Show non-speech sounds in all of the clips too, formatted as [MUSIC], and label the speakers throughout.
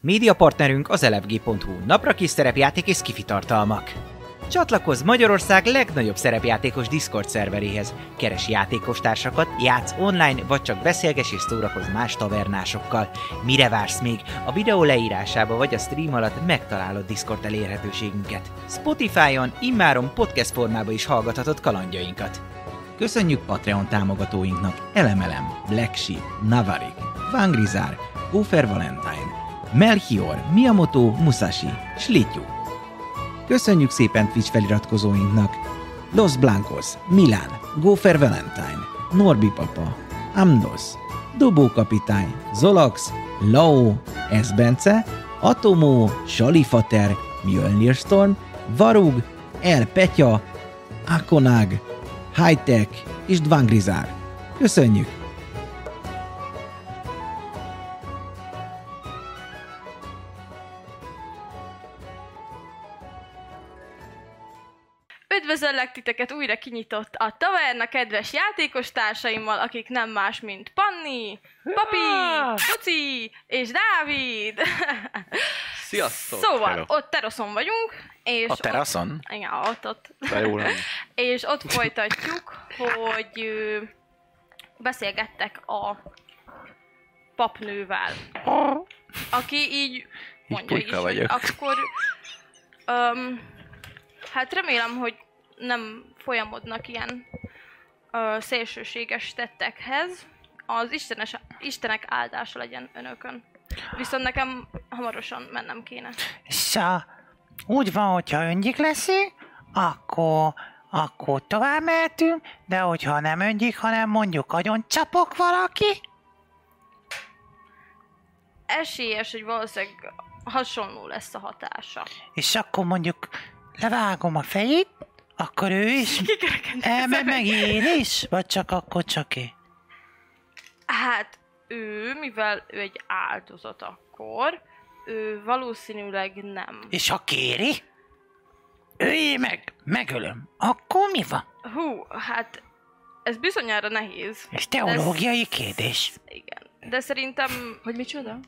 Speaker 1: Média partnerünk az elefg.hu, napra kis szerepjáték és kifitartalmak. Csatlakozz Magyarország legnagyobb szerepjátékos Discord szerveréhez. Keres játékostársakat, játsz online, vagy csak beszélges és szórakozz más tavernásokkal. Mire vársz még? A videó leírásába vagy a stream alatt megtalálod Discord elérhetőségünket. Spotify-on immáron podcast formában is hallgathatod kalandjainkat. Köszönjük Patreon támogatóinknak Elemelem, Black Sheep, Navarik, Vangrizár, Gófer Valentine, Melchior, Miyamoto, Musashi, Slityu. Köszönjük szépen Twitch feliratkozóinknak! Los Blancos, Milán, Gófer Valentine, Norbi Papa, Amnos, Dobó Kapitány, Zolax, Lao, Esbence, Atomó, Salifater, Mjölnir Storm, Varug, El Petya, Akonag, Hightech és Dvangrizár. Köszönjük!
Speaker 2: Üdvözöllek titeket újra kinyitott a taverna kedves játékos társaimmal, akik nem más, mint Panni, Papi, Tuci és Dávid.
Speaker 3: Sziasztok!
Speaker 2: Szóval,
Speaker 4: Hello.
Speaker 2: ott teraszon vagyunk, és...
Speaker 1: A teraszon?
Speaker 2: Ott, igen, ott, ott.
Speaker 3: De jó lenne.
Speaker 2: [LAUGHS] És ott folytatjuk, hogy ö, beszélgettek a papnővel, aki így mondja
Speaker 3: pulyka
Speaker 2: is, hogy
Speaker 3: vagyok.
Speaker 2: akkor... Öm, hát remélem, hogy nem folyamodnak ilyen ö, szélsőséges tettekhez. Az istenes, istenek áldása legyen önökön. Viszont nekem hamarosan mennem kéne.
Speaker 5: Szóval úgy van, hogyha öngyik leszi, akkor, akkor tovább mehetünk, de hogyha nem öngyik, hanem mondjuk agyon csapok valaki,
Speaker 2: Esélyes, hogy valószínűleg hasonló lesz a hatása.
Speaker 5: és akkor mondjuk levágom a fejét, akkor ő is
Speaker 2: Kikerekedett a
Speaker 5: elmegy
Speaker 2: szemem.
Speaker 5: meg én is, vagy csak akkor csak én.
Speaker 2: Hát ő, mivel ő egy áldozat akkor, ő valószínűleg nem.
Speaker 5: És ha kéri, őjé meg, megölöm. Akkor mi van?
Speaker 2: Hú, hát ez bizonyára nehéz.
Speaker 5: Ez teológiai kérdés.
Speaker 2: Igen. De szerintem...
Speaker 6: Hogy micsoda?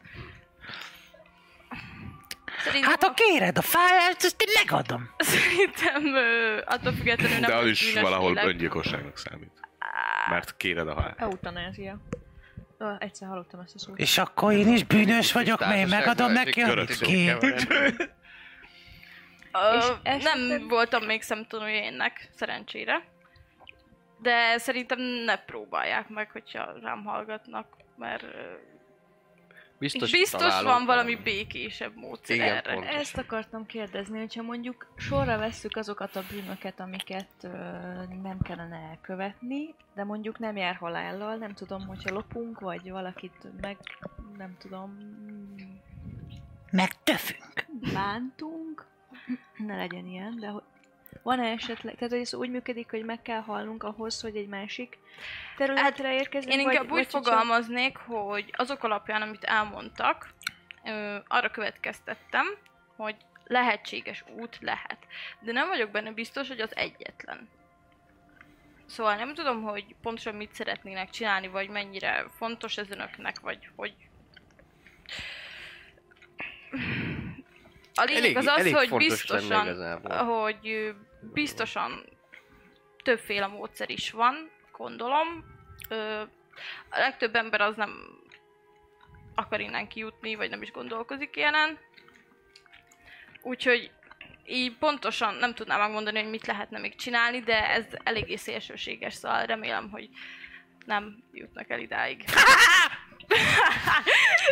Speaker 2: szerintem
Speaker 5: Hát ha kéred a fájást, azt én megadom.
Speaker 2: [LAUGHS] Szerintem ö, attól függetlenül nem
Speaker 4: De az
Speaker 2: lesz
Speaker 4: is
Speaker 2: bűnös
Speaker 4: valahol
Speaker 2: lélek.
Speaker 4: öngyilkosságnak számít. Mert kéred a halált.
Speaker 6: Eutanázia. Ö, egyszer hallottam ezt a szót.
Speaker 5: És akkor én is bűnös vagyok, mert én
Speaker 7: Társaságban
Speaker 5: megadom neki,
Speaker 7: egy
Speaker 5: amit
Speaker 4: szó
Speaker 5: kér.
Speaker 2: Ö,
Speaker 6: És esetleg-
Speaker 2: Nem voltam még szemtanúja ennek, szerencsére. De szerintem ne próbálják meg, hogyha rám hallgatnak, mert ö, biztos, biztos van valami békésebb módszer
Speaker 7: Igen,
Speaker 2: erre.
Speaker 7: pont.
Speaker 6: Ezt akartam kérdezni, hogyha mondjuk sorra vesszük azokat a bűnöket, amiket ö, nem kellene elkövetni, de mondjuk nem jár halállal, nem tudom, hogyha lopunk, vagy valakit meg, nem tudom,
Speaker 5: Meg töfünk.
Speaker 6: bántunk, ne legyen ilyen, de hogy van -e esetleg, tehát hogy ez úgy működik, hogy meg kell halnunk ahhoz, hogy egy másik területre érkezzünk?
Speaker 2: Hát, Én inkább
Speaker 6: vagy,
Speaker 2: úgy
Speaker 6: vagy csak-
Speaker 2: fogalmaznék, hogy azok alapján, amit elmondtak, ö, arra következtettem, hogy lehetséges út lehet. De nem vagyok benne biztos, hogy az egyetlen. Szóval nem tudom, hogy pontosan mit szeretnének csinálni, vagy mennyire fontos ez önöknek, vagy hogy... A lényeg
Speaker 7: Elég-
Speaker 2: az az,
Speaker 7: elég
Speaker 2: hogy
Speaker 7: fontos lenne
Speaker 2: biztosan,
Speaker 7: igazából.
Speaker 2: hogy ö, biztosan többféle módszer is van, gondolom. Ö, a legtöbb ember az nem akar innen kijutni, vagy nem is gondolkozik ilyenen. Úgyhogy így pontosan nem tudnám megmondani, hogy mit lehetne még csinálni, de ez eléggé szélsőséges, szóval remélem, hogy nem jutnak el idáig.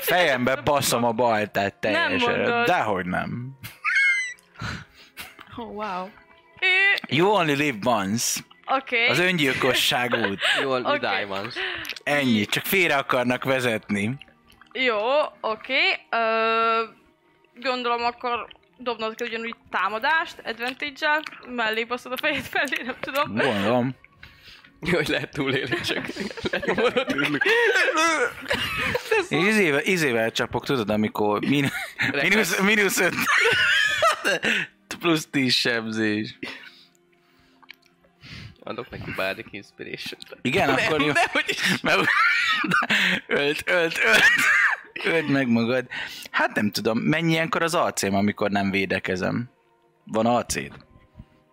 Speaker 3: Fejembe baszom a baltát teljesen.
Speaker 2: mondod.
Speaker 3: Dehogy nem.
Speaker 6: Oh, wow.
Speaker 2: Ö,
Speaker 3: You only live once.
Speaker 2: Oké.
Speaker 3: Az öngyilkosság út.
Speaker 7: Jól
Speaker 2: Oké.
Speaker 7: okay. diamonds.
Speaker 3: Ennyi. Csak félre akarnak vezetni.
Speaker 2: Jó, oké. Ö, Gondolom akkor dobnod kell ugyanúgy támadást, advantage-el, mellé baszod a fejed felé, nem tudom.
Speaker 3: Gondolom.
Speaker 7: Jó, hogy lehet túlélni,
Speaker 2: [LAUGHS]
Speaker 7: csak lenyomorodunk.
Speaker 3: És izével, izével csapok, tudod, amikor min, mínusz, mínusz öt. Plusz tíz sebzés.
Speaker 7: Adok neki Bardic Inspiration.
Speaker 3: [LAUGHS] Igen, akkor jó.
Speaker 7: De hogy is.
Speaker 3: Mert ölt, ölt, ölt. Öld meg magad. Hát nem tudom, mennyi ilyenkor az alcém, amikor nem védekezem? Van alcéd?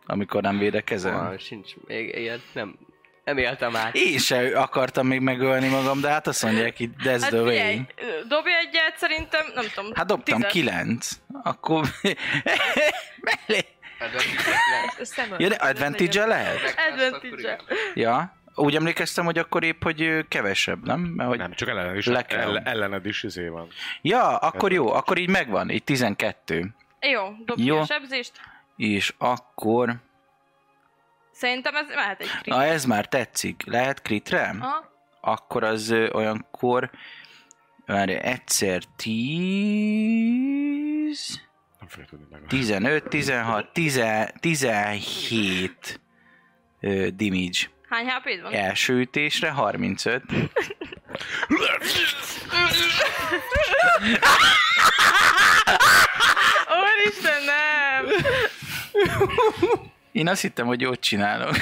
Speaker 3: Amikor nem védekezem?
Speaker 7: Ah, sincs, még ilyet nem, nem
Speaker 2: [LAUGHS]
Speaker 7: éltem át.
Speaker 3: Én se akartam még megölni magam, de hát azt mondják itt, that's
Speaker 2: Hát
Speaker 3: the way.
Speaker 2: figyelj, ö, dobj egyet, szerintem, nem tudom.
Speaker 3: Hát dobtam
Speaker 2: tizet.
Speaker 3: kilenc. Akkor...
Speaker 2: [LAUGHS]
Speaker 3: Mellé. Ja, de advantage lehet?
Speaker 2: Advantage-e.
Speaker 3: Ja. Úgy emlékeztem, hogy akkor épp, hogy ö, kevesebb, nem? Mert hogy...
Speaker 4: Nem, csak ellened is,
Speaker 3: Le kell.
Speaker 4: ellen, ellened is izé van.
Speaker 3: Ja, akkor jó, akkor így megvan, így 12.
Speaker 2: Jó, dobj ki
Speaker 3: Jó.
Speaker 2: a sebzést.
Speaker 3: És akkor...
Speaker 2: Szerintem ez mehet egy krit.
Speaker 3: Na ez már tetszik. Lehet kritre?
Speaker 2: Aha.
Speaker 3: Akkor az ö, olyankor... Várj, egyszer 10...
Speaker 4: Nem fogja tudni meg.
Speaker 3: 15, 16, 10, 17 ö, damage.
Speaker 2: Hány hp van?
Speaker 3: Első ütésre 35.
Speaker 2: Úristen, nem!
Speaker 3: Én azt hittem, hogy jót csinálok.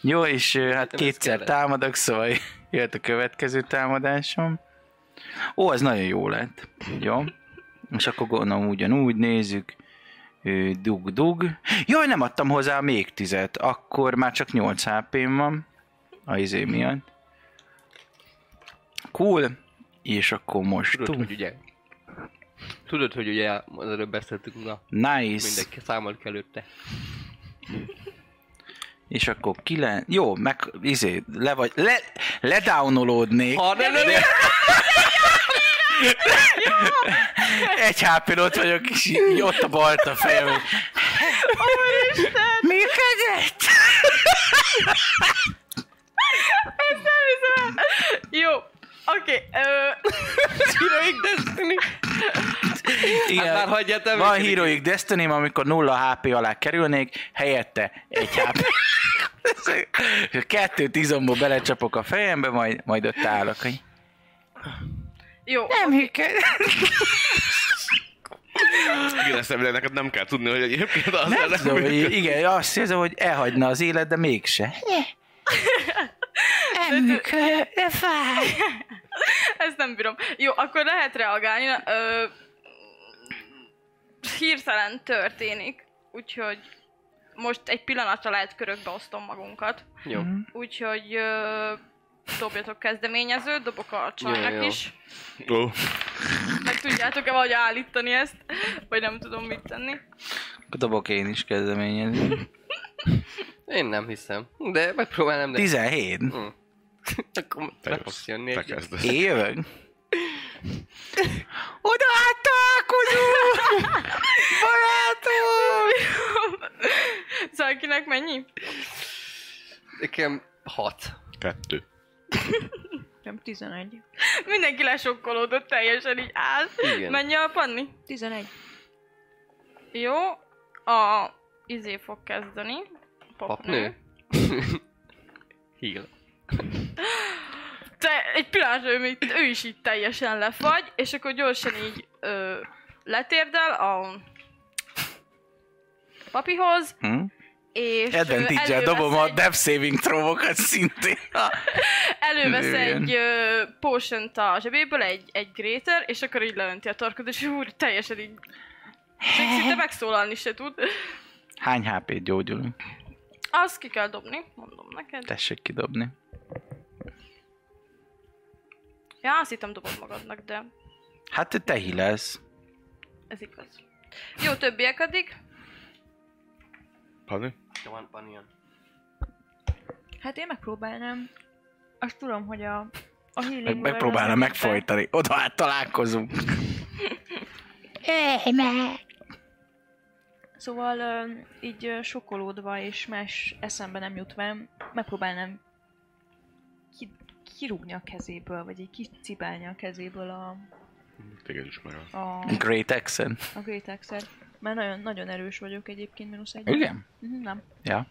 Speaker 3: Jó, és ö, hát
Speaker 7: Szerintem ez
Speaker 3: kétszer
Speaker 7: kellett.
Speaker 3: támadok, szóval jött a következő támadásom. Ó, ez nagyon jó lett. Jó. És akkor gondolom ugyanúgy nézzük. Ö, Dug, dug. Jaj, nem adtam hozzá még tizet. Akkor már csak 8 HP-m van. A izé miatt. Cool. És akkor most.
Speaker 7: Tudod, hogy ugye... Tudod, hogy ugye az előbb beszéltünk, na,
Speaker 3: Nice.
Speaker 7: mindenki számolt kell előtte.
Speaker 3: És akkor kilen... Jó, meg izé, le vagy... Le, ledownolódnék.
Speaker 7: Ha ne, ne, ne,
Speaker 3: Egy hp ott vagyok, és így ott a balt a fejem. Működött?
Speaker 2: Jó, oké. ö,
Speaker 7: Heroic Destiny!
Speaker 3: Igen.
Speaker 7: Hát már hagyjátok,
Speaker 3: Van
Speaker 7: működik.
Speaker 3: Heroic destiny amikor nulla HP alá kerülnék, helyette egy HP. Kettőt izomból belecsapok a fejembe, majd, majd ott állok, hogy
Speaker 2: Jó,
Speaker 3: nem működött.
Speaker 4: Igen, ezt emlélek, neked nem kell tudni, hogy egyébként az
Speaker 3: Nem tudom, hogy igen, azt érzem, hogy elhagyna az élet, de mégse. Nem működött, de fáj.
Speaker 2: ezt nem bírom. Jó, akkor lehet reagálni. na, Ö, hirtelen történik, úgyhogy most egy pillanatra lehet körökbe osztom magunkat.
Speaker 7: Jó,
Speaker 2: Úgyhogy ö, dobjatok kezdeményezőt, dobok a csajnak
Speaker 7: jó.
Speaker 2: is.
Speaker 4: Ó,
Speaker 2: Meg tudjátok-e vagy állítani ezt? Vagy nem tudom mit tenni.
Speaker 3: Dobok én is kezdeményezni.
Speaker 7: én nem hiszem. De megpróbálom, de...
Speaker 3: 17.
Speaker 7: Hm. [LAUGHS] Akkor
Speaker 4: te
Speaker 7: le
Speaker 4: jössz,
Speaker 7: fogsz jönni
Speaker 4: te
Speaker 7: egy...
Speaker 4: kezdesz.
Speaker 3: Én jövök. Oda hát találkozunk! Barátom!
Speaker 2: Szóval kinek mennyi?
Speaker 7: Nekem hat.
Speaker 4: Kettő.
Speaker 6: Nem, 11.
Speaker 2: Mindenki lesokkolódott teljesen így áll.
Speaker 7: Igen.
Speaker 2: Mennyi a panni?
Speaker 6: 11.
Speaker 2: Jó, a izé fog kezdeni.
Speaker 7: Papnő.
Speaker 2: Mhm.
Speaker 7: [LAUGHS] Heal.
Speaker 2: Te, egy pillanatra ő, még, ő is így teljesen lefagy, és akkor gyorsan így ö, letérdel a papihoz,
Speaker 3: Hm?
Speaker 2: és ö,
Speaker 3: Advantage-el
Speaker 2: elővesz
Speaker 3: dobom a
Speaker 2: egy-
Speaker 3: death saving throw-okat szintén.
Speaker 2: Elővesz
Speaker 3: Igen.
Speaker 2: egy ö, potion a zsebéből, egy, egy gréter, és akkor így leönti a tarkod, és úr, teljesen így... Még szinte megszólalni se tud.
Speaker 3: [LAUGHS] Hány HP-t gyógyulunk?
Speaker 2: Azt ki kell dobni, mondom neked.
Speaker 3: Tessék kidobni.
Speaker 2: Ja, azt hittem dobod magadnak, de
Speaker 3: Hát te hilesz.
Speaker 2: ez igaz. Jó, többiek addig.
Speaker 4: Pani?
Speaker 7: Van, van ilyen.
Speaker 6: Hát én megpróbálnám. Azt tudom, hogy a, a healing
Speaker 3: Meg,
Speaker 6: word
Speaker 3: megpróbálom
Speaker 6: az nem éppen-
Speaker 3: megfojtani. Oda hát találkozunk.
Speaker 6: Szóval ö, így ö, sokkolódva és más eszembe nem jutva, megpróbálnám ki, kirúgni a kezéből, vagy így kicibálni a kezéből a,
Speaker 4: Téged is meg.
Speaker 6: a,
Speaker 3: Great accent.
Speaker 6: a Great Axe-et. Mert nagyon, nagyon erős vagyok egyébként, mínusz egy.
Speaker 3: Igen?
Speaker 6: Mhm, Nem.
Speaker 3: Ja.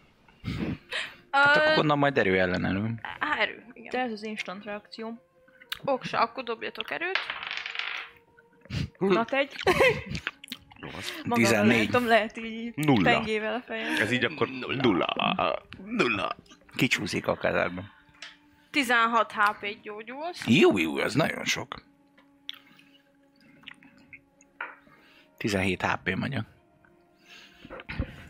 Speaker 3: Hát akkor
Speaker 2: Ö,
Speaker 3: gondolom majd erő ellenelünk.
Speaker 2: á, erő, igen.
Speaker 6: De ez az instant reakcióm.
Speaker 2: Oksa, akkor dobjatok erőt.
Speaker 6: Na egy. Magamra
Speaker 3: 14.
Speaker 6: látom, lehet így
Speaker 4: Nulla.
Speaker 6: pengével a fejem.
Speaker 4: Ez így akkor nulla. Nulla.
Speaker 3: Kicsúszik a kazárban.
Speaker 2: 16 HP-t gyógyulsz.
Speaker 3: Jó, jó, ez nagyon sok. 17 HP vagyok.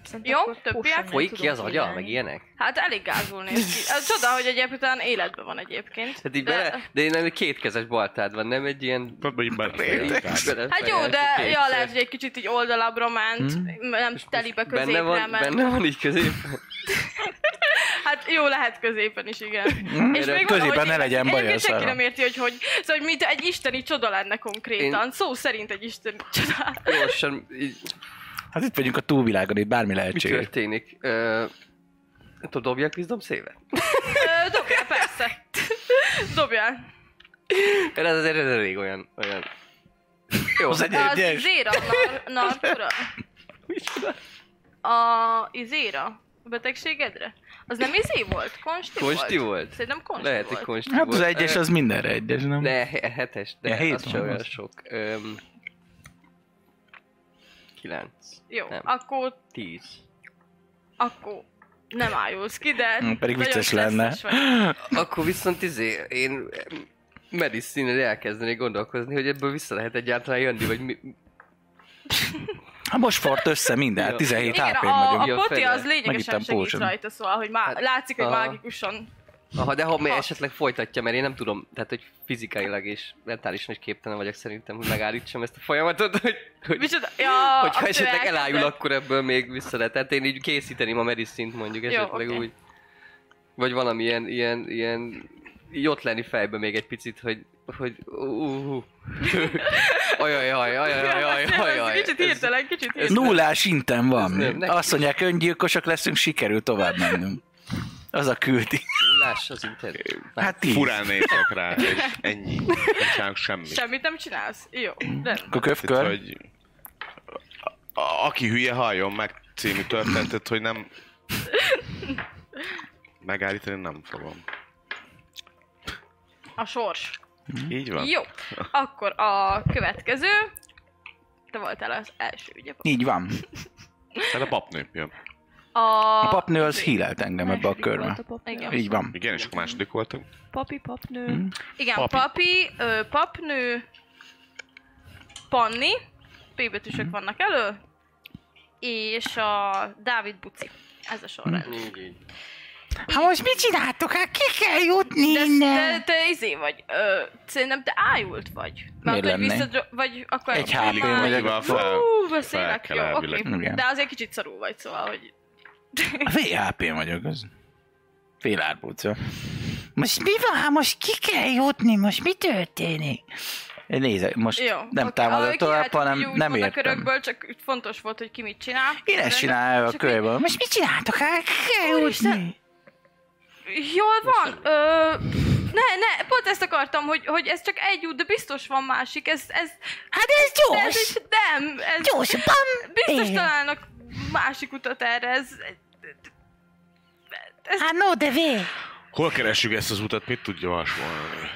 Speaker 6: Szerintem
Speaker 2: Jó,
Speaker 6: akkor
Speaker 2: többiek?
Speaker 6: pusson, nem
Speaker 2: Folyik
Speaker 7: Folyik
Speaker 6: tudom
Speaker 7: ki az agya,
Speaker 6: csinálni.
Speaker 7: meg ilyenek?
Speaker 2: Hát elég gázul néz ki. Ez csoda, hogy egyébként talán életben van egyébként.
Speaker 7: Hát így bele, de én nem egy kétkezes baltád van, nem egy ilyen...
Speaker 2: Hát jó, de ja, lehet, hogy egy kicsit így oldalabbra ment,
Speaker 3: Hmm.
Speaker 2: nem telibe
Speaker 7: Benne
Speaker 2: középre
Speaker 7: van,
Speaker 2: ment.
Speaker 7: benne van így közép.
Speaker 2: Hát jó, lehet középen is, igen. És
Speaker 7: Erre
Speaker 2: még
Speaker 3: középen
Speaker 2: valahogy
Speaker 3: ne legyen baj,
Speaker 2: Egyébként
Speaker 3: az
Speaker 2: senki
Speaker 3: arra.
Speaker 2: nem érti, hogy, hogy, szóval, hogy mint egy isteni csoda lenne konkrétan.
Speaker 7: Én-
Speaker 2: Szó szerint egy isteni [LAUGHS] csoda.
Speaker 7: Gyorsan, így
Speaker 3: Hát itt vagyunk a túlvilágon, itt bármi
Speaker 7: mi
Speaker 3: lehetséges.
Speaker 7: történik? Ö, Nem tudom, dobjak vízdom szévet?
Speaker 2: Ö, Dobjál, persze. [LAUGHS] Dobjál.
Speaker 7: Ez azért ez elég olyan, olyan... Jó,
Speaker 3: Az egy
Speaker 2: Az
Speaker 3: egyes.
Speaker 2: izéra, nar, nartura. A izéra. A betegségedre? Az nem izé volt? Konsti,
Speaker 7: Konsti volt?
Speaker 2: Szerintem konsti
Speaker 7: lehet, hogy
Speaker 2: volt.
Speaker 7: konsti
Speaker 3: Hát
Speaker 7: volt.
Speaker 3: az egyes,
Speaker 7: Ö,
Speaker 3: az mindenre egyes, nem?
Speaker 7: Ne, he- hetes, de
Speaker 3: Ja, hét
Speaker 7: az
Speaker 3: van,
Speaker 7: sem olyan
Speaker 3: az.
Speaker 7: sok. Öm, kilenc,
Speaker 2: Jó,
Speaker 7: Nem.
Speaker 2: akkor,
Speaker 7: tíz.
Speaker 2: akkor nem ájulsz ki, de...
Speaker 3: Hm, pedig
Speaker 2: nagyon
Speaker 3: vicces lenne.
Speaker 2: stresszes vagy.
Speaker 7: Akkor viszont izé, én medicine elkezdenék gondolkozni, hogy ebből vissza lehet egyáltalán jönni, vagy mi...
Speaker 3: Hát most fort össze minden, hát
Speaker 7: Ja.
Speaker 3: 17
Speaker 2: Igen,
Speaker 3: HP-n
Speaker 2: a,
Speaker 3: vagyunk.
Speaker 7: Jó,
Speaker 2: a poti
Speaker 7: fegyver.
Speaker 2: az lényegesen
Speaker 3: Megittem
Speaker 2: segít
Speaker 3: potion.
Speaker 2: rajta, szóval, hogy má-
Speaker 7: Hát,
Speaker 2: látszik, hogy
Speaker 7: aha.
Speaker 2: mágikusan
Speaker 7: Aha, de ha még
Speaker 2: Ha.
Speaker 7: esetleg folytatja, mert én nem tudom, tehát hogy fizikailag és mentálisan is képtelen vagyok szerintem, hogy megállítsam ezt a folyamatot, hogy, hogy
Speaker 2: Micsoda? Ja,
Speaker 7: hogyha
Speaker 2: akkor
Speaker 7: esetleg
Speaker 2: elkezded.
Speaker 7: elájul, akkor ebből még vissza lehet. Tehát én így készíteném a medicint mondjuk
Speaker 2: Jó,
Speaker 7: esetleg
Speaker 2: oké.
Speaker 7: úgy. Vagy valamilyen ilyen, ilyen így ott lenni fejbe még egy picit, hogy hogy uh,
Speaker 2: [LAUGHS]
Speaker 7: ajaj, ajaj, ajaj,
Speaker 2: Ja,
Speaker 7: ajaj,
Speaker 2: persze,
Speaker 7: ajaj,
Speaker 2: ez Kicsit hirtelen, kicsit hirtelen.
Speaker 3: Nullás inten
Speaker 7: nem-
Speaker 3: van.
Speaker 7: ne-
Speaker 3: Azt mondják, öngyilkosak leszünk, sikerül tovább mennünk. Az a küldi.
Speaker 7: Láss az interjú.
Speaker 3: Hát tíz.
Speaker 4: Furán nézek
Speaker 2: [LAUGHS]
Speaker 4: rá, és ennyi. Nem csinálok semmit.
Speaker 2: Semmit nem csinálsz? Jó, rendben.
Speaker 3: Akkor
Speaker 4: Tehát,
Speaker 3: köpkör.
Speaker 4: hogy a- aki hülye halljon meg című történetet, hogy nem... Megállítani nem fogom.
Speaker 2: A sors.
Speaker 4: Így van?
Speaker 2: Jó, akkor a következő. Te voltál az első, ugye?
Speaker 3: Így van.
Speaker 4: Hát a papnő jön.
Speaker 2: A,
Speaker 3: A papnő az hílelt engem ebbe a
Speaker 6: Második
Speaker 3: körbe.
Speaker 6: volt a papnő.
Speaker 2: Igen. Hm.
Speaker 3: Így van.
Speaker 4: Igen, és akkor második voltunk.
Speaker 6: Papi, papnő.
Speaker 2: Igen, papi,
Speaker 4: papi.
Speaker 2: papi ö, papnő, panni, P
Speaker 7: Mhm.
Speaker 2: betűsök vannak elő, és a Dávid Buci. Ez a sorrend.
Speaker 7: Így, így.
Speaker 5: Hát most mit csináltok? Hát ki kell jutni
Speaker 2: De te,
Speaker 5: innen.
Speaker 2: te izé vagy, ö, szerintem te ájult vagy. Mert
Speaker 3: Miért
Speaker 2: hogy
Speaker 3: lennék?
Speaker 2: visszadro- vagy akkor...
Speaker 3: Egy
Speaker 2: akkor
Speaker 3: HP-n
Speaker 2: már-
Speaker 3: vagyok.
Speaker 4: Annyival fel.
Speaker 2: Hú, beszélek,
Speaker 4: kell
Speaker 2: jó, oké.
Speaker 4: elvileg.
Speaker 3: Igen.
Speaker 2: De azért kicsit szarul vagy, szóval, hogy...
Speaker 3: A VHP-n vagyok, az. Fél árbóca.
Speaker 5: Most mi van? Hát most ki kell jutni? Most mi történik?
Speaker 3: Én Nézek, most
Speaker 2: Jó.
Speaker 3: nem
Speaker 2: oké.
Speaker 3: támadok
Speaker 2: Ahogy
Speaker 3: tovább,
Speaker 2: kiáltjuk,
Speaker 3: hanem
Speaker 2: ugye úgy
Speaker 3: nem
Speaker 2: volt A
Speaker 3: értem.
Speaker 2: körökből csak fontos volt, hogy ki mit csinál.
Speaker 3: Én ezt csinálom a
Speaker 2: Csak így-
Speaker 3: körből. Most
Speaker 5: Most mit csináltok? Hát ki kell jutni?
Speaker 2: Jól van, ö, ne, ne, pont ezt akartam, hogy, hogy ez csak egy út, de biztos van másik, ez, ez,
Speaker 5: Hát ez
Speaker 2: de ez
Speaker 5: gyors!
Speaker 2: is, nem, ez,
Speaker 5: Gyors, bam!
Speaker 2: biztos
Speaker 5: Igen.
Speaker 2: találnak másik utat erre, ez,
Speaker 5: Hát no, de vé!
Speaker 4: Hol keressük ezt az utat, mit tudja javasolni?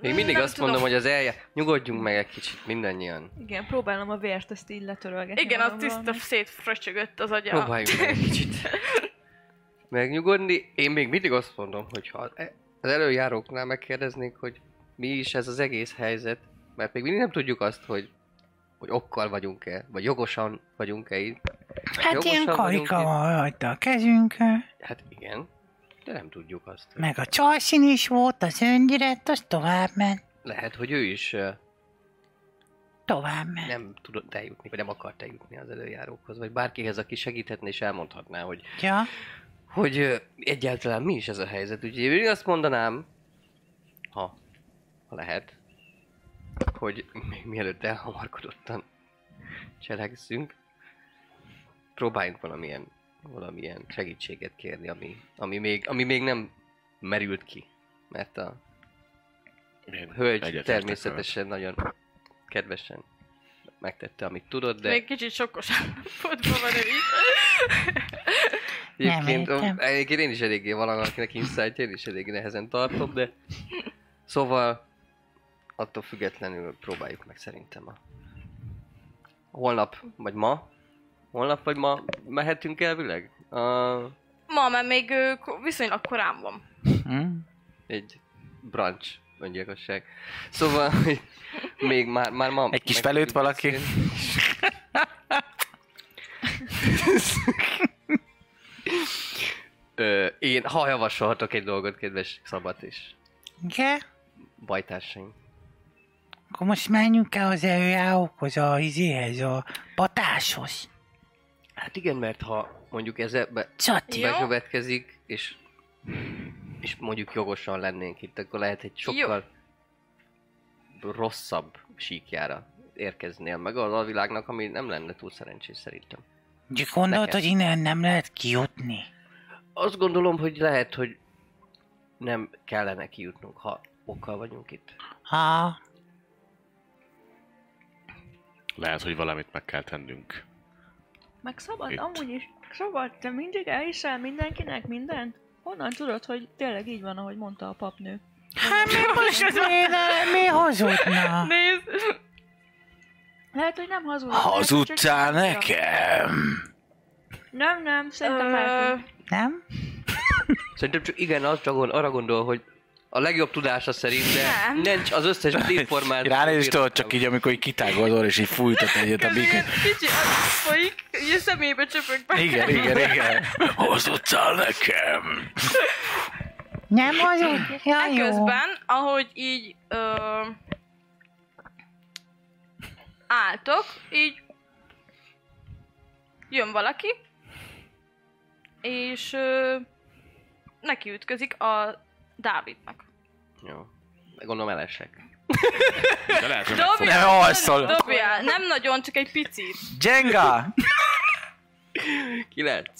Speaker 7: Még mindig
Speaker 2: Nem
Speaker 7: azt
Speaker 2: tudom.
Speaker 7: mondom, hogy az eljá... Nyugodjunk meg egy kicsit mindannyian.
Speaker 6: Igen, próbálom a vért ezt így letörölgetni.
Speaker 2: igen, az
Speaker 6: magamról,
Speaker 2: tiszta szétfröcsögött az agya.
Speaker 7: Próbáljuk
Speaker 2: [LAUGHS]
Speaker 7: meg egy kicsit. Megnyugodni. Én még mindig azt mondom, hogy ha e- az előjáróknál megkérdeznénk, hogy mi is ez az egész helyzet, mert még mindig nem tudjuk azt, hogy hogy okkal vagyunk-e, vagy jogosan vagyunk-e itt.
Speaker 5: Hát ilyen
Speaker 7: Jogosan vagyunk
Speaker 5: karika van rajta a kezünkön.
Speaker 7: itt. Hát igen, de nem tudjuk azt. Hogy
Speaker 5: Meg a csalszín is volt, az öngyirett, az tovább ment.
Speaker 7: lehet, hogy ő is ö,
Speaker 5: Tovább ment.
Speaker 7: nem tudott eljutni, vagy nem akart eljutni az előjárókhoz, vagy bárkihez, aki segíthetne és elmondhatná, hogy
Speaker 5: Ja.
Speaker 7: hogy ö, egyáltalán mi is ez a helyzet. Úgyhogy én azt mondanám, ha, ha lehet, hogy még mielőtt elhamarkodottan cselekszünk, próbáljunk valamilyen, valamilyen segítséget kérni, ami, ami, még, ami még nem merült ki. Mert a hölgy
Speaker 4: Egyetértek
Speaker 7: természetesen nagyon kedvesen megtette, amit tudott, de...
Speaker 2: Még kicsit sokosan fotban van ő így.
Speaker 5: Nem
Speaker 7: Egyébként,
Speaker 5: értem.
Speaker 7: ó, egyébként én is eléggé valakinek insight én is eléggé nehezen tartom, de szóval attól függetlenül próbáljuk meg szerintem a holnap, vagy ma, holnap vagy ma mehetünk elvileg? A,
Speaker 2: Ma, mert még ö, ko- viszonylag korán van.
Speaker 3: Hm?
Speaker 7: egy brunch öngyilkosság. Szóval, hogy még már, már ma...
Speaker 3: Egy kis
Speaker 7: meg tudjuk
Speaker 3: felőtt valaki?
Speaker 7: beszélni. Ö, én, ha javasolhatok egy dolgot, kedves Szabad és
Speaker 5: Igen?
Speaker 7: bajtársaim.
Speaker 5: Akkor most menjünk el az előjárókhoz, a izéhez, a patáshoz.
Speaker 7: Hát igen, mert ha mondjuk ez ebbe
Speaker 5: Csati.
Speaker 2: Jó.
Speaker 7: bekövetkezik, és, és mondjuk jogosan lennénk itt, akkor lehet egy sokkal rosszabb síkjára érkeznél meg az alvilágnak, ami nem lenne túl szerencsés szerintem.
Speaker 5: Úgy gondolt,
Speaker 7: Neked.
Speaker 5: hogy innen nem lehet kijutni.
Speaker 7: Azt gondolom, hogy lehet, hogy nem kellene kijutnunk, ha okkal vagyunk itt.
Speaker 5: Ha,
Speaker 4: Lehet, hogy valamit meg kell tennünk.
Speaker 6: Meg szabad,
Speaker 4: Itt.
Speaker 6: Itt. amúgy is. Szabad, te mindig elhisel mindenkinek mindent? Honnan tudod, hogy tényleg így van, ahogy mondta a papnő?
Speaker 5: hát mi most mi, mi hazudna?
Speaker 2: Nézd!
Speaker 6: Lehet, hogy nem hazudod.
Speaker 3: Hazudtál nekem?
Speaker 6: Nem, nem, szerintem
Speaker 2: Ö,
Speaker 6: már.
Speaker 5: Nem?
Speaker 7: Szerintem csak igen, az csak gond- arra gondol, hogy a legjobb tudása szerint, de
Speaker 2: Nem.
Speaker 7: nincs az összes információ.
Speaker 3: Ránézést tudod csak így, amikor így kitágozol, és így fújtott egyet a
Speaker 2: közé
Speaker 3: bikát.
Speaker 2: kicsi az folyik, így a szemébe csöpök be.
Speaker 3: Igen, igen, igen. Hazudtál nekem?
Speaker 5: Nem hazud? Ja, jó.
Speaker 2: Eközben, ahogy így ö, álltok, így jön valaki, és ö, neki ütközik a Dávidnak.
Speaker 7: Jó. Gondolom elesek.
Speaker 4: De lehet, hogy meg fog...
Speaker 2: Dobjál,
Speaker 3: Nem alszol.
Speaker 2: dobjál, nem nagyon, csak egy picit.
Speaker 1: Jenga!
Speaker 7: Kilenc.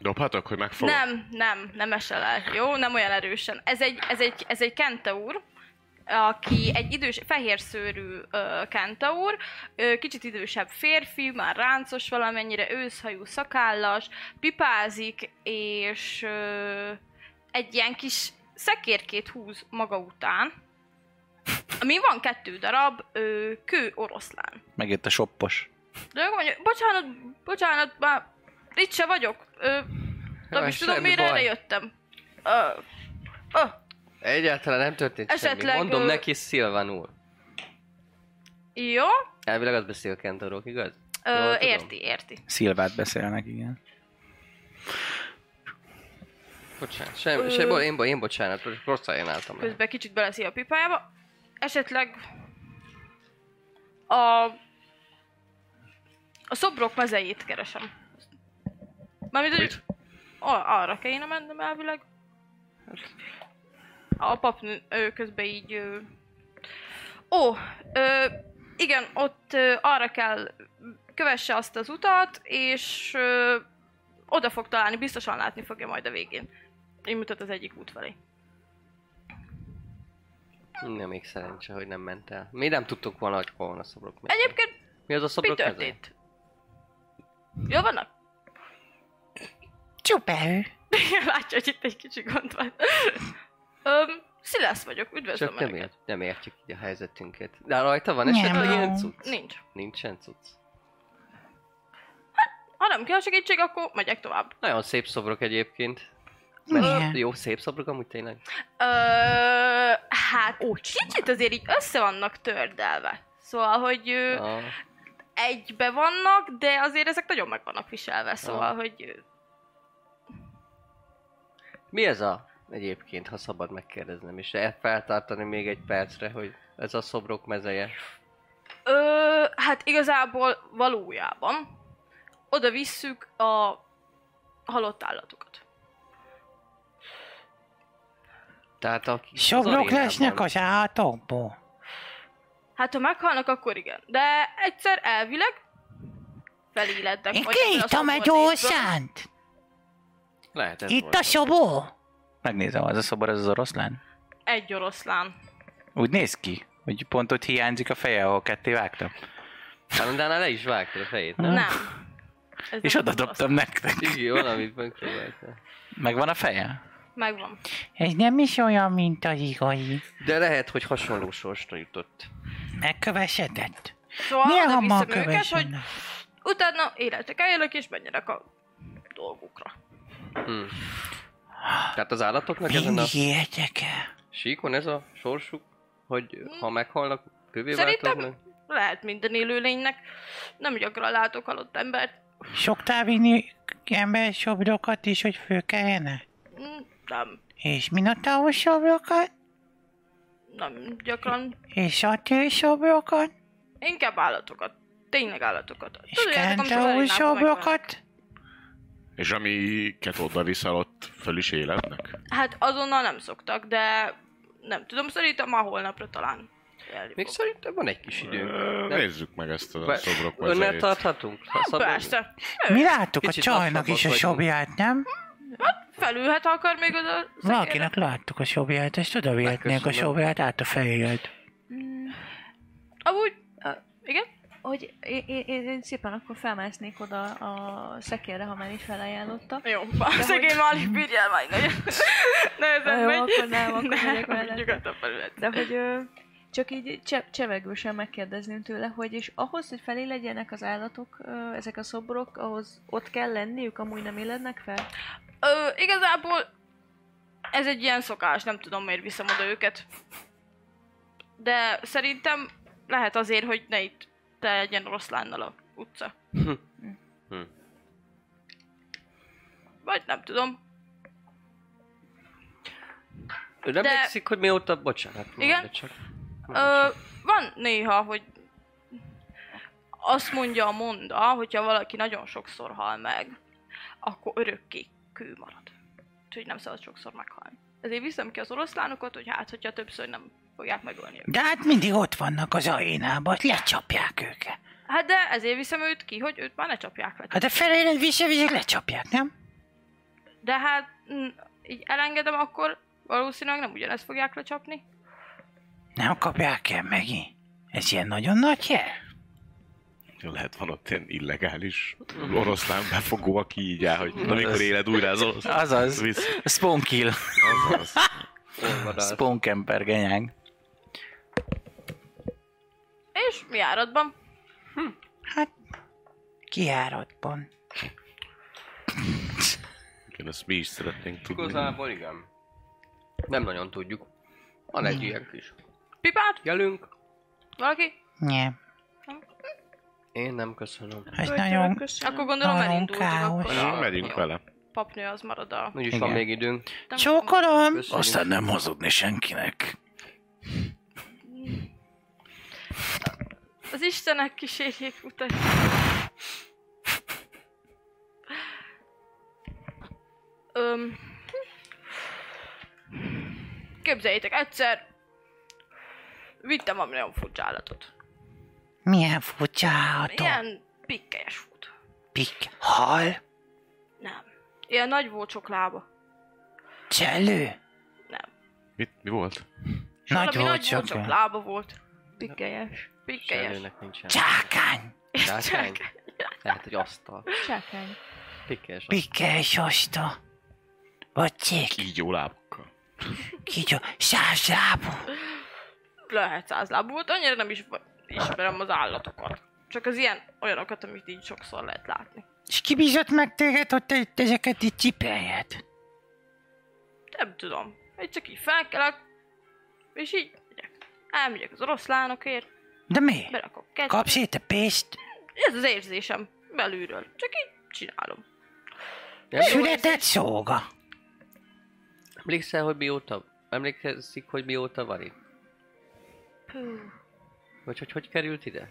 Speaker 4: Dobhatok, hogy megfogom?
Speaker 2: Nem, nem, nem esel el, jó? Nem olyan erősen. Ez egy, ez egy, ez egy kenta úr, aki egy idős, fehér szőrű ö, kenta úr, ö, kicsit idősebb férfi, már ráncos valamennyire, őszhajú, szakállas, pipázik, és ö, egy ilyen kis szekérkét húz maga után, ami van kettő darab ö, kő oroszlán.
Speaker 3: Megjött a soppos.
Speaker 2: De akkor mondja, bocsánat, bocsánat, már itt se vagyok. Ö, nem
Speaker 7: Jaj,
Speaker 2: is tudom,
Speaker 7: semmi
Speaker 2: mire
Speaker 7: baj.
Speaker 2: erre jöttem. Ö, ö,
Speaker 7: Egyáltalán nem történt
Speaker 2: Esetleg,
Speaker 7: semmi. Mondom
Speaker 2: ö-
Speaker 7: neki Szilvánul.
Speaker 2: jó,
Speaker 7: Elvileg az beszél Kentorok, igaz? Jól
Speaker 2: ö,
Speaker 7: tudom.
Speaker 2: érti, érti.
Speaker 3: Szilvát beszélnek, igen.
Speaker 7: Bocsánat, sem, sem, bo- én, bo- én bocsánat, rossz helyen álltam. le.
Speaker 2: Közben kicsit beleszi a pipájába. Esetleg a, a szobrok mezejét keresem. Mármint, hogy a- arra kéne mennem elvileg. A pap ő közben így... Ő... Ó, ö, igen, ott ö, arra kell kövesse azt az utat, és ö, oda fog találni, biztosan látni fogja majd a végén. Így mutat az egyik út felé.
Speaker 7: Nem még szerencse, hogy nem ment el. Mi nem tudtuk volna, hogy hol van a szobrok. Mi-
Speaker 2: Egyébként
Speaker 7: Mi az a
Speaker 2: mi
Speaker 7: szobrok meze?
Speaker 2: történt? Jól vannak?
Speaker 5: Csupa ő.
Speaker 2: [LAUGHS] Látja, hogy itt egy kicsi gond van. Öm, Szilász vagyok, üdvözlöm
Speaker 7: Csak nem,
Speaker 2: Önöket.
Speaker 7: ért, nem értjük így a helyzetünket. De rajta van
Speaker 5: Nem.
Speaker 7: esetleg ilyen cucc?
Speaker 2: Nincs.
Speaker 7: Nincsen cucc.
Speaker 2: Ha nem kell segítség, akkor megyek tovább.
Speaker 7: Nagyon szép szobrok egyébként.
Speaker 5: Igen.
Speaker 7: Mert jó szép szobrok amúgy tényleg.
Speaker 2: Ö, hát kicsit azért így össze vannak tördelve. Szóval, hogy ö,
Speaker 7: A,
Speaker 2: egybe vannak, de azért ezek nagyon meg vannak viselve, szóval,
Speaker 7: Ah.
Speaker 2: hogy ö,
Speaker 7: mi ez a egyébként, ha szabad megkérdeznem, és el- feltartani még egy percre, hogy ez a szobrok mezeje.
Speaker 2: Ö, hát igazából valójában oda visszük a halott állatokat.
Speaker 7: Tehát a kis- az
Speaker 5: Sobrok
Speaker 7: arénában.
Speaker 5: lesznek az állatokból.
Speaker 2: Hát ha meghalnak, akkor igen. De egyszer elvileg felélednek.
Speaker 5: Én
Speaker 2: majd ebből a
Speaker 5: kiítom egy
Speaker 2: szobor
Speaker 5: ószánt.
Speaker 7: Lehet ez
Speaker 5: Itt
Speaker 7: volt.
Speaker 5: a sobó.
Speaker 3: Megnézem, az a szobor, az az oroszlán.
Speaker 2: Egy oroszlán.
Speaker 3: Úgy néz ki, hogy pont ott hiányzik a feje, ahol ketté vágtam.
Speaker 7: Kalandánál Hát, le is vágtad a fejét. nem?
Speaker 2: Nem. Ez
Speaker 3: És
Speaker 2: nem
Speaker 3: oda
Speaker 2: oroszlán.
Speaker 3: dobtam nektek.
Speaker 7: Igen, valamit megpróbáltál.
Speaker 3: Megvan a feje?
Speaker 2: Megvan.
Speaker 5: Ez nem is olyan, mint az igazi.
Speaker 7: De lehet, hogy hasonló sorsra jutott.
Speaker 5: Megkövesedett.
Speaker 2: Szóval
Speaker 5: Milyen
Speaker 2: oda
Speaker 5: hamar
Speaker 2: visszük őket, hogy
Speaker 5: kövesednek?
Speaker 2: utána életek eljönök és menjenek a dolgukra.
Speaker 7: Hm. Tehát az állatoknak ezen a
Speaker 5: Mindig ilyetek el.
Speaker 7: síkon ez a sorsuk, hogy ha meghalnak, kövé
Speaker 2: Szerintem-
Speaker 7: változnak?
Speaker 2: Lehet minden élőlénynek. Nem gyakran látok halott embert.
Speaker 3: Szoktál vinni embersobrokat is, hogy fölkeljenek?
Speaker 2: Mm, Nem,
Speaker 3: És minotaurus sobrokat?
Speaker 2: nem gyakran.
Speaker 3: És atyőr sobrokat?
Speaker 2: Inkább állatokat. Tényleg állatokat.
Speaker 3: És
Speaker 2: Tudjátok, amikor
Speaker 3: kentaurus
Speaker 2: elég napok megvannak.
Speaker 3: sobrokat?
Speaker 4: És amiket oda viszel, ott föl is életnek?
Speaker 2: Hát azonnal nem szoktak, de nem tudom, szerintem ma holnapra talán.
Speaker 7: Még
Speaker 2: eljutok.
Speaker 7: szerintem van egy kis időnk.
Speaker 4: Ö,
Speaker 7: Nem?
Speaker 4: Nézzük meg ezt a szobrok
Speaker 7: Önnel
Speaker 4: mezejét.
Speaker 7: tarthatunk? Ha szabad-
Speaker 2: Persze.
Speaker 3: Mi láttuk a
Speaker 7: Kicsit
Speaker 3: csajnak is a
Speaker 7: lassabbat
Speaker 3: sobját, nem?
Speaker 2: Felülhet, ha akar még az a szekérre.
Speaker 3: Szóval Valakinek láttuk a sobját, és oda vihetnénk a
Speaker 7: Megköszönöm.
Speaker 3: sobját át a fejélet.
Speaker 6: Mm,
Speaker 2: Amúgy,
Speaker 6: Ö-
Speaker 2: igen?
Speaker 6: hogy én, én, én, én szépen akkor felmásznék oda a szekérre, ha már így felajánlotta.
Speaker 2: Jó, a [LAUGHS] szegény már alig bírja már
Speaker 6: [LAUGHS]
Speaker 2: nagyon. Nehezen
Speaker 6: Jó,
Speaker 2: megy.
Speaker 6: akkor
Speaker 2: [LAUGHS]
Speaker 6: nem, akkor megyek
Speaker 2: nem,
Speaker 6: vele.
Speaker 2: nyugodtan felület.
Speaker 6: De hogy ö, csak így cse- csevegősen megkérdezném tőle, hogy és ahhoz, hogy felé legyenek az állatok, ö, ezek a szobrok, ahhoz ott kell lenniük, amúgy nem élednek fel?
Speaker 2: Ö, igazából ez egy ilyen szokás, nem tudom miért viszem oda őket. De szerintem lehet azért, hogy ne itt te legyen oroszlánnal a utca.
Speaker 7: Hm.
Speaker 2: Vagy nem tudom.
Speaker 7: Ön emlékszik, hogy mióta... Bocsánat.
Speaker 2: Igen?
Speaker 7: mondja Csak.
Speaker 2: Ö, van néha, hogy azt mondja a monda, hogyha valaki nagyon sokszor hal meg, akkor örökké kő marad. Úgyhogy nem szabad sokszor meghalni. Ezért viszem ki az oroszlánokat, hogy hát, hogyha többször nem fogják megölni őket.
Speaker 3: De hát mindig ott vannak az arénában, hogy lecsapják őket.
Speaker 2: Hát de ezért viszem őt ki, hogy őt már ne csapják le.
Speaker 3: Hát a felélet viszik, viszik, lecsapják, nem?
Speaker 2: De hát, mm, így elengedem, akkor valószínűleg nem ugyanezt fogják lecsapni.
Speaker 3: Nem kapják el megint. Ez ilyen nagyon nagy jel.
Speaker 4: Lehet van ott ilyen illegális oroszlán befogó, aki így áll, hogy na mikor éled újra az oroszlán.
Speaker 8: Azaz.
Speaker 4: Visz.
Speaker 8: Spawn kill.
Speaker 4: Azaz.
Speaker 7: Olvadás.
Speaker 8: Spawn camper, genyánk.
Speaker 2: És mi áradban?
Speaker 3: Hát, kiáratban.
Speaker 4: Igen, ezt mi is szeretnénk tudni.
Speaker 7: Igazából igen. Nem nagyon tudjuk. Van egy ilyen kis
Speaker 2: Pipát?
Speaker 7: jelünk.
Speaker 2: Valaki?
Speaker 3: Nem.
Speaker 7: Én nem köszönöm.
Speaker 3: Ez nagyon...
Speaker 6: Köszönöm.
Speaker 2: Akkor gondolom
Speaker 3: Nagyon
Speaker 2: elindultunk,
Speaker 3: káosz.
Speaker 2: akkor
Speaker 4: Na,
Speaker 2: a
Speaker 4: megyünk vele.
Speaker 2: papnő az marad a...
Speaker 7: Úgyis van
Speaker 8: Igen.
Speaker 7: még időnk.
Speaker 2: Nem
Speaker 3: Csókolom!
Speaker 7: Köszönjük.
Speaker 8: nem hazudni senkinek.
Speaker 2: Az Istenek kísérjék utat. Öm. Képzeljétek, egyszer vittem valami nagyon furcsa állatot.
Speaker 3: Milyen furcsa állatok.
Speaker 2: Ilyen pikkelyes volt.
Speaker 3: Pik, hal,
Speaker 2: Nem. Ilyen nagy vócsok lába.
Speaker 3: cselő.
Speaker 4: Mit, mi volt?
Speaker 3: Nagy
Speaker 2: Valami
Speaker 3: volt
Speaker 2: nagy vócsok lába volt.
Speaker 6: Pikkelyes.
Speaker 2: Pikkelyes.
Speaker 7: Sejlőnek nincsen.
Speaker 3: Csákány,
Speaker 7: Csákány. Lehet, hogy asztal.
Speaker 6: Csákány.
Speaker 7: Pikkes.
Speaker 3: pikes osta. Vagy csék,
Speaker 4: Így jó lábakkal.
Speaker 3: kigyó, sávzsábú.
Speaker 2: Lehet százlábú volt, annyira nem is ismerem az állatokat. Csak az ilyen olyanokat, amit így sokszor lehet látni.
Speaker 3: És kibízott meg téged, hogy te itt ezeket itt cipeljed?
Speaker 2: Nem tudom. Én csak így felkelek, és így megyek. Elmegyek az oroszlánokért,
Speaker 3: De mi?
Speaker 2: berakok kettőt.
Speaker 3: Kapsz itt a pénzt?
Speaker 2: Ez az érzésem belülről. Csak így csinálom.
Speaker 3: Született szóga.
Speaker 7: Emlékszel, hogy mióta? Emlékszik, hogy mióta van itt?
Speaker 2: Hú,
Speaker 7: Vagy hogy hogy került ide?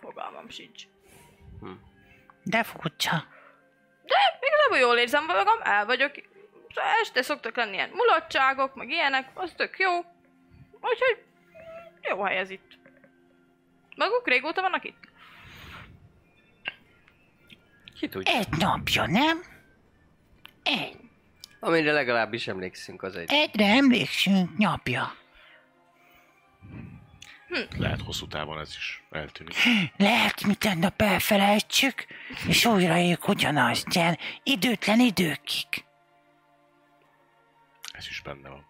Speaker 2: fogalmam sincs.
Speaker 3: De furcsa.
Speaker 2: Igazából jól érzem magam, el vagyok. Szóval Este szoktak lenni ilyen mulatságok, meg ilyenek, az tök jó. Úgyhogy jó hely ez itt. Maguk régóta vannak itt?
Speaker 7: Ki tudja?
Speaker 3: Egy napja, nem? Egy.
Speaker 7: Amire legalábbis emlékszünk az egy.
Speaker 3: Egyre emlékszünk napja.
Speaker 4: Lehet hosszú távon ez is eltűnik.
Speaker 3: Lehet, minden nap elfelejtsük, és újraéljük ugyanazt, ilyen időtlen időkig.
Speaker 4: Ez is benne van.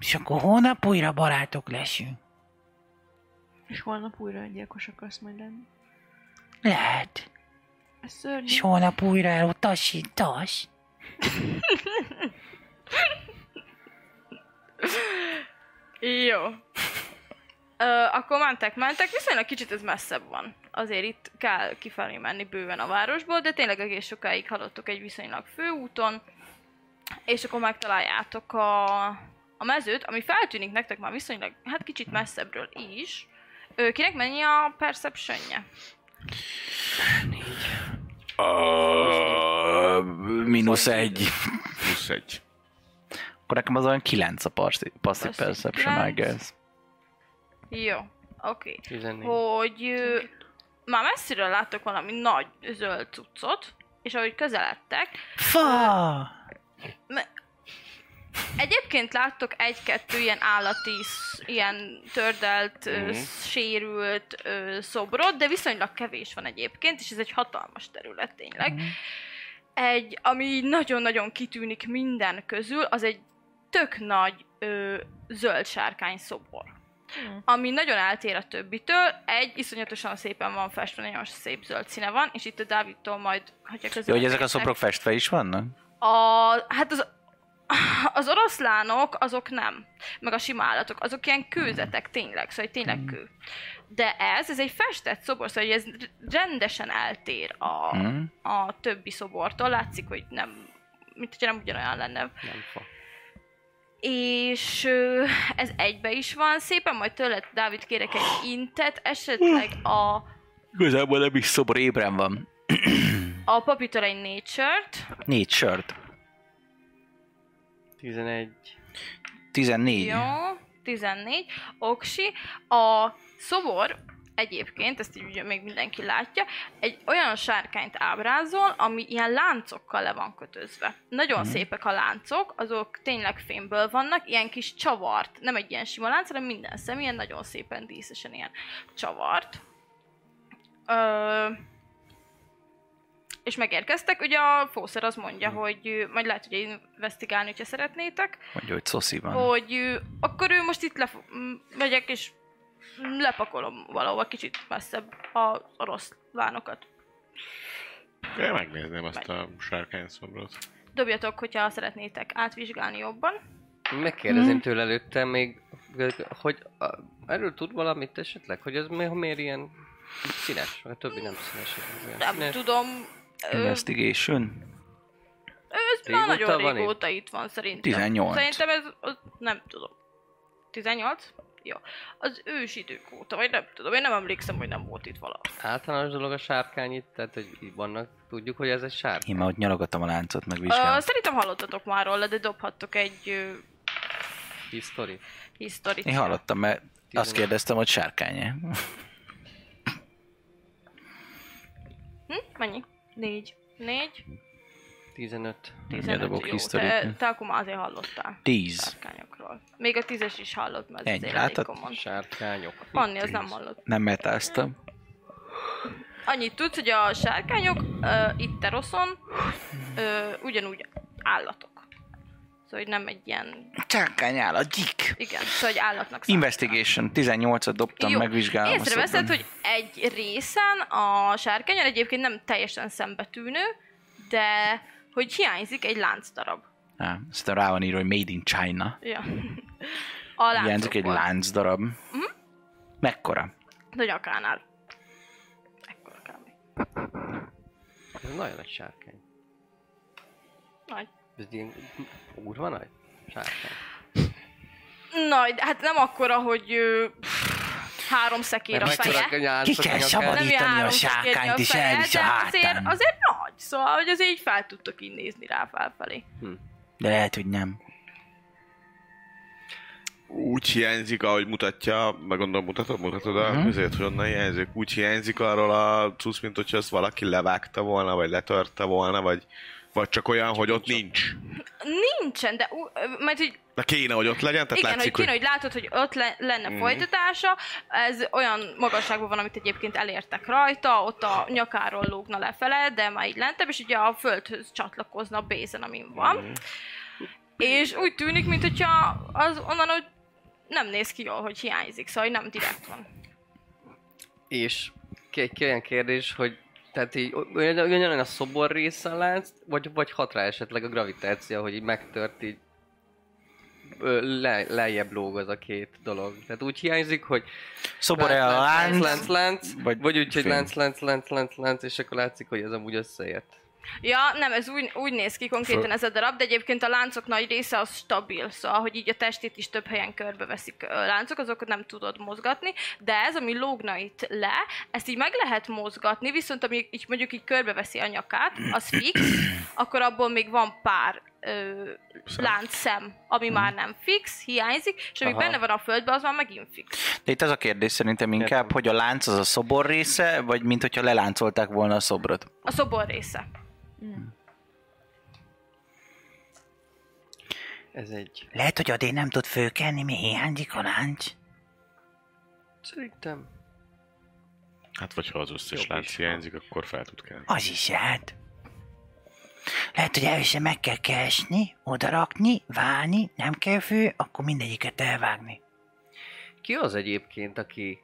Speaker 3: És akkor hónap újra barátok leszünk.
Speaker 6: És holnap újra öngyilkos akarsz majd lenni.
Speaker 3: Lehet.
Speaker 6: Ez szörnyű.
Speaker 3: És holnap újra elutasítasz.
Speaker 2: Jó. Ö, akkor mentek, mentek, viszonylag kicsit ez messzebb van. Azért itt kell kifelé menni bőven a városból, de tényleg egész sokáig haladtok egy viszonylag főúton, és akkor megtaláljátok a, a mezőt, ami feltűnik nektek már viszonylag, hát kicsit messzebbről is. Ö, kinek mennyi a perceptionje?
Speaker 3: Ö, Mínusz egy.
Speaker 4: Plusz egy.
Speaker 3: Akkor nekem az olyan kilenc a parsi- passive
Speaker 2: Passive
Speaker 3: perception, I
Speaker 2: kilenc.
Speaker 3: guess.
Speaker 2: Jó, oké.
Speaker 7: 14.
Speaker 2: Hogy ö, már messziről láttok valami nagy zöld cuccot, és ahogy közeledtek,
Speaker 5: Fa!
Speaker 2: Egyébként láttok egy-kettő ilyen állati, sz- ilyen tördelt, mm.
Speaker 3: Mhm.
Speaker 2: sérült ö, szobrot, de viszonylag kevés van egyébként, és ez egy hatalmas terület tényleg. Mm. Egy, ami így nagyon-nagyon kitűnik minden közül, az egy tök nagy ö, zöld sárkány szobor. Mm. Ami nagyon eltér a többitől, egy iszonyatosan szépen van festve, nagyon szép zöld színe van, és itt a Dávidtól majd, hogyha
Speaker 3: Jó,
Speaker 2: közel
Speaker 3: hogy ezek a szobrok festve is vannak?
Speaker 2: a, hát az, az oroszlánok, azok nem. Meg a sima állatok, azok ilyen kőzetek, tényleg, szóval hogy tényleg kő. De ez, ez egy festett szobor, szóval hogy ez r- rendesen eltér a,
Speaker 3: Hm?
Speaker 2: a többi szobortól. Látszik, hogy nem, mint hogyha nem ugyanolyan lenne.
Speaker 7: Nem fa.
Speaker 2: És ö, ez egybe is van szépen, majd tőled, Dávid, kérek egy intet, esetleg a,
Speaker 3: Igazából nem is szobor ébren van.
Speaker 2: a papitól egy nature-t.
Speaker 3: Négy sört.
Speaker 7: 11.
Speaker 3: 14.
Speaker 2: Jó, 14. Oksi. A szobor egyébként, ezt így ugye még mindenki látja, egy olyan sárkányt ábrázol, ami ilyen láncokkal le van kötözve. Nagyon szépek a láncok, azok tényleg fémből vannak, ilyen kis csavart, nem egy ilyen sima lánc, hanem minden szem, ilyen nagyon szépen díszesen ilyen csavart. Ö, és megérkeztek, ugye a fószer az mondja, hogy ö, majd lehet ugye investigálni, hogyha szeretnétek,
Speaker 3: Mondja, hogy szoszi van.
Speaker 2: hogy ő, akkor ő most itt lef- m- megyek és m- lepakolom valahova kicsit messzebb az oroszlánokat.
Speaker 4: Én megnézném azt a sárkány szobrot.
Speaker 2: Dobjatok, hogyha szeretnétek átvizsgálni jobban.
Speaker 7: Megkérdezném tőle előtte még, hogy a, erről tud valamit esetleg? Hogy ez mi- miért ilyen színes? A többi nem színes. ez olyan
Speaker 2: Nem
Speaker 7: színes.
Speaker 2: tudom, ő,
Speaker 3: Investigation.
Speaker 2: ez már
Speaker 7: Régóta
Speaker 2: nagyon
Speaker 7: van itt?
Speaker 2: régóta itt van szerintem.
Speaker 3: 18.
Speaker 2: Szerintem ez, az, nem tudom. 18? Jó. Az ősidők óta, vagy nem tudom, én nem emlékszem, hogy nem volt itt vala.
Speaker 7: Általános dolog a sárkány itt, tehát hogy így vannak, tudjuk, hogy ez egy sárkány.
Speaker 3: Én már ott nyalogatom a láncot,
Speaker 2: Ö,
Speaker 3: megvizsgálom.
Speaker 2: szerintem hallottatok már róla, de dobhattok egy ö,
Speaker 7: History.
Speaker 2: historit.
Speaker 3: Én hallottam, mert azt
Speaker 7: 11.
Speaker 3: kérdeztem, hogy sárkány
Speaker 2: Hm? Mennyi?
Speaker 6: Négy.
Speaker 2: Négy?
Speaker 7: 15.
Speaker 3: Mindjárt dobok
Speaker 2: Jó,
Speaker 3: historit.
Speaker 2: Te, te akkor már azért hallottál
Speaker 3: Tíz.
Speaker 2: sárkányokról. Még a tízes is hallott, mert ez
Speaker 3: Ennyi,
Speaker 2: azért
Speaker 3: látod?
Speaker 2: elég komon.
Speaker 7: Sárkányok.
Speaker 2: Panni, az nem hallott.
Speaker 3: Nem metáztam.
Speaker 2: Annyit tudsz, hogy a sárkányok uh, itt teroszon uh, ugyanúgy állatok. Szóval, hogy nem egy ilyen...
Speaker 3: Sárkány áll a gyik.
Speaker 2: Igen, szóval, hogy állatnak számít.
Speaker 3: Investigation. 18-at dobtam,
Speaker 2: Jó.
Speaker 3: megvizsgálom. a
Speaker 2: Észreveszed,
Speaker 3: szobrot.
Speaker 2: hogy egy részen a sárkányon egyébként nem teljesen szembetűnő, de hogy hiányzik egy láncdarab.
Speaker 3: Á, Aztán rá van írva, hogy Made in China.
Speaker 2: Ja. [LAUGHS] A
Speaker 3: Hiányzik egy
Speaker 2: láncokból.
Speaker 3: lánc darab.
Speaker 7: Mhm.
Speaker 3: Mekkora?
Speaker 2: De nyakánál. Ekkora kb.
Speaker 7: Ez nagyon nagy sárkány.
Speaker 2: Nagy.
Speaker 7: Ez ilyen kurva nagy sárkány.
Speaker 2: Nagy, de hát nem akkora, hogy ö, pff, három szekér a feje.
Speaker 7: nyálcok
Speaker 5: Ki kell
Speaker 7: nyakán.
Speaker 2: Nem
Speaker 5: szabadítani.
Speaker 2: ilyen
Speaker 5: a
Speaker 2: három
Speaker 5: sárkányt
Speaker 2: szekérnyi a
Speaker 5: is
Speaker 2: feje,
Speaker 5: elvisz a
Speaker 2: de azért,
Speaker 5: hátán.
Speaker 2: azért nagy, szóval hogy azért így fel tudtok így nézni rá felfelé.
Speaker 5: De lehet, hogy nem.
Speaker 4: Úgy hiányzik, ahogy mutatja, meg gondolom mutatod, mutatod a mm-hmm. hogy onnan hiányzik. Úgy hiányzik arról a cucc, mint hogyha azt valaki levágta volna, vagy letörte volna, vagy, vagy csak olyan, hogy ott nincs.
Speaker 2: Nincsen, de ú- ö, majd hogy
Speaker 4: De kéne, hogy ott legyen, tehát
Speaker 2: igen,
Speaker 4: látszik,
Speaker 2: hogy kéne, hogy látod, hogy ott le- lenne folytatása, ez olyan magasságban van, amit egyébként elértek rajta, ott a nyakáról lógna lefele, de már így lentebb, és ugye a földhöz csatlakozna a bézen, amin van. És úgy tűnik, mint hogyha az onnan, hogy nem néz ki jól, hogy hiányzik, szóval hogy nem direkt van.
Speaker 7: És ki- egy olyan kérdés, hogy tehát így olyan, olyan a szobor része látsz, vagy, vagy hat rá esetleg a gravitáció, hogy így megtört így ö, le, lejjebb lóg az a két dolog. Tehát úgy hiányzik, hogy
Speaker 3: Szobor-e a
Speaker 7: lánc,
Speaker 3: lánc?
Speaker 7: lánc, lánc,
Speaker 3: vagy
Speaker 7: vagy, vagy úgy, hogy
Speaker 3: fény.
Speaker 7: lánc, lánc, lánc, lánc, lánc, és akkor látszik, hogy ez amúgy összeért.
Speaker 2: Ja, nem, ez úgy, úgy néz ki konkrétan ez a darab, de egyébként a láncok nagy része az stabil, szóval, hogy így a testét is több helyen körbeveszik ö, láncok, azokat nem tudod mozgatni, de ez, ami lógna itt le, ezt így meg lehet mozgatni, viszont ami így mondjuk így körbeveszi a nyakát, az fix, akkor abból még van pár ö, láncszem, ami már nem fix, hiányzik, és ami
Speaker 7: Aha.
Speaker 2: benne van a földben, az már megint fix.
Speaker 3: De itt az a kérdés szerintem inkább,
Speaker 7: Értem.
Speaker 3: hogy a lánc az a szobor része, vagy mint hogyha leláncolták volna a szobrot.
Speaker 2: A szobor része.
Speaker 7: Ez egy...
Speaker 5: Lehet, hogy Adi nem tud főkelni, mi hiányzik a láncs.
Speaker 7: Szerintem...
Speaker 4: Hát vagy ha az összes
Speaker 7: Jobb
Speaker 4: lánc
Speaker 7: is.
Speaker 4: hiányzik, akkor fel tud kelni.
Speaker 5: Az is lehet. Lehet, hogy először meg kell keresni, odarakni, válni, nem kell fő, akkor mindegyiket elvágni.
Speaker 7: Ki az egyébként, aki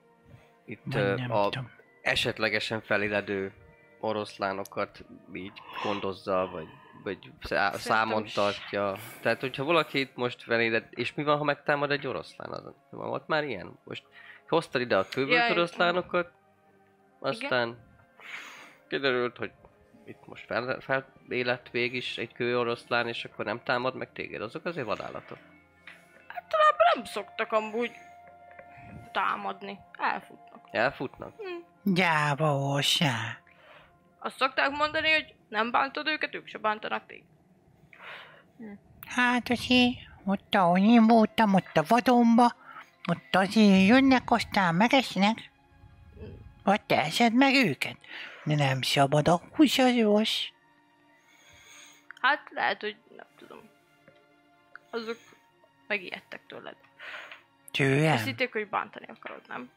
Speaker 7: itt
Speaker 5: Vagy
Speaker 7: ö,
Speaker 5: nem
Speaker 7: a
Speaker 5: tudom.
Speaker 7: esetlegesen feléledő oroszlánokat így gondozza, vagy, vagy szá- számon
Speaker 2: is.
Speaker 7: tartja. Tehát, hogyha valaki itt most feléled, és mi van, ha megtámad egy oroszlán? Az, van ott már ilyen? Most hoztad ide a kövült
Speaker 2: Ja,
Speaker 7: ja,
Speaker 2: igen.
Speaker 7: oroszlánokat, aztán kiderült, hogy itt most fel, fel élet vég is egy kő oroszlán, és akkor nem támad meg téged. Azok azért vadállatok.
Speaker 2: Nem szoktak amúgy támadni, elfutnak.
Speaker 7: Elfutnak.
Speaker 5: Gyába ósá.
Speaker 2: Azt szokták mondani, hogy nem bántod őket, ők se bántanak téged.
Speaker 5: Hát azért, ott ahol én voltam, ott a vadonba, ott azért jönnek, aztán megesnek. Vagy te esed meg őket. De nem szabad a húsazós.
Speaker 2: Hát lehet, hogy nem tudom. Azok megijedtek tőled. Azt
Speaker 5: Tőlem.
Speaker 2: hitték, hogy bántani akarod, nem?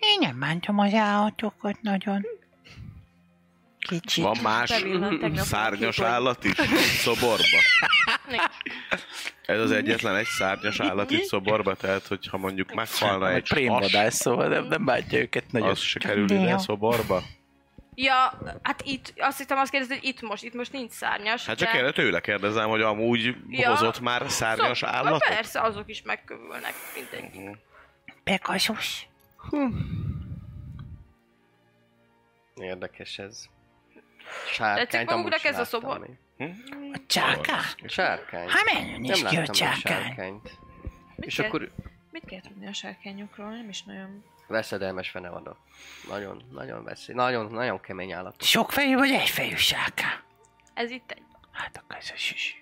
Speaker 5: Én nem bántam az állatokat nagyon. Kicsit.
Speaker 4: Van más
Speaker 6: Bevillant tegnap
Speaker 4: [LAUGHS] szárnyas
Speaker 6: valaki, hogy-
Speaker 4: állat is itt szoborba?
Speaker 2: Nincs.
Speaker 4: Ez az egyetlen egy szárnyas állat itt szoborba, tehát hogyha mondjuk meghalna
Speaker 3: Egy
Speaker 4: egy has,
Speaker 3: prémvadász, szóval nem, nem bántja őket nagyon.
Speaker 4: az se kerül ide
Speaker 5: Néha.
Speaker 4: a szoborba?
Speaker 2: Ja, hát itt, azt hittem azt kérdezni, hogy itt most, itt most nincs szárnyas.
Speaker 4: Hát csak erre tőle kérdezem, hogy amúgy
Speaker 2: Ja.
Speaker 4: hozott már szárnyas
Speaker 2: Szok-
Speaker 4: állatot?
Speaker 2: Szóval Persze, azok is megkövülnek mindenki.
Speaker 5: Pegasus.
Speaker 7: Érdekes ez.
Speaker 2: Tetszik
Speaker 7: Sárkányt
Speaker 2: maguknak
Speaker 7: amúgy
Speaker 2: ez a
Speaker 7: láttam
Speaker 2: szobor?
Speaker 7: én.
Speaker 5: A csáká?
Speaker 7: Sárkány.
Speaker 5: Hát menjen
Speaker 7: Nem
Speaker 5: is ki
Speaker 7: láttam
Speaker 5: a
Speaker 7: még
Speaker 5: csákány.
Speaker 7: sárkányt.
Speaker 6: Mit
Speaker 7: És
Speaker 6: kell-
Speaker 7: akkor
Speaker 6: Mit kell tudni a sárkányokról? Nem is nagyon...
Speaker 7: veszedelmes fene vannak. Nagyon, nagyon veszély. Nagyon, nagyon kemény állatok.
Speaker 5: Sokfejű vagy egyfejű sáká?
Speaker 2: Ez itt egy.
Speaker 5: Hát akkor ez a süsű.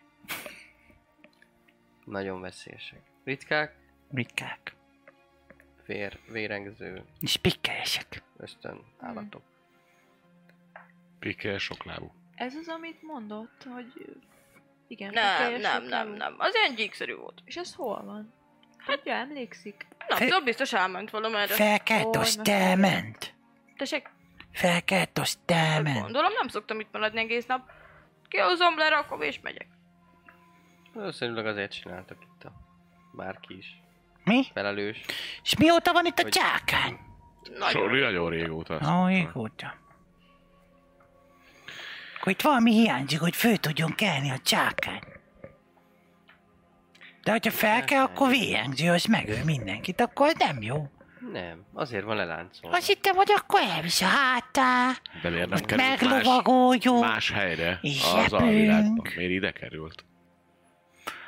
Speaker 7: Nagyon veszélyesek. Ritkák,
Speaker 5: Ritkák.
Speaker 7: vér, vérengző,
Speaker 5: És pikkeresek.
Speaker 7: ösztön állatok.
Speaker 4: Pikkel sok lábú.
Speaker 6: Ez az, amit mondott, hogy... ö, Igen,
Speaker 2: Nem,
Speaker 6: tekeresek
Speaker 2: nem,
Speaker 6: el.
Speaker 2: nem, nem. Az ilyen gyíkszerű volt.
Speaker 6: És ez hol van? Tudja, emlékszik?
Speaker 2: Nem
Speaker 5: Fe-
Speaker 2: tudom, biztos elment valamerre.
Speaker 6: Ó,
Speaker 5: Felkeltos
Speaker 6: na.
Speaker 5: telment.
Speaker 2: Tessék,
Speaker 5: Felkeltos telment.
Speaker 2: gondolom nem szoktam itt maradni egész nap. Kihozom, lerakom és megyek.
Speaker 7: Valószínűleg azért csináltak itt a bárki is.
Speaker 5: Mi?
Speaker 7: Felelős.
Speaker 5: És mióta van itt a
Speaker 7: Hogy-
Speaker 5: csákány?
Speaker 4: Nagyon, nagyon régóta. azt
Speaker 5: Ó,
Speaker 4: mondtam.
Speaker 5: régóta. Akkor itt valami hiányzik, hogy föl tudjon kelni a csákány. De hogyha fel kell, akkor vihengző, az megöl mindenkit, akkor az nem jó.
Speaker 7: Nem, azért van leláncolva.
Speaker 5: Azt hittem, hogy akkor elvisz a hátá,
Speaker 4: De miért nem
Speaker 5: ott
Speaker 4: került más,
Speaker 5: meglovagoljon.
Speaker 4: más helyre
Speaker 5: És
Speaker 4: az
Speaker 5: repülünk.
Speaker 4: alvilágban? Miért ide került?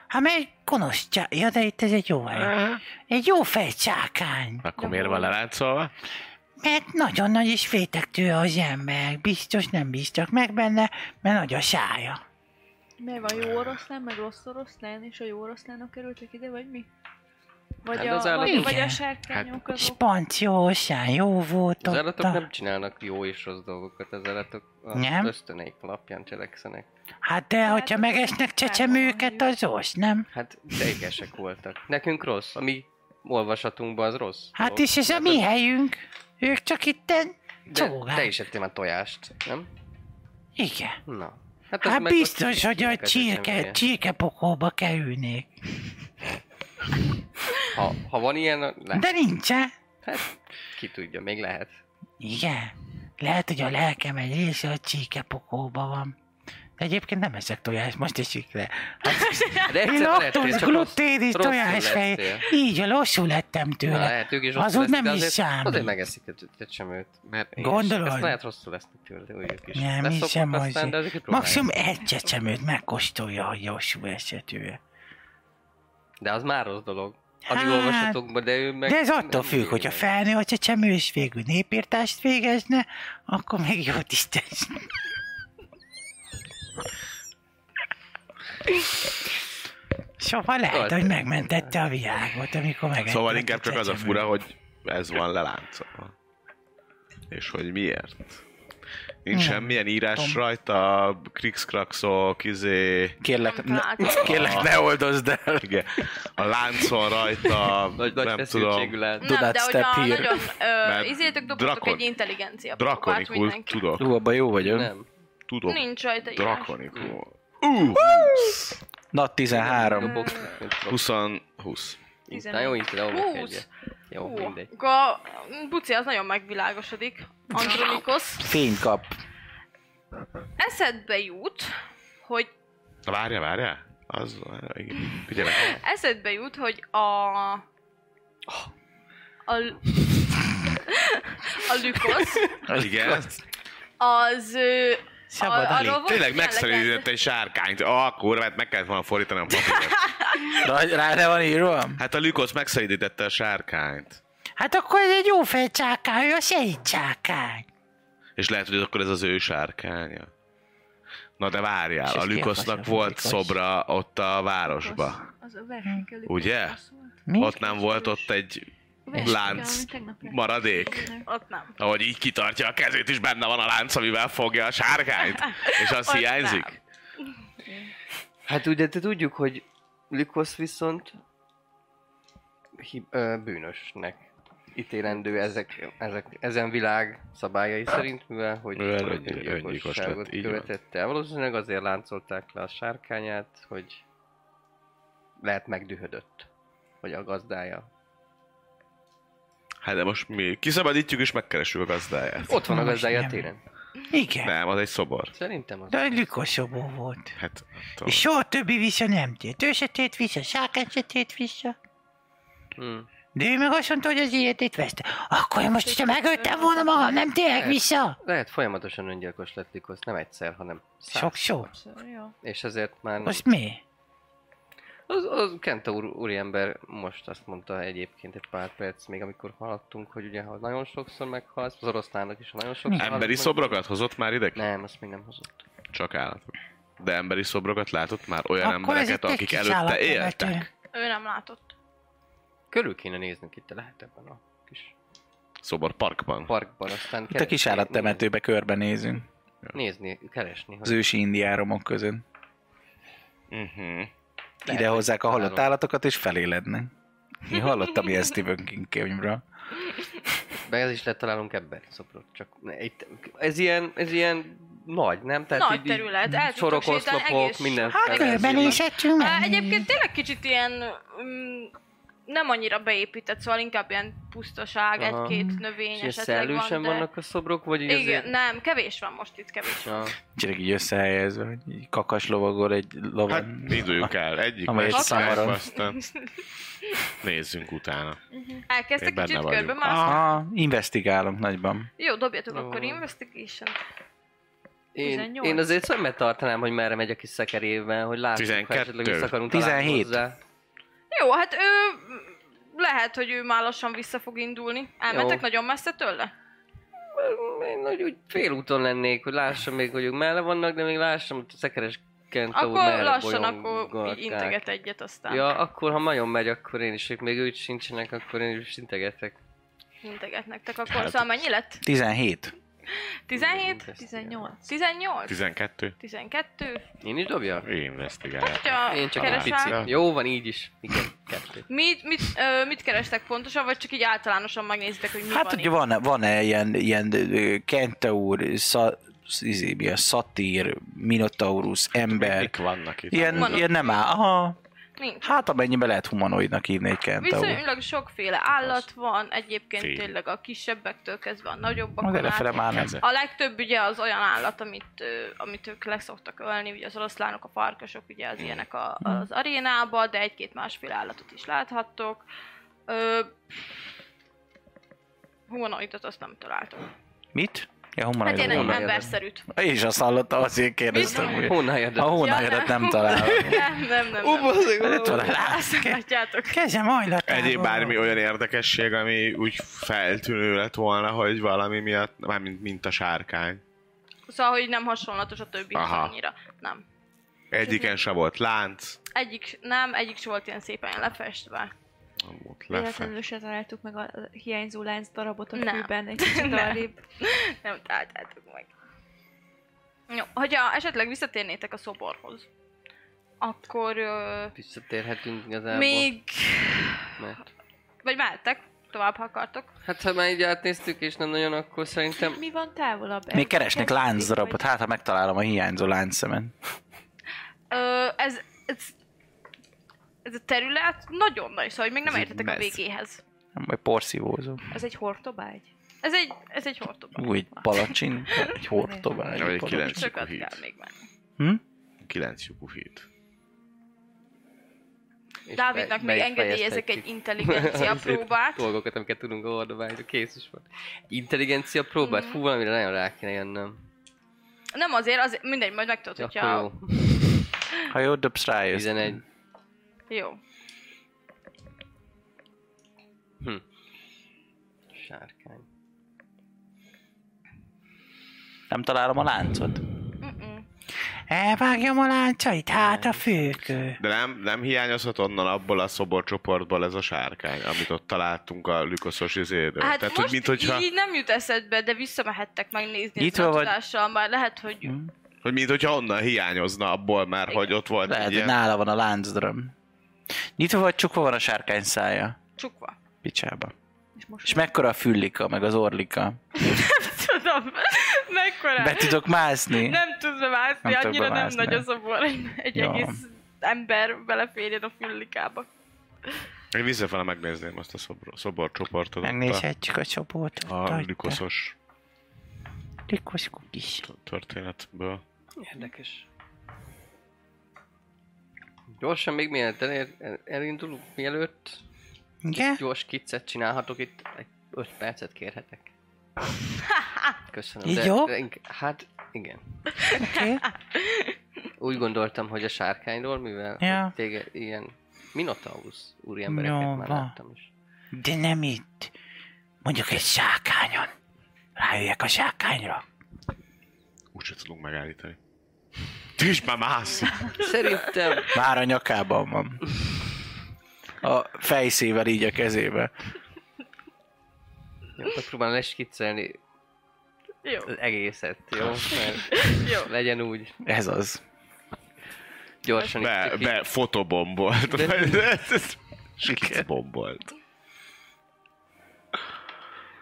Speaker 5: Hát mert egy gonosz csá... Ja, de itt ez egy jó hely. Egy jó fej csákány.
Speaker 4: Akkor miért van leláncolva?
Speaker 5: Mert nagyon nagy és fétektő az ember. Biztos nem bíztak meg benne, mert nagy a sája.
Speaker 6: Miért van jó oroszlán, meg rossz oroszlán, és a jó oroszlánok kerültek ide, vagy mi? Vagy,
Speaker 7: Hát
Speaker 6: a,
Speaker 7: az
Speaker 6: vagy,
Speaker 7: állatok-
Speaker 6: vagy
Speaker 5: Igen.
Speaker 6: a sárkányok
Speaker 5: És
Speaker 6: azok?
Speaker 5: panciósán jó volt
Speaker 7: Az
Speaker 5: ott.
Speaker 7: állatok
Speaker 5: a-
Speaker 7: nem csinálnak jó és rossz dolgokat, az állatok az
Speaker 5: Nem?
Speaker 7: ösztöneik alapján cselekszenek.
Speaker 5: Hát de, hogyha
Speaker 6: az
Speaker 5: megesnek
Speaker 6: nem
Speaker 5: csecsemőket,
Speaker 6: van,
Speaker 5: az rossz, nem?
Speaker 7: Hát idegesek voltak. Nekünk rossz, ami olvasatunkban az rossz.
Speaker 5: Hát is ez a mi helyünk. Ők csak itten
Speaker 7: De
Speaker 5: cógák.
Speaker 7: te is ettél már tojást, nem?
Speaker 5: Igen.
Speaker 7: Na. Hát, az
Speaker 5: Hát
Speaker 7: meg
Speaker 5: biztos,
Speaker 7: ott
Speaker 5: hogy a
Speaker 7: kinek
Speaker 5: csirke,
Speaker 7: eseménye.
Speaker 5: csirkepokóba kerülnék.
Speaker 7: Ha, ha van ilyen, lehet.
Speaker 5: De eh? nincsen.
Speaker 7: Hát, ki tudja, még lehet.
Speaker 5: Igen. Lehet, hogy a lelkem egy része a csirkepokóba van. Egyébként nem eszek tojást, most esik le. Hát,
Speaker 7: De egyszer
Speaker 5: én laktóz,
Speaker 7: lettél, csak
Speaker 5: gluténis,
Speaker 7: rossz- rosszul
Speaker 5: tojásfej.
Speaker 7: lettél.
Speaker 5: Így a lassú lettem
Speaker 7: Na,
Speaker 5: tőle.
Speaker 7: lehet ők is
Speaker 5: Az
Speaker 7: rosszul
Speaker 5: úgy
Speaker 7: lesznek,
Speaker 5: nem
Speaker 7: de
Speaker 5: is
Speaker 7: azért-
Speaker 5: számít.
Speaker 7: Azért megeszik egy- egy csemőt, mert én is-
Speaker 5: Gondolod?
Speaker 7: Ezt lehet rosszul lesznek tőle, de ők is.
Speaker 5: Nem,
Speaker 7: Leszopnak
Speaker 5: én sem
Speaker 7: aztán,
Speaker 5: az.
Speaker 7: de azért próbálják.
Speaker 5: Maximum egy csecsemőt megkóstolja a lassú esetője.
Speaker 7: De az már rossz dolog. Addig
Speaker 5: Hát,
Speaker 7: olvasatokban, de ő meg...
Speaker 5: De ez attól
Speaker 7: nem
Speaker 5: függ,
Speaker 7: bírja
Speaker 5: hogy a
Speaker 7: meg.
Speaker 5: felnő a csecsemő és végül népírtást végezne, akkor még jó Isten. Szóval lehet,
Speaker 7: Volt.
Speaker 5: hogy megmentette a világot, amikor meg.
Speaker 4: Szóval inkább csak az a fura, hogy ez van leláncolva. És hogy miért? Nincs
Speaker 5: Nem
Speaker 4: semmilyen írás rajta, krikszkrakszok, izé...
Speaker 3: Kérlek,
Speaker 2: Amikor
Speaker 3: ne,
Speaker 2: átszok-
Speaker 3: kérlek, ne oldozd el.
Speaker 4: Igen. A láncon rajta,
Speaker 7: Nagy, nagy
Speaker 4: nem tudom.
Speaker 7: feszültségű lehet.
Speaker 3: Do
Speaker 2: Nem,
Speaker 3: not
Speaker 2: de
Speaker 3: step
Speaker 2: hogyha
Speaker 3: here.
Speaker 2: nagyon ö,
Speaker 4: Mert
Speaker 2: izétek, dobtatok
Speaker 4: drakon-
Speaker 2: egy intelligencia próbát
Speaker 4: Drakonikul
Speaker 2: mindenki.
Speaker 4: tudok.
Speaker 3: Ú, abban jó vagyok.
Speaker 7: Nem.
Speaker 4: Tudok.
Speaker 2: Nincs rajta írás.
Speaker 4: Drakonikul.
Speaker 3: Nat 13.
Speaker 7: Dobok, nem tudom.
Speaker 4: 20. 20.
Speaker 7: Na jó, így tudom, dobok
Speaker 2: Húsz.
Speaker 7: egyet. Jó,
Speaker 2: Hú,
Speaker 7: mindegy.
Speaker 2: akkor a buci az nagyon megvilágosodik. Andronikos.
Speaker 3: Fény kap.
Speaker 2: Eszedbe jut, hogy
Speaker 4: Na, Várja, várja. Az, várja, igen. Figyelek.
Speaker 2: eszedbe jut, hogy a... A... A Lükosz,
Speaker 4: Igen.
Speaker 2: az... ö,
Speaker 5: Szabad
Speaker 2: a-
Speaker 5: a
Speaker 2: arról
Speaker 5: lét.
Speaker 2: volt
Speaker 4: Tényleg
Speaker 2: melegen-
Speaker 4: megszerűzött egy sárkányt. A kurva, hát meg kellett volna fordítanom a papírt.
Speaker 3: Rá, rá ne van írva?
Speaker 4: Hát a Lükosz megszerűzítette a sárkányt.
Speaker 5: Hát akkor ez egy jó fejcsákány, ő a sejtcsákány.
Speaker 4: És lehet, hogy akkor ez az ő sárkánya. Na de
Speaker 5: És
Speaker 4: várjál,
Speaker 5: ez
Speaker 4: a
Speaker 5: ki a
Speaker 4: Lükosznak
Speaker 5: fasznak
Speaker 4: volt
Speaker 5: Lükosz?
Speaker 4: szobra ott a városba.
Speaker 6: Az a versenykelő.
Speaker 4: Ugye?
Speaker 5: Mi?
Speaker 4: Ott nem volt ott egy lánc maradék?
Speaker 2: Ott nem.
Speaker 4: Ahogy így kitartja a kezét, és benne van a lánc, amivel fogja a sárkányt. És az
Speaker 2: Ott
Speaker 4: hiányzik.
Speaker 2: nem.
Speaker 7: Hát ugye te tudjuk, hogy Lykosz viszont hib- ö, bűnösnek ítélendő ezek, ezek, ezen világ szabályai szerint, mivel hogy
Speaker 4: Mivel
Speaker 7: hogy
Speaker 4: öngyilkos lett,
Speaker 7: öngyilkosságot
Speaker 4: így van.
Speaker 7: követett el. Valószínűleg azért láncolták le a sárkányát, hogy lehet megdühödött, vagy a gazdája.
Speaker 4: Hát de most mi kiszabadítjuk és megkeressük a gazdáját.
Speaker 7: Ott van a
Speaker 5: Most
Speaker 7: gazdája
Speaker 5: nem.
Speaker 7: téren.
Speaker 5: Igen.
Speaker 4: Nem, az egy szobor.
Speaker 7: Szerintem az.
Speaker 5: De egy lükosobó volt.
Speaker 4: Hát, nem tudom.
Speaker 5: És soha többi vissza nem tért. Ő se tért vissza, sárkány se tért vissza.
Speaker 7: Hmm.
Speaker 5: De ő meg azt mondta, hogy az életét veszte. Akkor én most, hogyha megöltem volna magam, nem térek vissza.
Speaker 7: Lehet folyamatosan öngyilkos lett Lykosz, nem egyszer, hanem száz.
Speaker 5: Sok-sok.
Speaker 6: Jó.
Speaker 7: És ezért már...
Speaker 5: Most mi?
Speaker 7: Az, az Kenta úr, úriember most azt mondta egyébként egy pár perc, még amikor haladtunk, hogy ugye ha nagyon sokszor meghalsz, az oroszlának is ha nagyon sokszor halsz
Speaker 4: Emberi
Speaker 7: meg-
Speaker 4: szobrokat hozott már ide?
Speaker 7: Nem, azt még nem hozott.
Speaker 4: Csak állatok. De emberi szobrokat látott már olyan
Speaker 5: Akkor
Speaker 4: embereket,
Speaker 5: ez egy
Speaker 4: akik
Speaker 5: kis
Speaker 4: előtte
Speaker 5: állatnevető.
Speaker 4: éltek.
Speaker 2: Ő nem látott.
Speaker 7: Körül kéne néznünk itt, lehet ebben a kis
Speaker 4: Szobor parkban.
Speaker 7: parkban, aztán
Speaker 3: Itt a kis állattemetőbe körbenézünk.
Speaker 7: Nézni, keresni,
Speaker 3: Az
Speaker 7: hogy
Speaker 3: ősi indiáromok között.
Speaker 4: Uh-huh.
Speaker 7: Lehet,
Speaker 3: Ide hozzák a
Speaker 7: hogy
Speaker 3: halott
Speaker 7: találom.
Speaker 3: állatokat és felélednek. Én hallottam ilyen Stephen King könyvről.
Speaker 7: be ez is letalálunk emberi szobrot, csak ne, itt, ez ilyen, ez ilyen nagy, nem? Tehát
Speaker 2: Nagy terület, el tudtok sétálni
Speaker 7: sorokoszlopok,
Speaker 2: egész-
Speaker 7: minden.
Speaker 5: Hát
Speaker 7: felveszi.
Speaker 5: körbenézhetünk
Speaker 2: Á,
Speaker 5: meg.
Speaker 2: Egyébként tényleg kicsit ilyen mm, nem annyira beépített, szóval inkább ilyen pusztaság,
Speaker 7: Aha.
Speaker 2: egy-két növény
Speaker 7: És ilyen
Speaker 2: esetleg
Speaker 7: szellősen
Speaker 2: van, de...
Speaker 7: vannak a szobrok, vagy így
Speaker 2: Igen,
Speaker 7: azért...
Speaker 2: nem, kevés van most itt, kevés van.
Speaker 7: Ja.
Speaker 3: Csak így összehelyezve, hogy így kakas lovagol egy
Speaker 4: Hát
Speaker 3: lovag.
Speaker 4: induljunk el. Egyik
Speaker 3: Amely
Speaker 4: másik
Speaker 3: egy szamaron.
Speaker 4: irányba, aztán nézzünk utána.
Speaker 2: [LAUGHS] Elkezdtek
Speaker 4: Én benne
Speaker 2: kicsit
Speaker 4: vagyok.
Speaker 2: körbe mászni.
Speaker 3: Aha, investigálunk nagyban.
Speaker 2: Jó, dobjatok
Speaker 7: Jó.
Speaker 2: akkor investigation
Speaker 7: Én,
Speaker 6: 18.
Speaker 7: én azért szemmel tartanám, hogy merre megy a kis szekerével, hogy lássuk,
Speaker 4: 12.
Speaker 7: ha esetleg vissza akarunk
Speaker 3: 17.
Speaker 7: 17. hozzá.
Speaker 2: Jó, hát ő... Lehet, hogy ő már lassan vissza fog indulni. Elmentek
Speaker 7: Jó.
Speaker 2: nagyon messze tőle?
Speaker 7: Én nagy úgy félúton lennék, hogy lássam még, hogy ők merre vannak, de még lássam, hogy a szekeres kentó
Speaker 2: akkor
Speaker 7: merre
Speaker 2: lassan, akkor
Speaker 7: bolyonggatják.
Speaker 2: így integet egyet aztán.
Speaker 7: Ja, akkor ha nagyon megy, akkor én is, ők még ők sincsenek, akkor én is integetek.
Speaker 2: Integet nektek akkor. Szóval mennyi lett?
Speaker 3: 17.
Speaker 2: 17?
Speaker 7: Ezt
Speaker 6: 18.
Speaker 2: 18?
Speaker 4: 12.
Speaker 2: 12?
Speaker 7: Én is dobja?
Speaker 4: Investigál.
Speaker 2: Ja,
Speaker 7: Én csak egy
Speaker 2: keresel.
Speaker 7: pici. Jó van, így is. Igen, kettő.
Speaker 2: Mit, mit, ö, mit kerestek pontosan, vagy csak így általánosan megnézitek, hogy mi
Speaker 3: Hát
Speaker 2: van
Speaker 3: ugye van, van-e ilyen, ilyen ö, Kente úr, szá, izé, mi a szatír, Minotaurus, ember.
Speaker 4: Mik vannak itt?
Speaker 3: Ilyen,
Speaker 2: Van ott.
Speaker 3: ilyen nem áll. Aha.
Speaker 2: Nincs.
Speaker 3: Hát amennyibe lehet humanoidnak hívni egy kentaur.
Speaker 2: Viszonylag sokféle állat van, egyébként
Speaker 9: Fél.
Speaker 2: tényleg a kisebbektől kezdve a
Speaker 3: Az
Speaker 2: nagyobbakon
Speaker 3: elefele
Speaker 2: át.
Speaker 4: Hát,
Speaker 3: már nem.
Speaker 2: A legtöbb ugye az olyan állat, amit, ö, amit ők leszoktak ölni, ugye az oroszlánok, a farkasok, ugye az ilyenek a,
Speaker 3: Mm.
Speaker 2: az arénába, de egy-két másféle állatot is láthattok. Ö, humanoidot azt nem találtam.
Speaker 3: Mit? Ja,
Speaker 2: Hát én egy
Speaker 3: humanoid.
Speaker 7: humanoidot.
Speaker 2: emberszerűt.
Speaker 3: Én is azt hallottam, azért kérdeztem. hogy-
Speaker 7: Honnan
Speaker 3: A
Speaker 7: jött?
Speaker 3: hónajadat nem találom.
Speaker 2: nem, nem, nem. nem.
Speaker 3: Lett volna rá.
Speaker 2: Azt látjátok.
Speaker 5: Kezem ajlatából.
Speaker 4: Egyéb bármi olyan érdekesség, ami úgy feltűnő lett volna, hogy valami miatt, mármint mint a sárkány.
Speaker 2: Szóval, hogy nem hasonlatos a többi
Speaker 4: Aha.
Speaker 2: annyira. Nem.
Speaker 4: Egyiken se volt lánc,
Speaker 2: Egyik, nem, egyik se volt ilyen szépen lefestve.
Speaker 4: nem volt lefe.
Speaker 6: Véletlenül se találtuk meg a hiányzó lánc darabot a
Speaker 2: Nem.
Speaker 6: kőben, egy kicsit
Speaker 2: Nem.
Speaker 6: arrébb.
Speaker 2: Nem találtátok meg. Jó, hogyha esetleg visszatérnétek a szoborhoz, akkor ö,
Speaker 7: Visszatérhetünk igazából.
Speaker 2: még...
Speaker 7: Mert...
Speaker 2: Vagy mehettek, tovább ha akartok.
Speaker 7: Hát ha már így átnéztük és nem nagyon, akkor szerintem...
Speaker 6: Mi van távolabb?
Speaker 3: Még keresnek láncdarabot,
Speaker 6: hát.
Speaker 3: hát ha megtalálom a hiányzó láncszemet.
Speaker 2: Ö, ez, ez, ez a terület nagyon nagy, szóval hogy még nem
Speaker 3: Ez egy
Speaker 2: értetek a
Speaker 3: messz.
Speaker 2: végéhez.
Speaker 3: Vagy porszívózó.
Speaker 6: Ez egy hortobágy?
Speaker 2: Ez egy, ez egy hortobágy.
Speaker 3: Új, palacsin, egy hortobágy.
Speaker 4: Vagy egy
Speaker 3: palacsin.
Speaker 4: kilenc.
Speaker 2: Sokat
Speaker 4: híd.
Speaker 2: kell még menni.
Speaker 4: Kilenc lyukú hét.
Speaker 7: és
Speaker 2: Dávidnak
Speaker 7: be-
Speaker 2: még
Speaker 7: be is
Speaker 2: engedélyezek egy
Speaker 7: fejezhetjük.
Speaker 2: intelligencia
Speaker 7: [LAUGHS] Azért
Speaker 2: próbát.
Speaker 7: Dolgokat, amiket tudunk olvadobálni, kész is van. Intelligencia próbát? Fú, valamire nagyon rá kéne jönnöm.
Speaker 2: Nem azért, azért mindegy, majd megtudod,
Speaker 7: Ja,
Speaker 2: hogyha...
Speaker 7: akkor
Speaker 2: Jó.
Speaker 7: jó.
Speaker 3: Ha jó dobsz rájössz.
Speaker 7: 11.
Speaker 2: jó.
Speaker 7: Sárkány.
Speaker 3: Nem találom a láncot.
Speaker 2: Mm-mm.
Speaker 5: Elvágjam a láncait, hát a főkő.
Speaker 4: De nem, nem hiányozhat onnan abból a szoborcsoportból ez a sárkány, amit ott találtunk a lükoszos izéről.
Speaker 2: Hát
Speaker 4: Tehát,
Speaker 2: most
Speaker 4: hogy mint hogyha,
Speaker 2: így nem jut eszedbe, de visszamehettek megnézni
Speaker 3: Nyitva
Speaker 2: a
Speaker 3: vagy?
Speaker 2: tudással, már lehet, hogy
Speaker 3: Hm.
Speaker 4: hogy mint hogyha onnan hiányozna abból már, hogy ott volt
Speaker 3: Lehet,
Speaker 4: egy
Speaker 3: hogy
Speaker 4: ilyen...
Speaker 3: nála van a láncdarab. Nyitva vagy csukva van a sárkány szája?
Speaker 2: csukva.
Speaker 3: Picsába.
Speaker 6: És most
Speaker 3: És mekkora a füllika, meg az orlika?
Speaker 2: Tudom, [LAUGHS] mekkora.
Speaker 3: Be tudok mászni?
Speaker 2: Nem tudsz bemászni,
Speaker 3: Nem tudok
Speaker 2: annyira
Speaker 3: bemászni.
Speaker 2: nem nagy a szobor, egy, egy
Speaker 3: Jó.
Speaker 2: egész ember beleférjen a füllikába.
Speaker 4: Én visszafele megnézném azt a szobor, szoborcsoportot. ott a-
Speaker 5: Megnézhetjük a csoportot.
Speaker 4: A lükoszos
Speaker 5: Likos kukis.
Speaker 4: történetből.
Speaker 7: Érdekes. Gyorsan még mielőtt el, el, elindulunk, mielőtt
Speaker 5: Igen?
Speaker 7: gyors kiccet csinálhatok itt, egy 5 percet kérhetek. Köszönöm.
Speaker 5: Így
Speaker 7: de-
Speaker 5: jó?
Speaker 7: De, ink- hát igen.
Speaker 5: Oké.
Speaker 7: Úgy gondoltam, hogy a sárkányról, mivel
Speaker 5: Ja.
Speaker 7: ja. téged ilyen Minotaurus úriembereket
Speaker 5: Jó,
Speaker 7: már
Speaker 5: van.
Speaker 7: láttam is.
Speaker 5: De nem itt. Mondjuk egy sákányon. Rájöjjek a sákányra.
Speaker 4: Úgyse tudunk megállítani. Ti is már
Speaker 3: [LAUGHS]
Speaker 4: mász!
Speaker 7: Szerintem
Speaker 3: Már a nyakában van. A fejszével így a kezébe.
Speaker 7: Jó, megpróbálom leskiccelni
Speaker 2: Jó,
Speaker 7: az egészet, jó? Mert
Speaker 2: jó.
Speaker 7: legyen úgy
Speaker 3: Ez az.
Speaker 7: gyorsan
Speaker 4: Be,
Speaker 7: itt ki-
Speaker 4: be fotobombolt. [LAUGHS] Skicbombolt.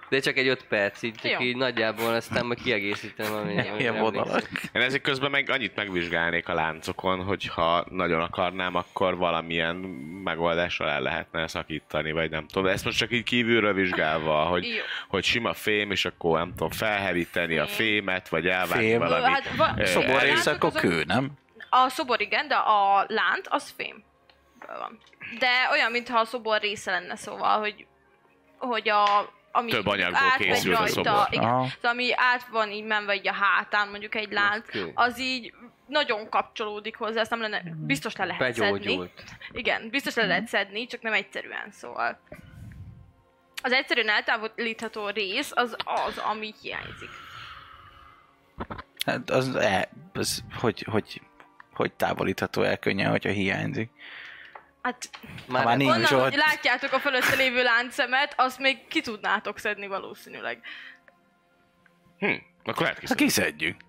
Speaker 7: De csak egy 5 perc, így csak
Speaker 2: Jó.
Speaker 7: így nagyjából aztán majd kiegészítem, ami
Speaker 3: Ilyen vonalak.
Speaker 4: Én ezek közben meg annyit megvizsgálnék a láncokon, hogyha nagyon akarnám, akkor valamilyen megoldással el lehetne szakítani, vagy nem tudom. De ezt most csak így kívülről vizsgálva, hogy,
Speaker 2: Jó.
Speaker 4: hogy sima fém, és akkor nem tudom, felheríteni a fémet, vagy elvágni
Speaker 3: Fém.
Speaker 4: valami.
Speaker 2: Hát, va-
Speaker 4: ö,
Speaker 2: szobor
Speaker 4: elég-
Speaker 3: Rész
Speaker 2: része-
Speaker 3: akkor kő, nem?
Speaker 2: A szobor igen, de a lánt az fém. Van. De olyan, mintha a szobor része lenne, szóval, hogy, hogy a, ami
Speaker 4: Több anyagból
Speaker 2: átmegy
Speaker 4: készült a szobor.
Speaker 2: Igen,
Speaker 3: Aha.
Speaker 2: szóval ami át van így menve így a hátán, mondjuk egy lánc,
Speaker 7: Oké.
Speaker 2: az így nagyon kapcsolódik hozzá, ezt nem lenne, biztos le lehet szedni.
Speaker 7: Begyógyult.
Speaker 2: Igen, biztos le lehet szedni, csak nem egyszerűen, szóval. Az egyszerűen eltávolítható rész az az, ami hiányzik.
Speaker 3: Hát az, e, az hogy, hogy, hogy távolítható el könnyen, hogyha hiányzik.
Speaker 2: Hát
Speaker 7: Már,
Speaker 3: már
Speaker 7: már
Speaker 3: nincs.
Speaker 2: onnan, hogy
Speaker 3: ott.
Speaker 2: látjátok a fölötte lévő láncszemet, azt még ki tudnátok szedni valószínűleg.
Speaker 4: Hm, akkor
Speaker 3: Hát
Speaker 4: lehet kiszedni.
Speaker 3: kiszedjük.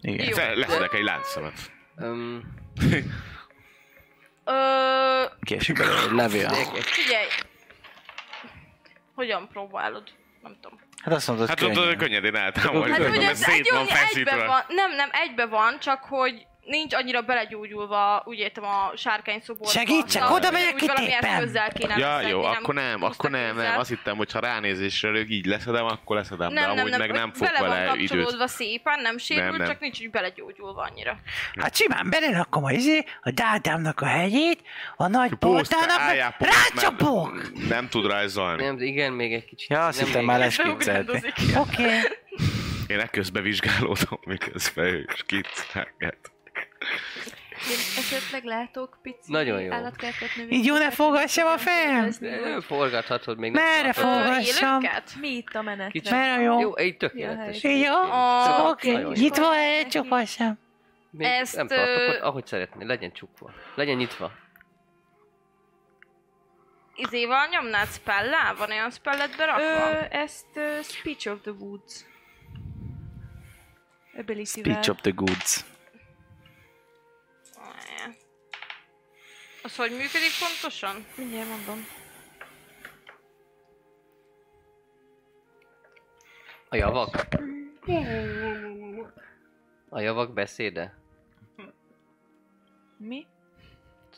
Speaker 3: Igen.
Speaker 2: Hát Jó.
Speaker 4: Te- Leszedek egy láncszemet.
Speaker 7: um,
Speaker 2: Ö,
Speaker 3: Később belőle egy levél.
Speaker 2: figyelj! Hogyan próbálod? Nem tudom.
Speaker 3: Hát azt mondod,
Speaker 4: Hát
Speaker 3: könnyen.
Speaker 4: ott könnyedén eltámolítom,
Speaker 2: Hát ugye
Speaker 4: mert
Speaker 2: ez egy
Speaker 4: szét
Speaker 2: jó,
Speaker 4: van
Speaker 2: egybe
Speaker 4: feszítve.
Speaker 2: van. Nem, nem, egybe van, csak hogy nincs annyira belegyógyulva, úgy értem a sárkány szoborba.
Speaker 5: Segítsek,
Speaker 2: Na,
Speaker 5: oda megyek
Speaker 2: úgy valami
Speaker 5: kitépem.
Speaker 2: eszközzel kéne
Speaker 4: Ja,
Speaker 2: leszedni,
Speaker 4: jó, akkor nem, akkor nem, nem.
Speaker 2: pusztakőzzel.
Speaker 4: Azt hittem, hogy ha ránézésre rög, így leszedem, akkor leszedem, de amúgy meg nem fog
Speaker 2: bele van
Speaker 4: vele
Speaker 2: kapcsolódva
Speaker 4: időt.
Speaker 2: szépen, nem sérül,
Speaker 4: Nem, nem.
Speaker 2: csak nincs úgy belegyógyulva annyira.
Speaker 5: Hát simán belerakom a izé, a dádámnak a hegyét, a nagy
Speaker 4: Puszta,
Speaker 5: portának,
Speaker 4: álljál,
Speaker 5: meg
Speaker 4: puszta,
Speaker 5: rácsapok!
Speaker 4: nem- Nem tud rajzolni.
Speaker 7: Nem, igen, még egy kicsit.
Speaker 3: Ja, azt
Speaker 7: nem
Speaker 3: hittem
Speaker 7: még-
Speaker 3: már leskiccelték.
Speaker 2: Beugrandozik.
Speaker 5: Oké. Okay.
Speaker 4: Én ekközben vizsgálódom, miközben ő skiccelget.
Speaker 6: Én esetleg látok pici
Speaker 7: Nagyon jó.
Speaker 6: állatkertet növényeket.
Speaker 5: Így jó, ne fogassam a fejem!
Speaker 7: Ö, Forgathatod még. nem
Speaker 5: Merre
Speaker 7: tartod.
Speaker 2: Ö,
Speaker 5: fogassam?
Speaker 2: élőket?
Speaker 6: Mi itt a menetre?
Speaker 7: Kicsit.
Speaker 5: Merre a jó?
Speaker 7: Jó, így tökéletes.
Speaker 6: Ja,
Speaker 5: Jó?
Speaker 2: A-
Speaker 5: Oké,
Speaker 7: Nagyon jó.
Speaker 5: nyitva elcsupassam.
Speaker 7: Még
Speaker 2: Ezt,
Speaker 7: nem tartok,
Speaker 2: ö,
Speaker 7: ott, ahogy szeretnél, legyen csukva. Legyen nyitva.
Speaker 2: Izéval izé nyomnád spellá? Van olyan spellet berakva?
Speaker 6: Ö, ezt ö, Speech of the Woods. Ability-vel.
Speaker 3: Pitch up the goods.
Speaker 2: Az hogy működik pontosan?
Speaker 6: Mindjárt mondom.
Speaker 7: A javak. A javak beszéde.
Speaker 6: Mi?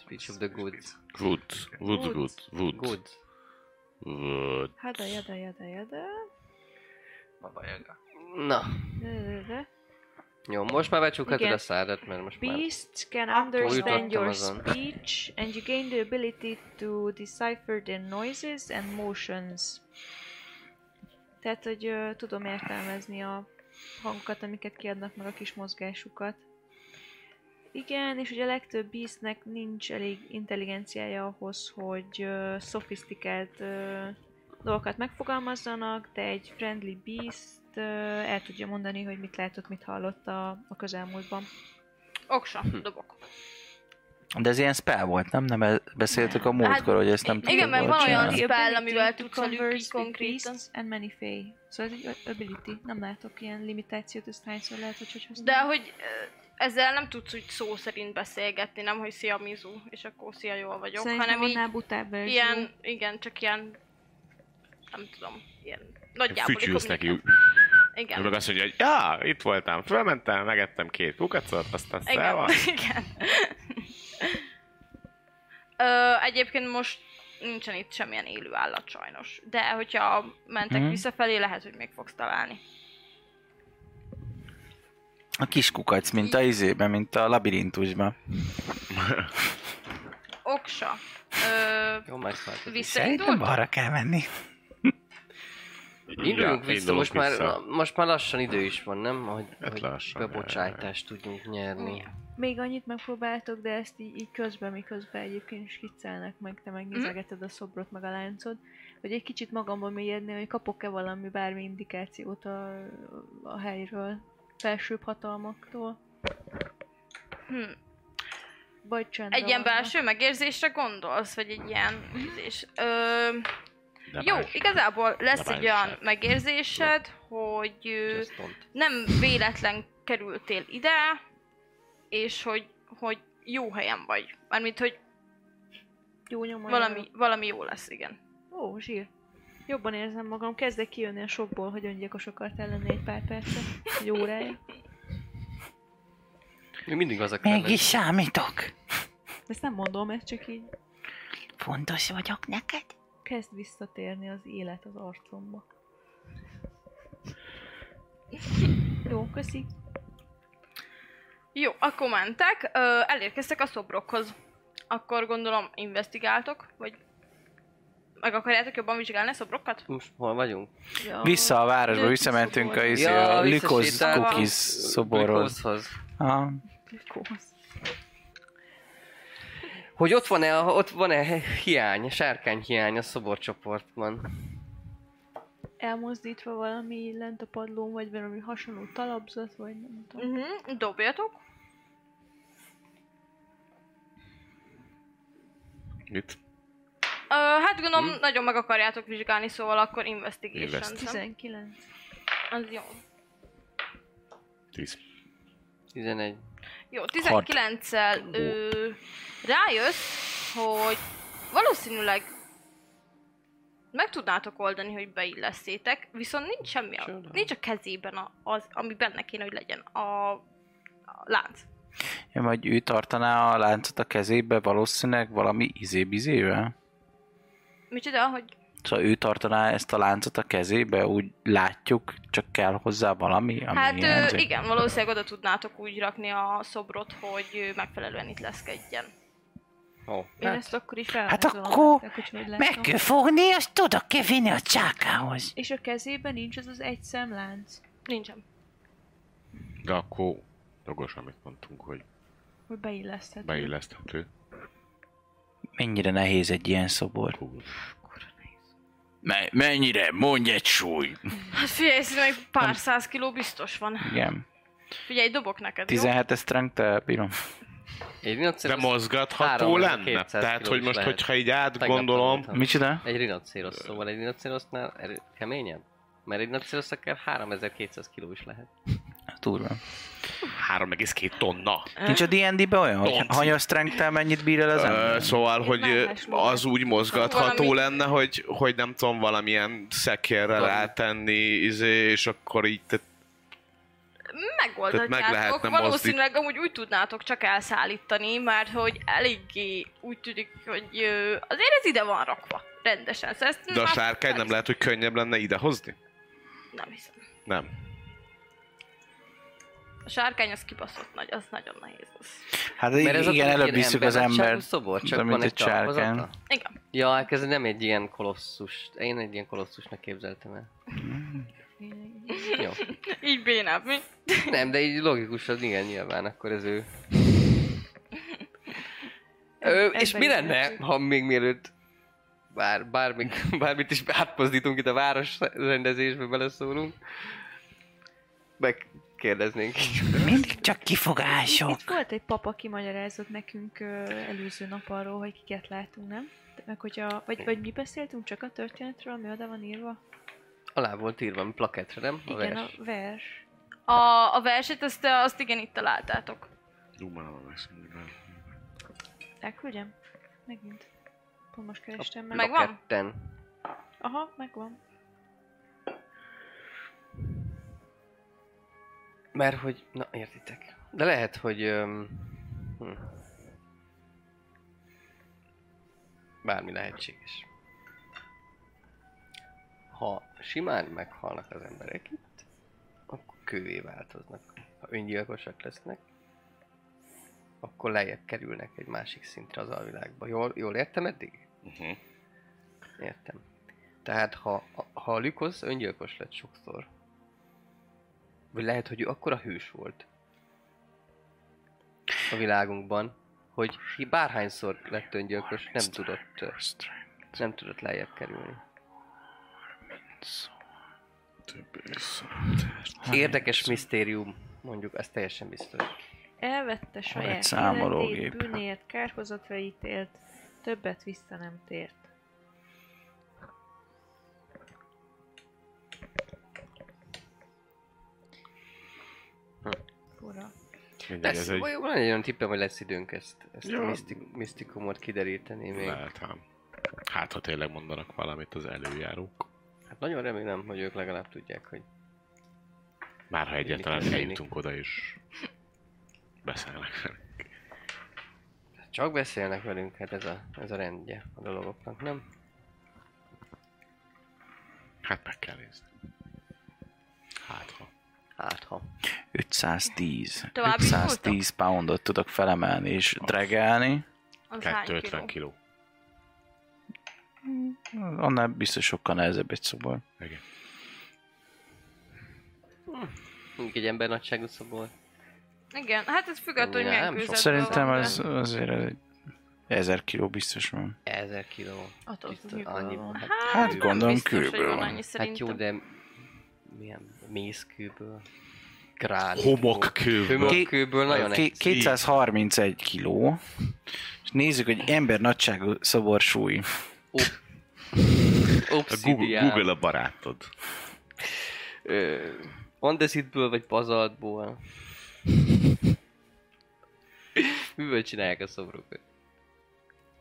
Speaker 7: Speech of the goods.
Speaker 4: Wood, wood, wood, wood,
Speaker 7: Goods.
Speaker 4: wood.
Speaker 6: Hada, jada, jada, jada.
Speaker 7: Na,
Speaker 6: Dödödödö.
Speaker 7: jó, most már becsukhatod
Speaker 6: Igen.
Speaker 7: a szádat, mert most már...
Speaker 6: Beasts can understand
Speaker 7: jutottam
Speaker 6: your
Speaker 7: azon.
Speaker 6: speech and you gain the ability to decipher their noises and motions. Tehát, hogy ö, tudom értelmezni a hangokat, amiket kiadnak meg a kis mozgásukat. Igen, és ugye a legtöbb beastnek nincs elég intelligenciája ahhoz, hogy ö, szofisztikált ö, dolgokat megfogalmazzanak, de egy friendly beast ö, el tudja mondani, hogy mit látott, mit hallott a, a közelmúltban.
Speaker 2: Oksa, dobok.
Speaker 3: De ez ilyen spell volt, nem? Nem e- beszéltük a múltkor, hogy ezt nem
Speaker 6: Hát,
Speaker 3: tudod
Speaker 2: igen, mert van
Speaker 3: hol
Speaker 2: olyan
Speaker 3: csinálni.
Speaker 2: spell, amivel tudsz a
Speaker 6: Converse
Speaker 2: Lucky
Speaker 6: with
Speaker 2: konkrétan.
Speaker 6: beasts And many fey. Szóval ez egy ability. Nem látok ilyen limitációt, ezt hányszor lehet, hogy hogy
Speaker 2: De
Speaker 6: használom.
Speaker 2: hogy ö, ezzel nem tudsz úgy szó szerint beszélgetni, nem hogy szia Mizu, és akkor szia jól vagyok,
Speaker 6: Szerintem
Speaker 2: hanem így
Speaker 6: annál butább verzió.
Speaker 2: ilyen, igen, csak ilyen, nem tudom, ilyen nagyjából.
Speaker 4: Fütyülsz neki.
Speaker 2: Igen.
Speaker 4: Ő meg azt mondja, hogy ja, itt voltam, felmentem, megettem két kukacot, aztán
Speaker 7: [LAUGHS]
Speaker 2: Igen,
Speaker 4: szelva.
Speaker 2: [LAUGHS] igen. Ö, egyébként most nincsen itt semmilyen élő állat sajnos. De hogyha mentek
Speaker 3: Mhm.
Speaker 2: visszafelé, lehet, hogy még fogsz találni.
Speaker 3: A kis kukac, mint a izébe, mint a labirintusban.
Speaker 2: Oksa. Ö,
Speaker 7: Jó, megszálltad.
Speaker 5: Szerintem
Speaker 2: visszaindult?
Speaker 5: arra kell menni.
Speaker 7: Induljunk vissza, most már,
Speaker 4: vissza.
Speaker 7: na, most már lassan idő is van, nem? Hogy,
Speaker 4: Hát
Speaker 7: hogy
Speaker 4: lassan,
Speaker 7: bebocsájtást tudjunk nyerni.
Speaker 6: Még annyit megpróbáltok, de ezt így, így közben, miközben egyébként is kiccelnek meg, te
Speaker 2: Mhm.
Speaker 6: megnézegeted a szobrot, meg a láncod, hogy egy kicsit magamba mélyedni, hogy kapok-e valami bármi indikációt a, a helyről, felsőbb hatalmaktól.
Speaker 2: Hm.
Speaker 6: Vagy csendben
Speaker 2: Egy ilyen
Speaker 6: vannak.
Speaker 2: belső megérzésre gondolsz, vagy egy ilyen ízés? Ö,
Speaker 4: De
Speaker 2: jó,
Speaker 4: más.
Speaker 2: igazából lesz
Speaker 4: De
Speaker 2: egy olyan
Speaker 4: bánság.
Speaker 2: megérzésed, hogy ö,
Speaker 7: Just don't.
Speaker 2: nem véletlen kerültél ide, és hogy, hogy jó helyen vagy. Mármint, hogy
Speaker 6: Jó nyomai
Speaker 2: Valami, valami jó lesz, igen.
Speaker 6: Ó, zsír. Jobban érzem magam, kezdek kijönni a sokból, hogy öngyilkos akart ellenni egy pár percre, egy órája.
Speaker 7: Ő mindig az a
Speaker 5: Mégis számítok.
Speaker 6: Ezt nem mondom, ez csak így
Speaker 5: Fontos vagyok neked?
Speaker 6: kezd visszatérni az élet az arcomba. Jó, köszi.
Speaker 2: Jó, akkor mentek, ö, elérkeztek a szobrokhoz. Akkor gondolom investigáltok, vagy meg akarjátok jobban vizsgálni a szobrokat?
Speaker 7: Most hol vagyunk?
Speaker 6: Ja.
Speaker 3: Vissza a városba,
Speaker 6: Lőtt
Speaker 3: visszamentünk a
Speaker 6: szobor.
Speaker 3: izé, a Lykoz
Speaker 7: visszasétálva
Speaker 3: Kukis
Speaker 7: a
Speaker 3: szoborhoz.
Speaker 7: Lykozhoz.
Speaker 3: A
Speaker 6: Likóz.
Speaker 7: Hogy ott van-e, a- ott van-e hiány, sárkány hiány a szoborcsoportban?
Speaker 6: Elmozdítva valami lent a padlón, vagy valami hasonló talapzat, vagy nem tudom.
Speaker 2: Uh-huh, dobjatok.
Speaker 4: Mit?
Speaker 2: Ö, hát gondolom hmm. nagyon meg akarjátok vizsgálni, szóval akkor investigation
Speaker 4: Invest.
Speaker 2: nem?
Speaker 6: 19.
Speaker 2: Az jó.
Speaker 4: Tíz.
Speaker 7: 11.
Speaker 2: Jó, 19-szel ö, rájössz, hogy valószínűleg meg tudnátok oldani, hogy beillesztétek, viszont nincs semmi, a, nincs a kezében a, az, ami benne kéne, hogy legyen a, a lánc.
Speaker 3: Ja, vagy ő tartaná a láncot a kezébe valószínűleg valami izébizével?
Speaker 2: Micsoda, hogy
Speaker 3: Szóval ő tartaná ezt a láncot a kezébe, úgy látjuk, csak kell hozzá valami, ami
Speaker 2: Hát ö,
Speaker 3: hiányzik.
Speaker 2: igen, valószínűleg oda tudnátok úgy rakni a szobrot, hogy ö, megfelelően itt leszkedjen.
Speaker 7: Ó, oh,
Speaker 6: Én ezt akkor is fel.
Speaker 5: Hát akkor Meg kell fogni, azt tudok kell vinni a csákához.
Speaker 6: És a kezében nincs az az egy szemlánc,
Speaker 2: Nincsen.
Speaker 4: De akkor jogos, amit mondtunk, hogy
Speaker 6: hogy beilleszthető.
Speaker 4: beilleszthető.
Speaker 3: Mennyire nehéz egy ilyen szobor. Me- mennyire? Mondj egy súly!
Speaker 2: Hát figyelj, szerintem egy pár száz kiló biztos van.
Speaker 3: Igen.
Speaker 2: Figyelj, dobok neked, jó?
Speaker 3: 17 strength, te bírom.
Speaker 7: egy rinocéros...
Speaker 4: De mozgatható
Speaker 7: 300
Speaker 4: lenne?
Speaker 7: 200
Speaker 4: Tehát, hogy
Speaker 7: kilós
Speaker 4: most,
Speaker 7: lehet.
Speaker 4: hogyha így
Speaker 7: Tegnap
Speaker 4: átgondolom,
Speaker 7: tanultam.
Speaker 3: Micsoda?
Speaker 7: Egy rinocéros, szóval egy rinocérosnál erő, keményebb? Mert egy rinocéros akár 3200 kiló is lehet.
Speaker 3: Durva.
Speaker 4: 3,2 tonna.
Speaker 3: Nincs a D&D-ben olyan, hogy
Speaker 4: Don't.
Speaker 3: hanyas strength mennyit bír el az
Speaker 4: Ö,
Speaker 3: ember?
Speaker 4: szóval, hogy ö,
Speaker 6: más módon.
Speaker 4: az úgy mozgatható
Speaker 2: Valami-
Speaker 4: lenne, hogy, hogy nem tudom, valamilyen szekérre
Speaker 7: Valami.
Speaker 4: rátenni, izé, és akkor így te Tehát meg
Speaker 2: Megoldhatjátok,
Speaker 4: lehetne
Speaker 2: valószínűleg amúgy úgy tudnátok csak elszállítani, mert hogy eléggé úgy tűnik, hogy ö, azért ez ide van rakva. Rendesen. Szóval ezt
Speaker 4: De a
Speaker 2: már-
Speaker 4: sárkány nem lehet, hogy könnyebb lenne idehozni?
Speaker 2: Nem hiszem.
Speaker 4: Nem.
Speaker 2: A sárkány az kibaszott nagy, az nagyon nehéz. Az.
Speaker 3: Hát
Speaker 7: Mert
Speaker 3: igen,
Speaker 7: ez attól egy
Speaker 3: előbb
Speaker 7: ilyen
Speaker 3: viszük az
Speaker 7: emberhátságú
Speaker 3: embert,
Speaker 7: szobor, csak
Speaker 3: de mint
Speaker 7: van
Speaker 3: egy
Speaker 7: egy
Speaker 3: sárkány.
Speaker 7: csárkány.
Speaker 2: Igen.
Speaker 7: Ja, hát ez nem egy ilyen kolosszus. Én egy ilyen kolosszusnak képzeltem el. Jó.
Speaker 2: Így bénább, mi?
Speaker 7: Nem, de így logikusan igen, nyilván akkor ez ő. Ö, és mi
Speaker 6: emberi
Speaker 7: lenne,
Speaker 6: életük.
Speaker 7: ha még mielőtt bár, bármi, bármit is átmozdítunk itt a város rendezésbe, beleszólunk, megkérdeznénk.
Speaker 5: Mindig csak
Speaker 6: Sok.
Speaker 5: kifogások.
Speaker 6: Itt volt egy pap, aki magyarázott nekünk ö, előző nap arról, hogy kiket látunk, nem? De Meg hogyha, vagy, vagy mi beszéltünk csak a történetről, ami oda van írva?
Speaker 7: Alá volt írva, ami plakettre, nem? A
Speaker 6: Igen,
Speaker 7: vers.
Speaker 6: a vers.
Speaker 2: A, a verset azt, azt igen itt találtátok.
Speaker 6: Elküldjem? Megint. Pont most kerestem meg.
Speaker 2: meg- Megvan?
Speaker 7: Plaketten.
Speaker 6: Aha, megvan.
Speaker 7: Mert hogy, na értitek. De lehet, hogy... Öm, hm. Bármi lehetséges. Ha simán meghalnak az emberek itt, akkor kővé változnak. Ha öngyilkosak lesznek, akkor lejjebb kerülnek egy másik szintre az alvilágba. Jól, jól értem eddig?
Speaker 4: Uh-huh.
Speaker 7: Értem. Tehát ha, ha a Lükosz öngyilkos lett sokszor, vagy lehet, hogy ő akkora hős volt a világunkban, hogy hi- bárhányszor lett öngyilkos, nem tudott, ö, nem tudott lejjebb kerülni. Érdekes misztérium, mondjuk, ez teljesen biztos.
Speaker 6: Elvette saját
Speaker 3: számológép.
Speaker 6: életét, bűnért, kárhozatra ítélt, többet vissza nem tért. Fura.
Speaker 4: Mindegy, ez
Speaker 7: Lesz,
Speaker 4: egy...
Speaker 7: vagy- van egy olyan tippem, hogy lesz időnk ezt, ezt
Speaker 4: Ja.
Speaker 7: a misztik, misztikumot kideríteni még.
Speaker 4: Lehet, ám. Hát, ha tényleg mondanak valamit az előjárók.
Speaker 7: Hát nagyon remélem, hogy ők legalább tudják, hogy
Speaker 4: Már ha egyáltalán
Speaker 7: Mindig
Speaker 4: eljutunk oda és beszélnek.
Speaker 7: Csak beszélnek velünk, hát ez a, ez a rendje a dolgoknak, nem?
Speaker 4: Hát meg kell nézni. Hát ha.
Speaker 7: Hát ha.
Speaker 3: 510.
Speaker 2: Tovább
Speaker 3: 510 poundot tudok felemelni és dregelni.
Speaker 2: Az hány kiló?
Speaker 4: 250 kiló.
Speaker 3: Annál biztos sokkal nehezebb egy szobor.
Speaker 4: Igen.
Speaker 7: Mondjuk egy ember nagyságú szobor.
Speaker 2: Igen, hát ez függ attól, hogy
Speaker 7: Nem,
Speaker 2: milyen
Speaker 7: sok.
Speaker 2: kőzetből
Speaker 3: Szerintem
Speaker 2: van, de-
Speaker 3: az, azért ez egy 1000 kiló biztos van.
Speaker 7: Ezer kiló.
Speaker 6: Attól
Speaker 7: Biztos,
Speaker 6: függ, mikor
Speaker 7: annyi
Speaker 6: van.
Speaker 7: Hát,
Speaker 2: Hát
Speaker 7: kőből.
Speaker 3: gond- gondolom
Speaker 2: biztos, hogy
Speaker 3: kőből
Speaker 2: van
Speaker 3: van.
Speaker 2: annyi
Speaker 7: Hát jó,
Speaker 2: szerintem.
Speaker 7: de milyen mészkőből. Gránit.
Speaker 4: Homokkőből.
Speaker 7: Homokkőből nagyon
Speaker 3: Ki-
Speaker 7: egyszerű.
Speaker 3: 231 kiló. És nézzük, hogy ember nagyságú szobor súly.
Speaker 4: Google,
Speaker 7: Obszidián.
Speaker 4: Google a barátod.
Speaker 7: Ö, Andeszitből vagy bazaltból. Miből csinálják a szobrokat?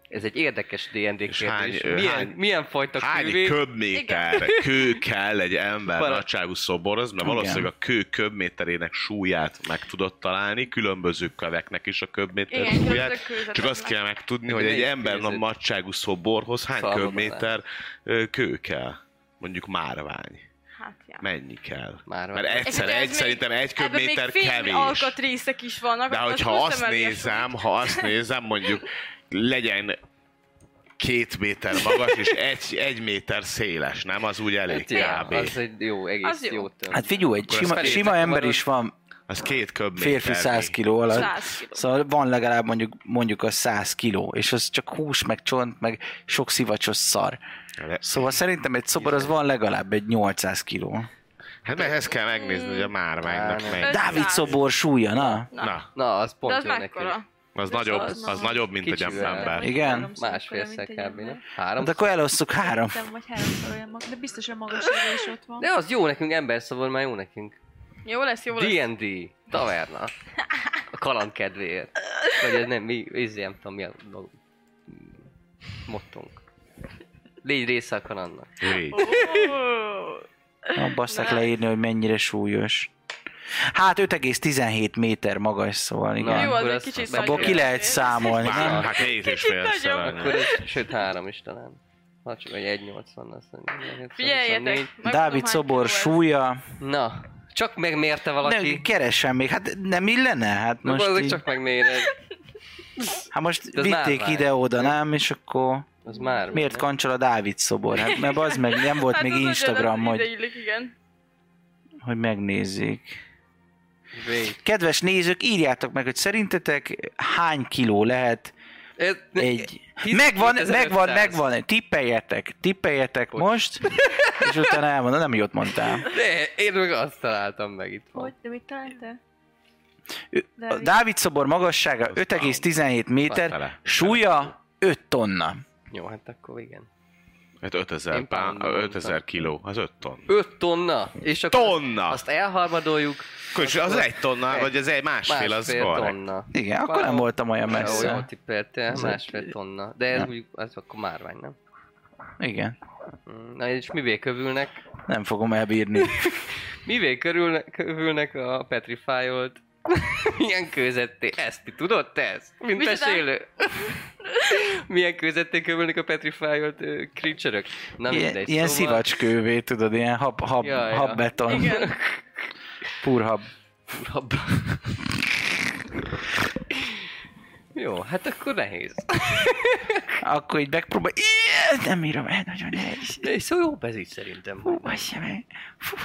Speaker 7: Ez egy érdekes D&D kérdés.
Speaker 4: hány- ö,
Speaker 7: milyen,
Speaker 4: hány-
Speaker 7: milyen fajta
Speaker 4: Hány
Speaker 7: kővé-
Speaker 4: köbméter kő kell egy ember
Speaker 7: Bara-
Speaker 4: nagyságú szoborhoz, mert
Speaker 3: Igen.
Speaker 4: valószínűleg a kő köbméterének súlyát meg tudod találni, különböző köveknek is a köbméter
Speaker 2: Igen,
Speaker 4: súlyát.
Speaker 2: különböző kőzeteknek.
Speaker 4: Csak azt kell megtudni, hogy egy
Speaker 7: Melyik
Speaker 4: ember
Speaker 7: kőzet?
Speaker 4: nagyságú szoborhoz hány
Speaker 7: Szalmonella.
Speaker 4: köbméter ö, kő kell. Mondjuk márvány.
Speaker 2: Hát, ja.
Speaker 4: Mennyi kell?
Speaker 7: Márvány.
Speaker 4: Mert egyszer,
Speaker 2: És ugye ez
Speaker 4: egy,
Speaker 2: még-
Speaker 4: szerintem egy
Speaker 2: ebben
Speaker 4: köbméter
Speaker 2: még
Speaker 4: kevés.
Speaker 2: alkatrészek is vannak.
Speaker 4: De
Speaker 2: akkor
Speaker 4: hogyha azt
Speaker 2: hoztam elő a
Speaker 4: nézem, ha azt nézem, mondjuk legyen két méter magas és egy, egy méter széles, nem? Az úgy elég
Speaker 7: Ja,
Speaker 4: kb.
Speaker 7: Hát az egy jó, egész
Speaker 2: Az jó.
Speaker 7: jó töm.
Speaker 3: Hát figyelj, egy
Speaker 7: Akkor ezt
Speaker 3: sima,
Speaker 7: felé
Speaker 3: sima
Speaker 7: tettem
Speaker 3: ember
Speaker 7: arra.
Speaker 3: is van,
Speaker 4: Az két köbméter.
Speaker 3: férfi 100 kiló alatt.
Speaker 2: 100 kiló.
Speaker 3: Szóval van legalább mondjuk, mondjuk a 100 kiló, és az csak hús, meg csont, meg sok szivacsos szar. Szóval szerintem egy szobor az van legalább egy 800 kiló.
Speaker 4: Hát mert ezt kell megnézni, hogy a márványnak
Speaker 7: Márvány.
Speaker 4: mennyi.
Speaker 3: Dávid szobor súlya, na?
Speaker 4: Na,
Speaker 7: Mm. Na, az
Speaker 2: De
Speaker 7: pont
Speaker 2: Hát az
Speaker 7: jó neki.
Speaker 2: mekkora?
Speaker 4: az nagyobb,
Speaker 2: az-
Speaker 4: az nagyobb, mint egy
Speaker 7: Kicsivel.
Speaker 4: ember.
Speaker 6: Mondjuk
Speaker 3: Igen.
Speaker 6: háromszor
Speaker 7: Másfél
Speaker 6: akkora,
Speaker 7: szer
Speaker 6: mint egy
Speaker 7: kb. nem?
Speaker 6: ember.
Speaker 7: Három?
Speaker 3: Hát akkor elosszuk három.
Speaker 6: Szerintem, vagy háromszor olyan mag... De biztos a magassága is ott van.
Speaker 7: De az jó nekünk, ember szavon már jó nekünk.
Speaker 2: Jó lesz, jó lesz.
Speaker 7: D&D, taverna. A kaland kedvéért. Vagy ez nem, mi, ez nem tudom, mi a dolog. Mottunk. Légy része a kalandnak.
Speaker 4: Légy.
Speaker 2: Ó,
Speaker 3: Na, basszak
Speaker 2: Na.
Speaker 3: leírni, hogy mennyire súlyos. Hát 5,17 méter magas, szóval igen.
Speaker 2: Jó, az
Speaker 7: akkor
Speaker 2: egy
Speaker 7: azt-
Speaker 2: kicsit
Speaker 7: abból
Speaker 3: Abból
Speaker 2: nagyobb.
Speaker 3: ki lehet számolni.
Speaker 4: Már,
Speaker 3: nem?
Speaker 4: hát két és
Speaker 2: Kicsit
Speaker 4: fél
Speaker 2: nagyobb.
Speaker 7: Akkor
Speaker 4: szer.
Speaker 7: ez, sőt három is talán. Ha csak egy 180 azt mondja.
Speaker 2: Figyeljetek!
Speaker 7: 24.
Speaker 2: megmondom,
Speaker 3: Dávid
Speaker 2: hány
Speaker 3: szobor
Speaker 2: kiló ez.
Speaker 3: súlya.
Speaker 7: Na, csak megmérte valaki.
Speaker 3: Nem, keresem még. Hát nem illene? Hát
Speaker 7: Na,
Speaker 3: most,
Speaker 7: most
Speaker 3: így,
Speaker 7: csak megméred.
Speaker 3: hát most
Speaker 7: az
Speaker 3: vitték
Speaker 7: márvány.
Speaker 3: ide-oda, nem? És akkor...
Speaker 7: Az már.
Speaker 3: Miért kancsol a Dávid szobor? Hát mert az meg nem volt
Speaker 2: Hát
Speaker 3: még
Speaker 2: az ugyanaz
Speaker 3: Instagram,
Speaker 2: ide
Speaker 3: hogy,
Speaker 2: illik, igen.
Speaker 3: hogy megnézzék.
Speaker 7: Vég.
Speaker 3: Kedves nézők, írjátok meg, hogy szerintetek hány kiló lehet
Speaker 7: Ez,
Speaker 3: egy...
Speaker 7: 10
Speaker 3: Megvan,
Speaker 7: 2500.
Speaker 3: megvan, megvan, tippeljetek, tippeljetek
Speaker 7: Bocs.
Speaker 3: most, és utána elmondom, nem jót mondtál.
Speaker 7: De én meg azt találtam meg itt
Speaker 6: Hogy?
Speaker 7: van.
Speaker 6: De mit találtál?
Speaker 3: Ő- A
Speaker 6: Dávid.
Speaker 3: Dávid szobor magassága
Speaker 4: Az
Speaker 3: 5,17 méter,
Speaker 4: Tele.
Speaker 3: súlya 5 tonna.
Speaker 7: Jó, hát akkor igen.
Speaker 4: Hát 5000
Speaker 7: Én
Speaker 4: pán,
Speaker 7: poundban
Speaker 4: 5000
Speaker 7: mondtam.
Speaker 4: kiló, az 5 tonna.
Speaker 7: 5 tonna, és akkor
Speaker 4: Tonna!
Speaker 7: azt elharmadoljuk,
Speaker 4: Kocsi, az egy tonna, vagy az egy másfél, az
Speaker 7: másfél
Speaker 4: korrekt.
Speaker 7: tonna.
Speaker 3: Igen, akkor nem voltam olyan
Speaker 7: Messze. Jól
Speaker 3: messze.
Speaker 7: tippeltél,
Speaker 3: Ez
Speaker 7: másfél tonna. De ez
Speaker 3: nem.
Speaker 7: úgy, az akkor márvány, nem?
Speaker 3: Igen,
Speaker 7: Mm, Na és mivé kövülnek?
Speaker 3: nem fogom elbírni.
Speaker 7: Mivé körülne, kövülnek a petrifájolt? [LAUGHS] Milyen kőzetté? Ezt ti tudod te ezt? Mint
Speaker 2: Micsoda?
Speaker 7: mesélő. [LAUGHS] Milyen kőzetté kövülnek a petrifájolt ö, creature-ök? Na
Speaker 3: Ilyen,
Speaker 7: mindegy. szóval-
Speaker 3: ilyen szivacskővé, tudod, ilyen hab, hab,
Speaker 7: Ja, ja.
Speaker 3: habbeton,
Speaker 2: Igen.
Speaker 3: purhab.
Speaker 7: Urab. Jó, hát akkor nehéz.
Speaker 3: Akkor így megpróbál... Ilyen, nem írom el, nagyon nehéz.
Speaker 7: De szó jó ez így szerintem.
Speaker 3: Hú, bassz meg. Fú,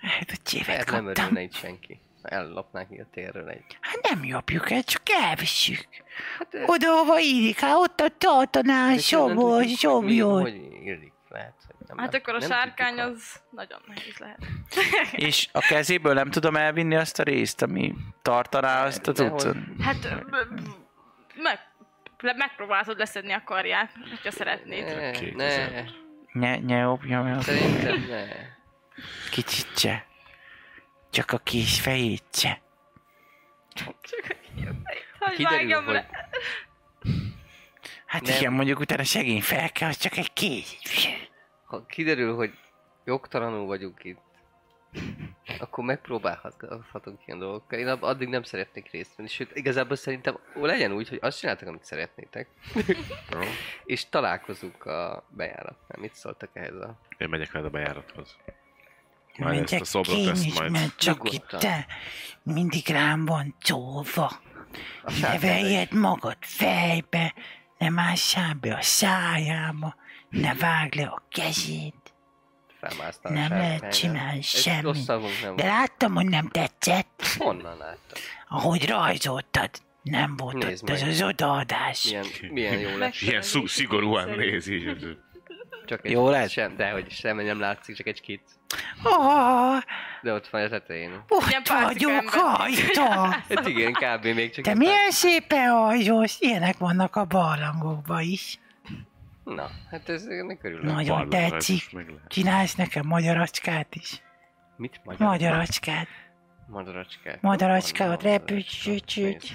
Speaker 3: hát a csévet
Speaker 7: Lehet nem
Speaker 3: kaptam.
Speaker 7: örülne itt senki. Ellopnák ki a térről egy.
Speaker 5: Hát nem jobbjuk el, csak elviszük.
Speaker 7: Hát, ö,
Speaker 5: Oda, hova írik, hát ott a tartaná a
Speaker 7: de honnan tudjuk,
Speaker 5: sobor,
Speaker 7: hogy mi-
Speaker 5: sobjon.
Speaker 7: Hogy illik, lehet, hogy nem
Speaker 2: Hát akkor a
Speaker 7: nem
Speaker 2: sárkány
Speaker 7: tudjuk a-
Speaker 2: az nagyon nehéz lehet.
Speaker 3: És a kezéből nem tudom elvinni azt a részt, ami tartaná azt a
Speaker 7: Dehogy.
Speaker 3: cuccot.
Speaker 2: Hát ö, ö, meg, le- megpróbálhatod leszedni a karját, ha szeretnéd.
Speaker 7: Ne, ne,
Speaker 4: 2000.
Speaker 3: Ne, ne jobbjam el.
Speaker 7: szerintem ne.
Speaker 3: Kicsit se. Csak a kis fejét se.
Speaker 2: Csak hogy
Speaker 7: Kiderül,
Speaker 2: vágjam
Speaker 7: hogy
Speaker 2: le.
Speaker 3: Hát
Speaker 7: Nem.
Speaker 3: igen, mondjuk utána segény fel kell, az csak egy kéz.
Speaker 7: ha kiderül, hogy jogtalanul vagyunk itt, akkor megpróbálhatunk ilyen dolgokkal. Én ab- addig nem szeretnék részt venni, sőt, igazából szerintem ó, legyen úgy, hogy azt csináltak, amit
Speaker 5: [LAUGHS]
Speaker 7: szeretnétek. és találkozunk a bejáratnál. Mit szóltak ehhez a...
Speaker 4: Én megyek veled a bejárathoz. Majd ezt
Speaker 5: Megyek
Speaker 4: a szobrot,
Speaker 5: én
Speaker 4: ezt
Speaker 5: is,
Speaker 4: majd...
Speaker 5: mert csak
Speaker 7: Nyugodtan.
Speaker 5: itt te mindig rám van tolva.
Speaker 7: a sárkányra.
Speaker 5: Neveljed magad fejbe, ne mássál be a szájába, ne vágd le a kezét.
Speaker 7: Felmásztál a
Speaker 5: Nem lehet
Speaker 7: sárkányra.
Speaker 5: csinálni
Speaker 7: Ez
Speaker 5: semmit.
Speaker 7: Rossz szavunk nem volt.
Speaker 5: De láttam, hogy nem tetszett,
Speaker 7: Honnan láttam?
Speaker 5: ahogy rajzoltad. Nem volt
Speaker 7: Nézd
Speaker 5: ott az
Speaker 7: meg.
Speaker 5: az odaadás.
Speaker 7: Milyen, milyen jó lett.
Speaker 4: Ilyen szú, szigorúan néz így.
Speaker 7: Csak egy
Speaker 3: Jó lett?
Speaker 7: Sem, de hogy semmi nem látszik, csak egy két.
Speaker 5: Oh,
Speaker 7: De ott van a tetején.
Speaker 2: Ilyen
Speaker 5: ott
Speaker 2: pálcika
Speaker 5: vagyok
Speaker 2: ember.
Speaker 5: rajta!
Speaker 7: Hát igen, kb. még csak...
Speaker 5: Szóval- Te
Speaker 7: egy
Speaker 5: milyen szépen hajolsz, ilyenek vannak a barlangokban is.
Speaker 7: Na, hát ez ennek örülök.
Speaker 5: Nagyon
Speaker 4: Barlangra
Speaker 5: tetszik.
Speaker 4: is meg lehet.
Speaker 5: Csinálsz nekem magyaracskát is.
Speaker 7: Mit magyar?
Speaker 5: Magyaracskát.
Speaker 7: Madaracskát.
Speaker 5: Madaracskát,
Speaker 7: Madaracska,
Speaker 5: repülj, csücsügy.
Speaker 7: nézd.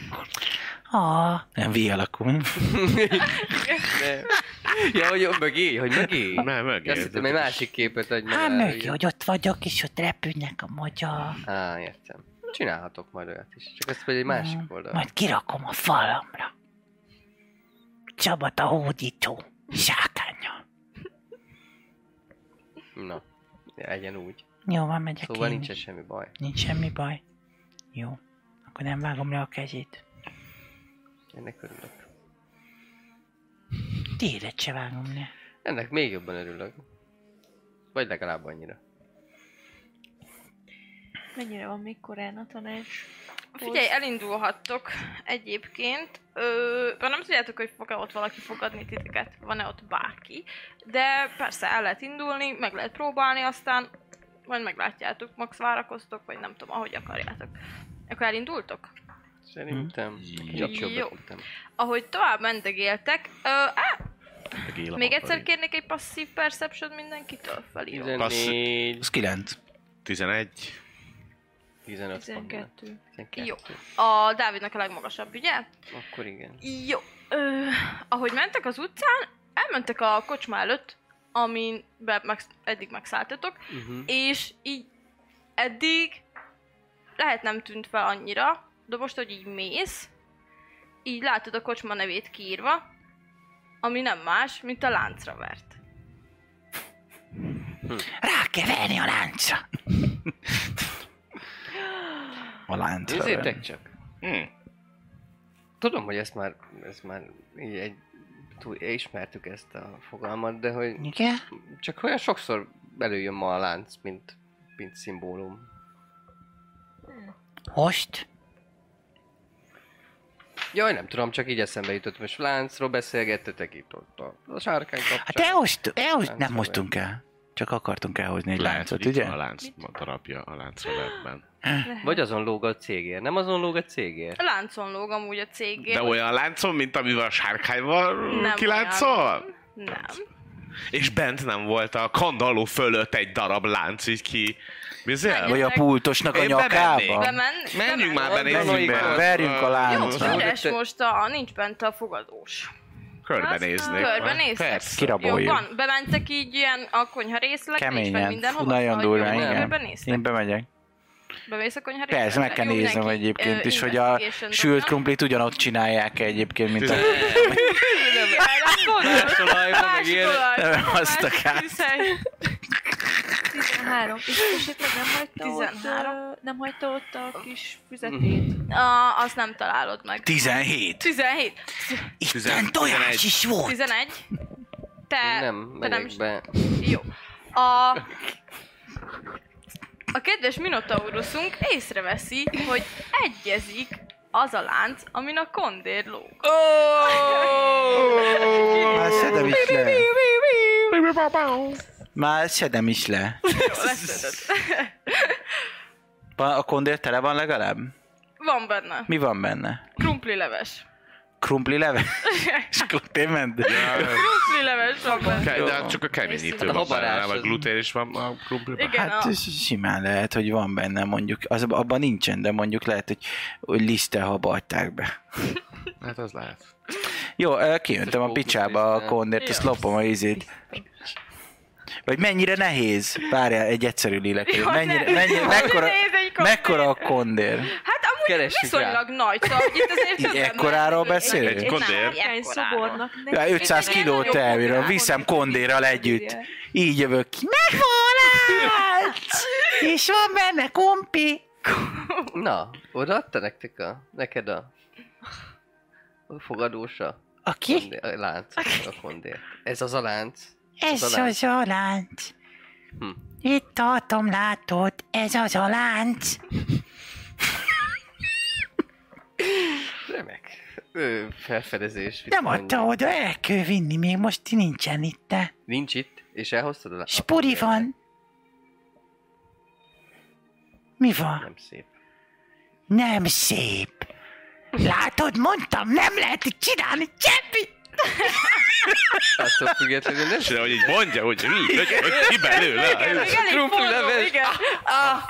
Speaker 5: Ah,
Speaker 3: Nem, V alakú.
Speaker 7: Nem. Ja, hogy mögé, hogy mögé.
Speaker 4: Nem, meg.
Speaker 7: Azt hittem, egy másik képet adj
Speaker 5: hát
Speaker 7: magáról,
Speaker 5: mögé,
Speaker 7: ilyen.
Speaker 5: hogy ott vagyok, és ott repülnek a magyar.
Speaker 7: Á, értem. Csinálhatok majd olyat is. Csak ezt vagy egy másik oldal.
Speaker 5: Majd kirakom a falamra. Csabat a hódító. Sákánya.
Speaker 7: Na, legyen úgy.
Speaker 5: Jó, van, megyek
Speaker 7: Szóval
Speaker 5: én.
Speaker 7: nincsen semmi baj.
Speaker 5: Nincs semmi baj. Jó. Akkor nem vágom le a kezét.
Speaker 7: Ennek örülök.
Speaker 5: Téret se vágom le.
Speaker 7: Ennek még jobban örülök. Vagy legalább annyira.
Speaker 6: Mennyire van még korán a tanács?
Speaker 2: Figyelj, elindulhattok egyébként. Ö, bár nem tudjátok, hogy fog-e ott valaki fogadni titeket, van-e ott bárki. De persze el lehet indulni, meg lehet próbálni, aztán majd meglátjátok, max várakoztok, vagy nem tudom, ahogy akarjátok. Akkor elindultok?
Speaker 7: Szerintem. Jobb
Speaker 2: Jó.
Speaker 7: jobbat tudtam.
Speaker 2: Ahogy tovább mendegéltek, ö, á, még egyszer kérnék egy passzív perception mindenkitől felírom.
Speaker 7: 14,
Speaker 3: Az 9.
Speaker 4: 11.
Speaker 7: 15 pont.
Speaker 6: 12.
Speaker 7: 12.
Speaker 2: Jó. A Dávidnak a legmagasabb, ugye?
Speaker 7: Akkor igen.
Speaker 2: Jó. Ö, ahogy mentek az utcán, elmentek a kocsma előtt, amin be meg, eddig megszálltatok,
Speaker 7: Uh-huh.
Speaker 2: és így eddig lehet nem tűnt fel annyira, de most, hogy így mész, így látod a kocsma nevét kiírva, ami nem más, mint a láncra vert.
Speaker 5: Rá kell verni a láncra.
Speaker 3: A lánc.
Speaker 7: Nézzétek csak. Hmm. Tudom, hogy ezt már, ezt már így egy, túl, ismertük ezt a fogalmat, de hogy
Speaker 5: Igen?
Speaker 7: csak olyan sokszor előjön ma a lánc, mint, mint szimbólum.
Speaker 5: Most?
Speaker 7: Jaj, nem tudom, csak így eszembe jutott, most láncról beszélgettetek itt ott a, a sárkány kapcsán.
Speaker 5: Hát elhozt,
Speaker 7: Lánc
Speaker 5: elhozt, nem
Speaker 3: Nem mostunk el. Csak akartunk elhozni egy láncot,
Speaker 4: itt
Speaker 3: ugye?
Speaker 4: van a lánc darabja a láncra vertben.
Speaker 7: Vagy azon lóg a cégér. Nem azon lóg a cégér?
Speaker 2: A láncon lóg amúgy a cégén.
Speaker 4: De olyan láncon, mint amivel a sárkányval
Speaker 2: Nem
Speaker 4: kiláncol?
Speaker 2: Nem.
Speaker 4: És bent nem volt a kandalló fölött egy darab lánc így ki. Bizony?
Speaker 2: Menjünk.
Speaker 3: Vagy a pultosnak a
Speaker 4: Én bemennék.
Speaker 3: nyakába?
Speaker 2: Bemen,
Speaker 4: Ah. Menjünk már be,
Speaker 7: Van, van,
Speaker 4: nézzük
Speaker 7: van.
Speaker 4: be.
Speaker 3: Verjünk a
Speaker 2: Jó,
Speaker 3: láncra.
Speaker 2: üres most a, nincs bent a fogadós.
Speaker 4: Körbenéznék.
Speaker 2: Körbenéztek?
Speaker 4: Persze.
Speaker 2: Jó,
Speaker 3: Kiraboljuk.
Speaker 2: van, bementek így ilyen a konyha részlegre, és meg
Speaker 3: Keményen. Fú,
Speaker 2: mindenhova.
Speaker 3: nagyon
Speaker 2: Ahogy
Speaker 3: durván,
Speaker 2: jó,
Speaker 3: igen.
Speaker 2: körbenéztek?
Speaker 3: Én bemegyek.
Speaker 2: Bemész a konyha részlegre?
Speaker 3: Persze, meg kell
Speaker 2: Jó,
Speaker 3: néznem
Speaker 2: mindenki,
Speaker 3: egyébként
Speaker 2: ö,
Speaker 3: is, hogy a
Speaker 2: investigation
Speaker 3: sült
Speaker 2: dobjon.
Speaker 3: krumplit ugyanott csinálják egyébként, mint a... [LAUGHS]
Speaker 2: Igen, hát gondolom.
Speaker 7: Másolajban, meg
Speaker 2: Másik
Speaker 7: ilyen.
Speaker 2: olaj.
Speaker 3: Nem, [LAUGHS] azt a
Speaker 2: Másik
Speaker 3: kárt.
Speaker 2: tűzhely.
Speaker 6: 13. És esetleg nem hagyta,
Speaker 2: 13.
Speaker 6: Ott, ö, nem hagyta ott a kis füzetét.
Speaker 2: A- Azt nem találod meg.
Speaker 3: 17!
Speaker 2: 17,
Speaker 5: Itten tojás is volt.
Speaker 2: 11. Te,
Speaker 7: Nem,
Speaker 2: te nem
Speaker 7: megyek be.
Speaker 2: Jó. A... A kedves Minotaurusunk észreveszi, hogy egyezik az a lánc, amin a kondér lóg.
Speaker 3: Már szedem is le. Már szedem is
Speaker 2: [LAUGHS]
Speaker 3: le. Van- A kondér tele van legalább?
Speaker 2: Van benne.
Speaker 3: Mi van benne?
Speaker 2: Krumpli leves.
Speaker 3: Krumpli
Speaker 2: [LAUGHS]
Speaker 3: leve? És glutén
Speaker 2: Krumpli leves van benne.
Speaker 4: Ke- De
Speaker 3: Jó.
Speaker 4: csak a keményítő
Speaker 7: Hát a
Speaker 4: van
Speaker 7: habarás
Speaker 4: benne, vagy
Speaker 7: az-
Speaker 4: glutén is van a krumpliban.
Speaker 2: Igen,
Speaker 3: Hát
Speaker 2: a...
Speaker 3: ez simán lehet, hogy van benne mondjuk. Az, abban nincsen, de mondjuk lehet, hogy, hogy lisztelhaba adták be.
Speaker 4: Hát az lehet.
Speaker 3: Jó, eh, kijöntem a
Speaker 7: Fókusz
Speaker 3: picsába a
Speaker 7: lisztel.
Speaker 3: kondért, azt lopom a ízét. Vagy mennyire nehéz? Várjál, egy egyszerű lélek.
Speaker 2: Jaj,
Speaker 3: Mennyire,
Speaker 2: ne. [LAUGHS]
Speaker 3: mennyire, mekkora,
Speaker 2: Nézd, egy kondér.
Speaker 3: mekkora a kondér?
Speaker 2: Hát amúgy
Speaker 7: Keressük
Speaker 2: viszonylag nagy, szóval itt azért
Speaker 3: Így
Speaker 2: többen
Speaker 3: ekkoráról
Speaker 2: mennek.
Speaker 3: beszélünk?
Speaker 2: Egy- egy-
Speaker 4: Egy kondér?
Speaker 2: nem,
Speaker 6: Hány
Speaker 2: ekkoráról.
Speaker 6: szobornak
Speaker 3: Ja,
Speaker 6: neki.
Speaker 3: 500
Speaker 2: Igen,
Speaker 3: kiló
Speaker 2: nagyon
Speaker 3: elvirom,
Speaker 2: komoly.
Speaker 3: viszem kondérral együtt.
Speaker 6: Igen.
Speaker 3: Így jövök ki.
Speaker 5: Meghalálsz! És van benne kompi.
Speaker 7: Na, odaadta nektek a, neked a, a fogadósa?
Speaker 5: Aki?
Speaker 7: Kondér, a lánc, a kondér. Ez az a lánc.
Speaker 5: Ez
Speaker 7: Az a lánc.
Speaker 5: az a lánc.
Speaker 7: Hm.
Speaker 5: Itt tartom, látod, ez az a lánc.
Speaker 7: Remek. Ö, felfedezés. mit
Speaker 5: Nem
Speaker 7: mondjam.
Speaker 5: adta oda, el kell vinni, még most nincsen itt.
Speaker 7: Nincs itt, és elhoztad a lánc.
Speaker 5: Spuri van. Mi van?
Speaker 7: Nem szép.
Speaker 5: Nem szép. Látod, mondtam, nem lehet itt csinálni semmit.
Speaker 7: Attól függetlenül nem
Speaker 4: És de, hogy így mondja, hogy mi, hogy, hogy ki
Speaker 2: Igen,
Speaker 4: belőle,
Speaker 2: meg elég
Speaker 7: Krumpli
Speaker 2: forró,
Speaker 7: leves.
Speaker 2: igen. Ah.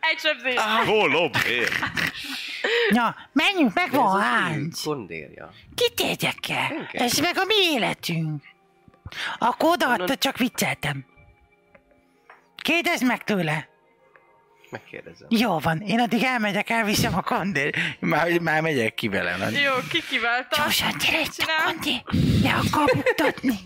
Speaker 2: Egy sebzés.
Speaker 4: hol lobér.
Speaker 5: Na, menjünk, meg
Speaker 7: De ez
Speaker 5: van
Speaker 7: az ő
Speaker 5: Hánc.
Speaker 7: Kondérja.
Speaker 5: Kit érdekel?
Speaker 7: Minket.
Speaker 5: Ez meg a mi életünk. Akkor odaadta, csak vicceltem. Kérdezd meg tőle.
Speaker 7: Megkérdezem.
Speaker 5: Jó van, én addig elmegyek, elviszem a kondér.
Speaker 3: Már, már megyek ki vele. Nagy.
Speaker 2: Jó, ki kiválta?
Speaker 5: Gyorsan, gyere itt a
Speaker 2: Csinál.
Speaker 5: kondi. Le akar mutatni.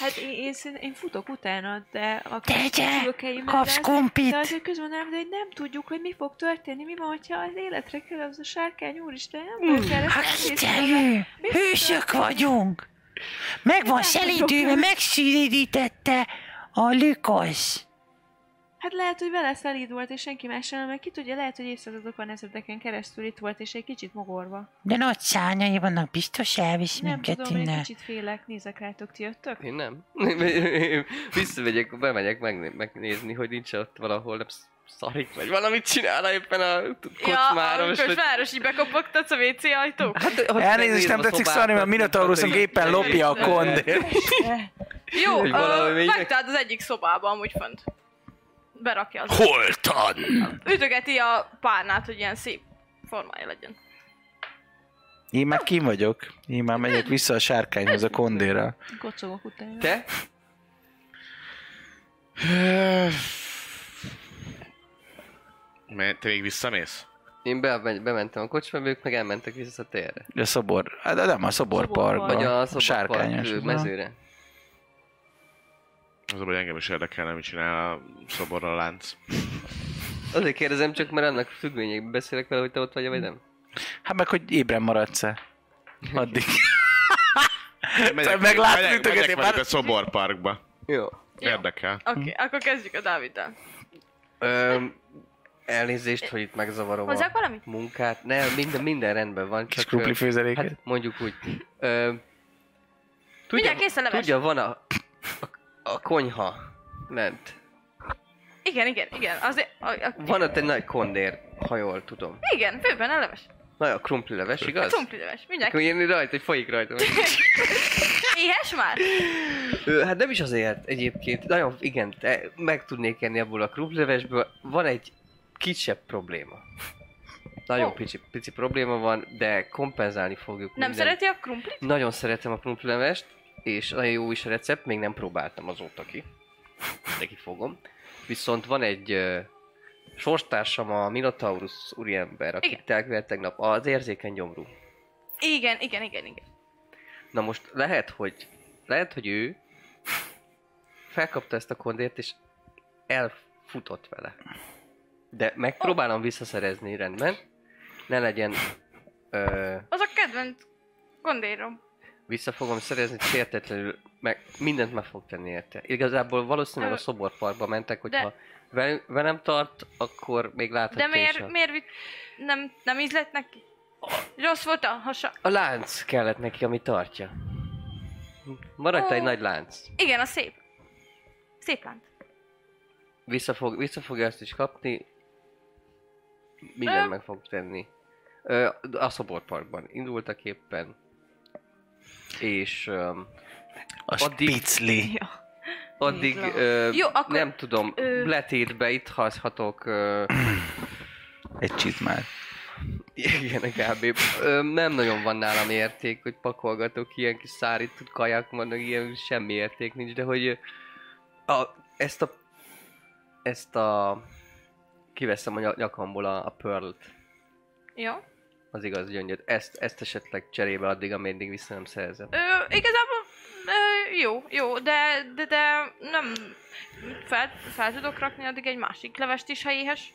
Speaker 6: Hát én, én, szín- én futok utána, de a [LAUGHS]
Speaker 5: Tegye!
Speaker 6: szülőkeim
Speaker 5: Kapsz
Speaker 6: mellett,
Speaker 5: kumpit!
Speaker 6: De azért közben nem, de hogy nem tudjuk, hogy mi fog történni, mi van, ha az életre kerül az a sárkány, úristen, nem vagyok erre
Speaker 5: Ha
Speaker 6: felkészülve.
Speaker 5: kiterjű, Hát hősök vagyunk. Meg van szelítőve, megsűrítette a lükosz.
Speaker 6: Hát lehet, hogy vele szelíd volt, és senki más sem, mert ki tudja, lehet, hogy évszázadokon, ezredeken keresztül itt volt, és egy kicsit mogorva.
Speaker 5: De nagy szárnyai vannak, biztos elvisz
Speaker 6: Nem
Speaker 5: minket
Speaker 6: tudom, én egy
Speaker 5: innen.
Speaker 6: kicsit félek, nézek rátok, ti jöttök?
Speaker 7: Én nem. [LAUGHS] Visszamegyek, bemegyek megné- megnézni, hogy nincs ott valahol nem sz- szarik, vagy valamit csinál éppen a t-
Speaker 2: ja,
Speaker 7: kocsmára.
Speaker 2: amikor
Speaker 7: és
Speaker 2: hogy...
Speaker 7: hogy-
Speaker 2: városi bekopogtatsz a WC ajtók.
Speaker 7: Hát, hogy
Speaker 3: Elnézést,
Speaker 7: megnézem
Speaker 3: nem
Speaker 7: a
Speaker 3: tetszik
Speaker 7: szobát,
Speaker 3: szarni, mert
Speaker 7: vagy-
Speaker 3: Minotaurusunk
Speaker 7: vagy-
Speaker 3: éppen lopja a
Speaker 7: vagy-
Speaker 3: kondér.
Speaker 2: Jó,
Speaker 7: Hogy valami
Speaker 2: ö,
Speaker 7: még-
Speaker 2: megtaláld az egyik szobában, amúgy fönt. Berakja az.
Speaker 3: Holtan!
Speaker 2: Ütögeti a párnát, hogy ilyen szép formája legyen.
Speaker 3: Én már kim vagyok. Én már megyek vissza a sárkányhoz a kondérral.
Speaker 6: Kocogok utána.
Speaker 7: Te?
Speaker 4: Mert te még visszamész?
Speaker 7: Én bemegy, bementem a kocsmába, ők meg elmentek vissza a térre.
Speaker 3: A szobor. Hát nem, a szoborparkba.
Speaker 6: Vagy
Speaker 7: Vagy a
Speaker 3: sárkányos.
Speaker 7: szobapark mezőre.
Speaker 4: Az, a baj, hogy engem is érdekelne, mit csinál a szoborral a lánc.
Speaker 7: Azért kérdezem csak, mert annak függvényében beszélek vele, hogy te ott vagy, vagy nem.
Speaker 3: Hát meg, hogy ébren maradsz-e? Addig.
Speaker 4: Megyek,
Speaker 3: meglátod,
Speaker 4: megyek,
Speaker 3: ütögeti
Speaker 4: megyek
Speaker 3: már-
Speaker 4: velük a szoborparkba.
Speaker 7: Jó.
Speaker 2: Jó.
Speaker 4: Érdekel.
Speaker 2: Oké,
Speaker 7: Hm.
Speaker 2: okay, akkor kezdjük a Dáviddal.
Speaker 7: Öm, elnézést, hogy itt megzavarom
Speaker 2: Hozzák
Speaker 7: a
Speaker 2: valamit?
Speaker 7: munkát. Nem, minden, minden rendben van.
Speaker 3: Kis
Speaker 7: Csak,
Speaker 3: krupli
Speaker 7: ö,
Speaker 3: főzeléket.
Speaker 7: Hát mondjuk úgy. Öm, tudja,
Speaker 2: Mindjárt kész a leves.
Speaker 7: tudja, van a, a, a konyha lent.
Speaker 2: Igen, igen, igen. Azért, a, a,
Speaker 7: Van ott egy nagy kondér, ha jól tudom.
Speaker 2: igen, főben a leves.
Speaker 7: Nagy a krumpli leves,
Speaker 2: A
Speaker 7: igaz?
Speaker 2: cumpli leves. Mindjárt.
Speaker 7: Akkor írni rajta, hogy folyik rajta.
Speaker 2: Éhes már?
Speaker 7: Ö, Hát nem is azért egyébként. Nagyon, igen, te- meg tudnék enni abból a krumplevesből. Van egy kisebb probléma. Nagyon
Speaker 2: Ó.
Speaker 7: pici, pici probléma van, de kompenzálni fogjuk
Speaker 2: Nem
Speaker 7: minden.
Speaker 2: szereti a krumplit?
Speaker 7: Nagyon szeretem a krumplevest, és nagyon jó is a recept, még nem próbáltam azóta ki. De fogom. Viszont van egy ö, sorstársam, a Minotaurus úriember,
Speaker 2: Igen.
Speaker 7: akit elküldött tegnap, az érzékeny gyomrú.
Speaker 2: Igen, igen, igen, igen.
Speaker 7: Na most lehet, hogy lehet, hogy ő felkapta ezt a kondért, és elfutott vele. De megpróbálom visszaszerezni, rendben. Ne legyen... Ö,
Speaker 2: Az a kedvenc gondérom.
Speaker 7: Hát, vissza fogom szerezni, sértetlenül, meg mindent meg fog tenni érte. Igazából valószínűleg a
Speaker 2: Ö,
Speaker 7: szoborparkba mentek,
Speaker 2: de-
Speaker 7: hogyha de... velem tart, akkor még
Speaker 2: De
Speaker 7: láthatja is a...
Speaker 2: miért, miért vit- nem, nem ízlett neki? Rossz volt a hasa.
Speaker 7: A lánc kellett neki, ami tartja. Maradt
Speaker 2: Ó.
Speaker 7: egy nagy lánc.
Speaker 2: Igen, a szép. Szép lánt.
Speaker 7: Vissza, fog, vissza fogja ezt is kapni. Mindent
Speaker 2: Ö.
Speaker 7: meg fog tenni. Ö, a szoborparkban indultak éppen. És öm,
Speaker 3: A
Speaker 7: addig-
Speaker 3: spicli.
Speaker 7: addig
Speaker 6: Így van.
Speaker 7: ö,
Speaker 2: Jó, akkor-
Speaker 7: nem tudom,
Speaker 2: ö.
Speaker 7: letétbe itt
Speaker 2: [LAUGHS]
Speaker 7: hagyhatok. Ö,
Speaker 3: Egy csizmát.
Speaker 7: igen, kb. Ö, nem nagyon van nálam érték, hogy pakolgatok ilyen kis szárított kajak vannak, ilyen semmi érték nincs, de hogy ö, a, ezt a ezt a kiveszem a nyak- nyakamból a, a pearl-t.
Speaker 2: Jó.
Speaker 7: az igaz gyöngyöt. Ezt, ezt esetleg cserébe addig, ameddig vissza nem szerzem.
Speaker 2: Ö, igazából ö, jó, jó, de, de, de nem fel, fel tudok rakni addig egy másik levest is, ha éhes.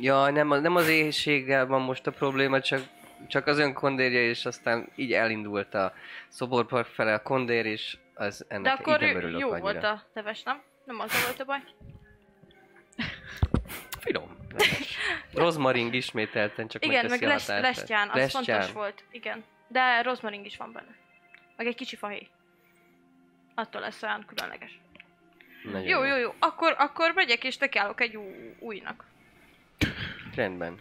Speaker 7: Ja, nem, a- nem az éhséggel van most a probléma, csak, csak az önkondérje, és aztán így elindult a szoborpark fele a kondér, és az
Speaker 2: De
Speaker 7: ennek
Speaker 2: akkor
Speaker 7: így nem örülök
Speaker 2: jó
Speaker 7: annyira.
Speaker 2: volt a leves, nem? Nem az volt a baj.
Speaker 7: Finom. leves. Rozmaring ismételten csak
Speaker 2: Igen, meg
Speaker 7: megteszi
Speaker 2: les,
Speaker 7: a hatását.
Speaker 2: lestján, az fontos volt. Igen. De rozmaring is van benne. Meg egy kicsi fahéj. Attól lesz olyan különleges.
Speaker 7: Nagyon
Speaker 2: Jó, jó, jó. Akkor, akkor megyek és tekiálok egy új, újnak.
Speaker 7: Rendben.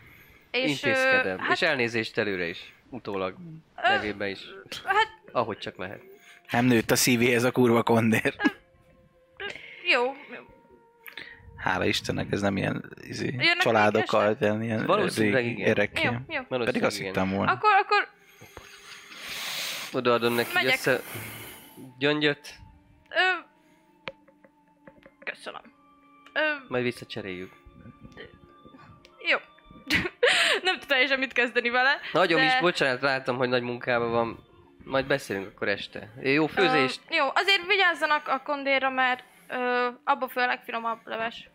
Speaker 7: És,
Speaker 2: És, ö,
Speaker 7: Intézkedem.
Speaker 2: hát,
Speaker 7: És elnézést előre is. Utólag. Nevében is.
Speaker 2: hát
Speaker 7: Ahogy csak lehet.
Speaker 3: Nem nőtt a szívéhez a kurva kondér.
Speaker 2: jó.
Speaker 3: Hála Istennek, ez nem ilyen izé,
Speaker 2: Jönnek
Speaker 3: családokkal, ilyen, ilyen
Speaker 7: Valószínűleg
Speaker 3: régi
Speaker 7: igen.
Speaker 2: Jó,
Speaker 3: öregké.
Speaker 2: jó.
Speaker 7: Valószínűleg
Speaker 3: Pedig azt
Speaker 7: igen.
Speaker 3: hittem volna.
Speaker 2: Akkor, akkor
Speaker 7: Odaadom neki
Speaker 2: Megyek.
Speaker 7: össze gyöngyöt,
Speaker 2: Ö... Köszönöm. Ö...
Speaker 7: majd visszacseréljük.
Speaker 2: Jó. [LAUGHS] nem tudtam teljesen mit kezdeni vele.
Speaker 7: Nagyon
Speaker 2: de-
Speaker 7: is, bocsánat, láttam, hogy nagy munkában van. Majd beszélünk akkor este. Jó főzést!
Speaker 2: Ö, jó, azért vigyázzanak a kondéra, mert ö, abba főleg finomabb leves.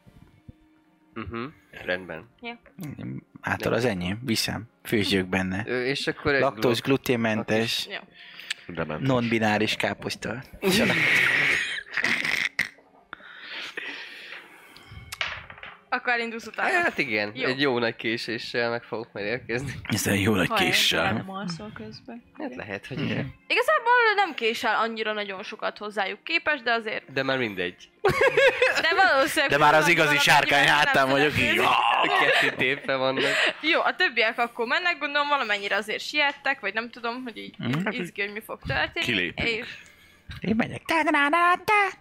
Speaker 7: Uh-huh. Rendben.
Speaker 3: Által az enyém, viszem, főzjük benne.
Speaker 7: Ö, és akkor egy
Speaker 3: Laktóz gluténmentes,
Speaker 2: Jó.
Speaker 4: De ment.
Speaker 3: non-bináris káposzta.
Speaker 2: Akkor elindulsz utána.
Speaker 7: Hát igen,
Speaker 2: Jó.
Speaker 7: jó. egy jó nagy késéssel meg fogok majd érkezni.
Speaker 3: Ez egy jó nagy
Speaker 6: Ha én
Speaker 3: késsel.
Speaker 6: nem alszol közben.
Speaker 7: Hát lehet, hogy igen.
Speaker 2: Igazából nem késel annyira nagyon sokat hozzájuk képes, de azért...
Speaker 7: De már mindegy.
Speaker 2: De valószínűleg...
Speaker 3: De már az igazi
Speaker 2: valaki
Speaker 3: sárkány
Speaker 2: nem
Speaker 3: hátán
Speaker 2: szeret
Speaker 3: vagyok
Speaker 2: nézni.
Speaker 3: így.
Speaker 7: Kettő tépve vannak.
Speaker 2: [LAUGHS] Jó, a többiek akkor mennek, gondolom valamennyire azért siettek, vagy nem tudom, hogy így
Speaker 3: Mhm.
Speaker 2: izgi, hogy mi fog történni.
Speaker 4: Kilépünk.
Speaker 2: És
Speaker 3: Én megyek.
Speaker 5: Te na na te!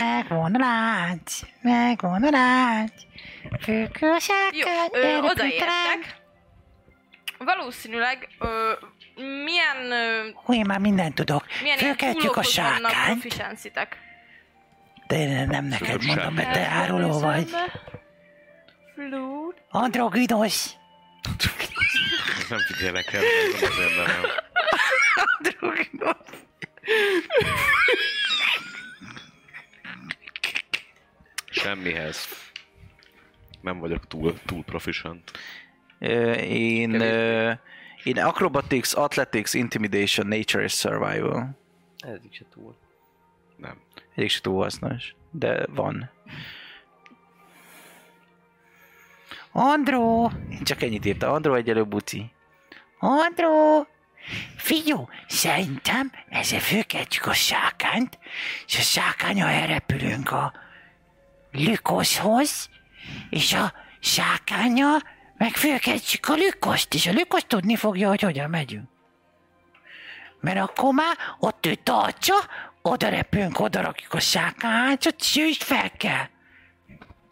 Speaker 5: Megvan a lánc, megvan a lánc. Főkősek,
Speaker 2: jó, ö, odaértek. Valószínűleg ö, milyen, ö,
Speaker 5: Hú, én már mindent tudok.
Speaker 2: milyen
Speaker 5: Fölkeltjük a
Speaker 2: túlokhoz vannak
Speaker 5: sárkányt.
Speaker 2: proficiency-tek.
Speaker 5: De én nem neked
Speaker 4: Tudok
Speaker 5: mondom, mert te
Speaker 6: sárkányt.
Speaker 5: áruló vagy.
Speaker 6: Flút.
Speaker 5: Androgidos.
Speaker 4: Nem figyelek el, nem azért nem. Semmihez. Nem vagyok túl, túl proficient.
Speaker 3: Ö, Én,
Speaker 7: Kevésbé.
Speaker 3: ö, én acrobatics, athletics, intimidation, nature és survival.
Speaker 7: Ez is se túl.
Speaker 4: Nem.
Speaker 3: Egyik se túl hasznos, de van.
Speaker 5: Andró,
Speaker 3: Én Csak ennyit írta. Andró egyelő buci.
Speaker 5: Andró. Figyú, szerintem ezzel fölkeltjük a sárkányt, és a sárkánya elrepülünk a lükoszhoz, és a sárkánya meg fölkeltjük a lükoszt, és a lükoszt tudni fogja, hogy hogyan megyünk. Mert akkor már ott ő tartsa, oda repülünk, oda rakjuk a sárkányot, és ő is fel kell.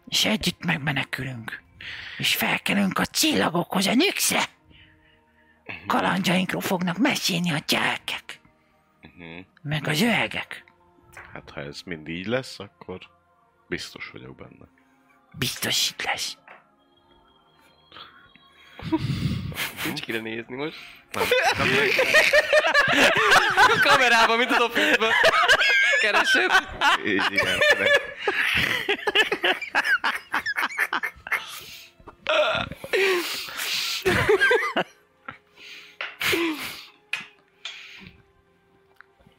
Speaker 5: És együtt megmenekülünk. És felkelünk a csillagokhoz, a nyükszre. Kalandjainkról fognak mesélni a gyerekek,
Speaker 4: Uh-huh.
Speaker 5: meg az öregek.
Speaker 4: Hát ha ez mind így lesz, akkor biztos vagyok benne.
Speaker 5: Biztos itt lesz.
Speaker 7: Nincs kire nézni most. A kamerában, mint az office Keresőd?
Speaker 4: Így igen. De...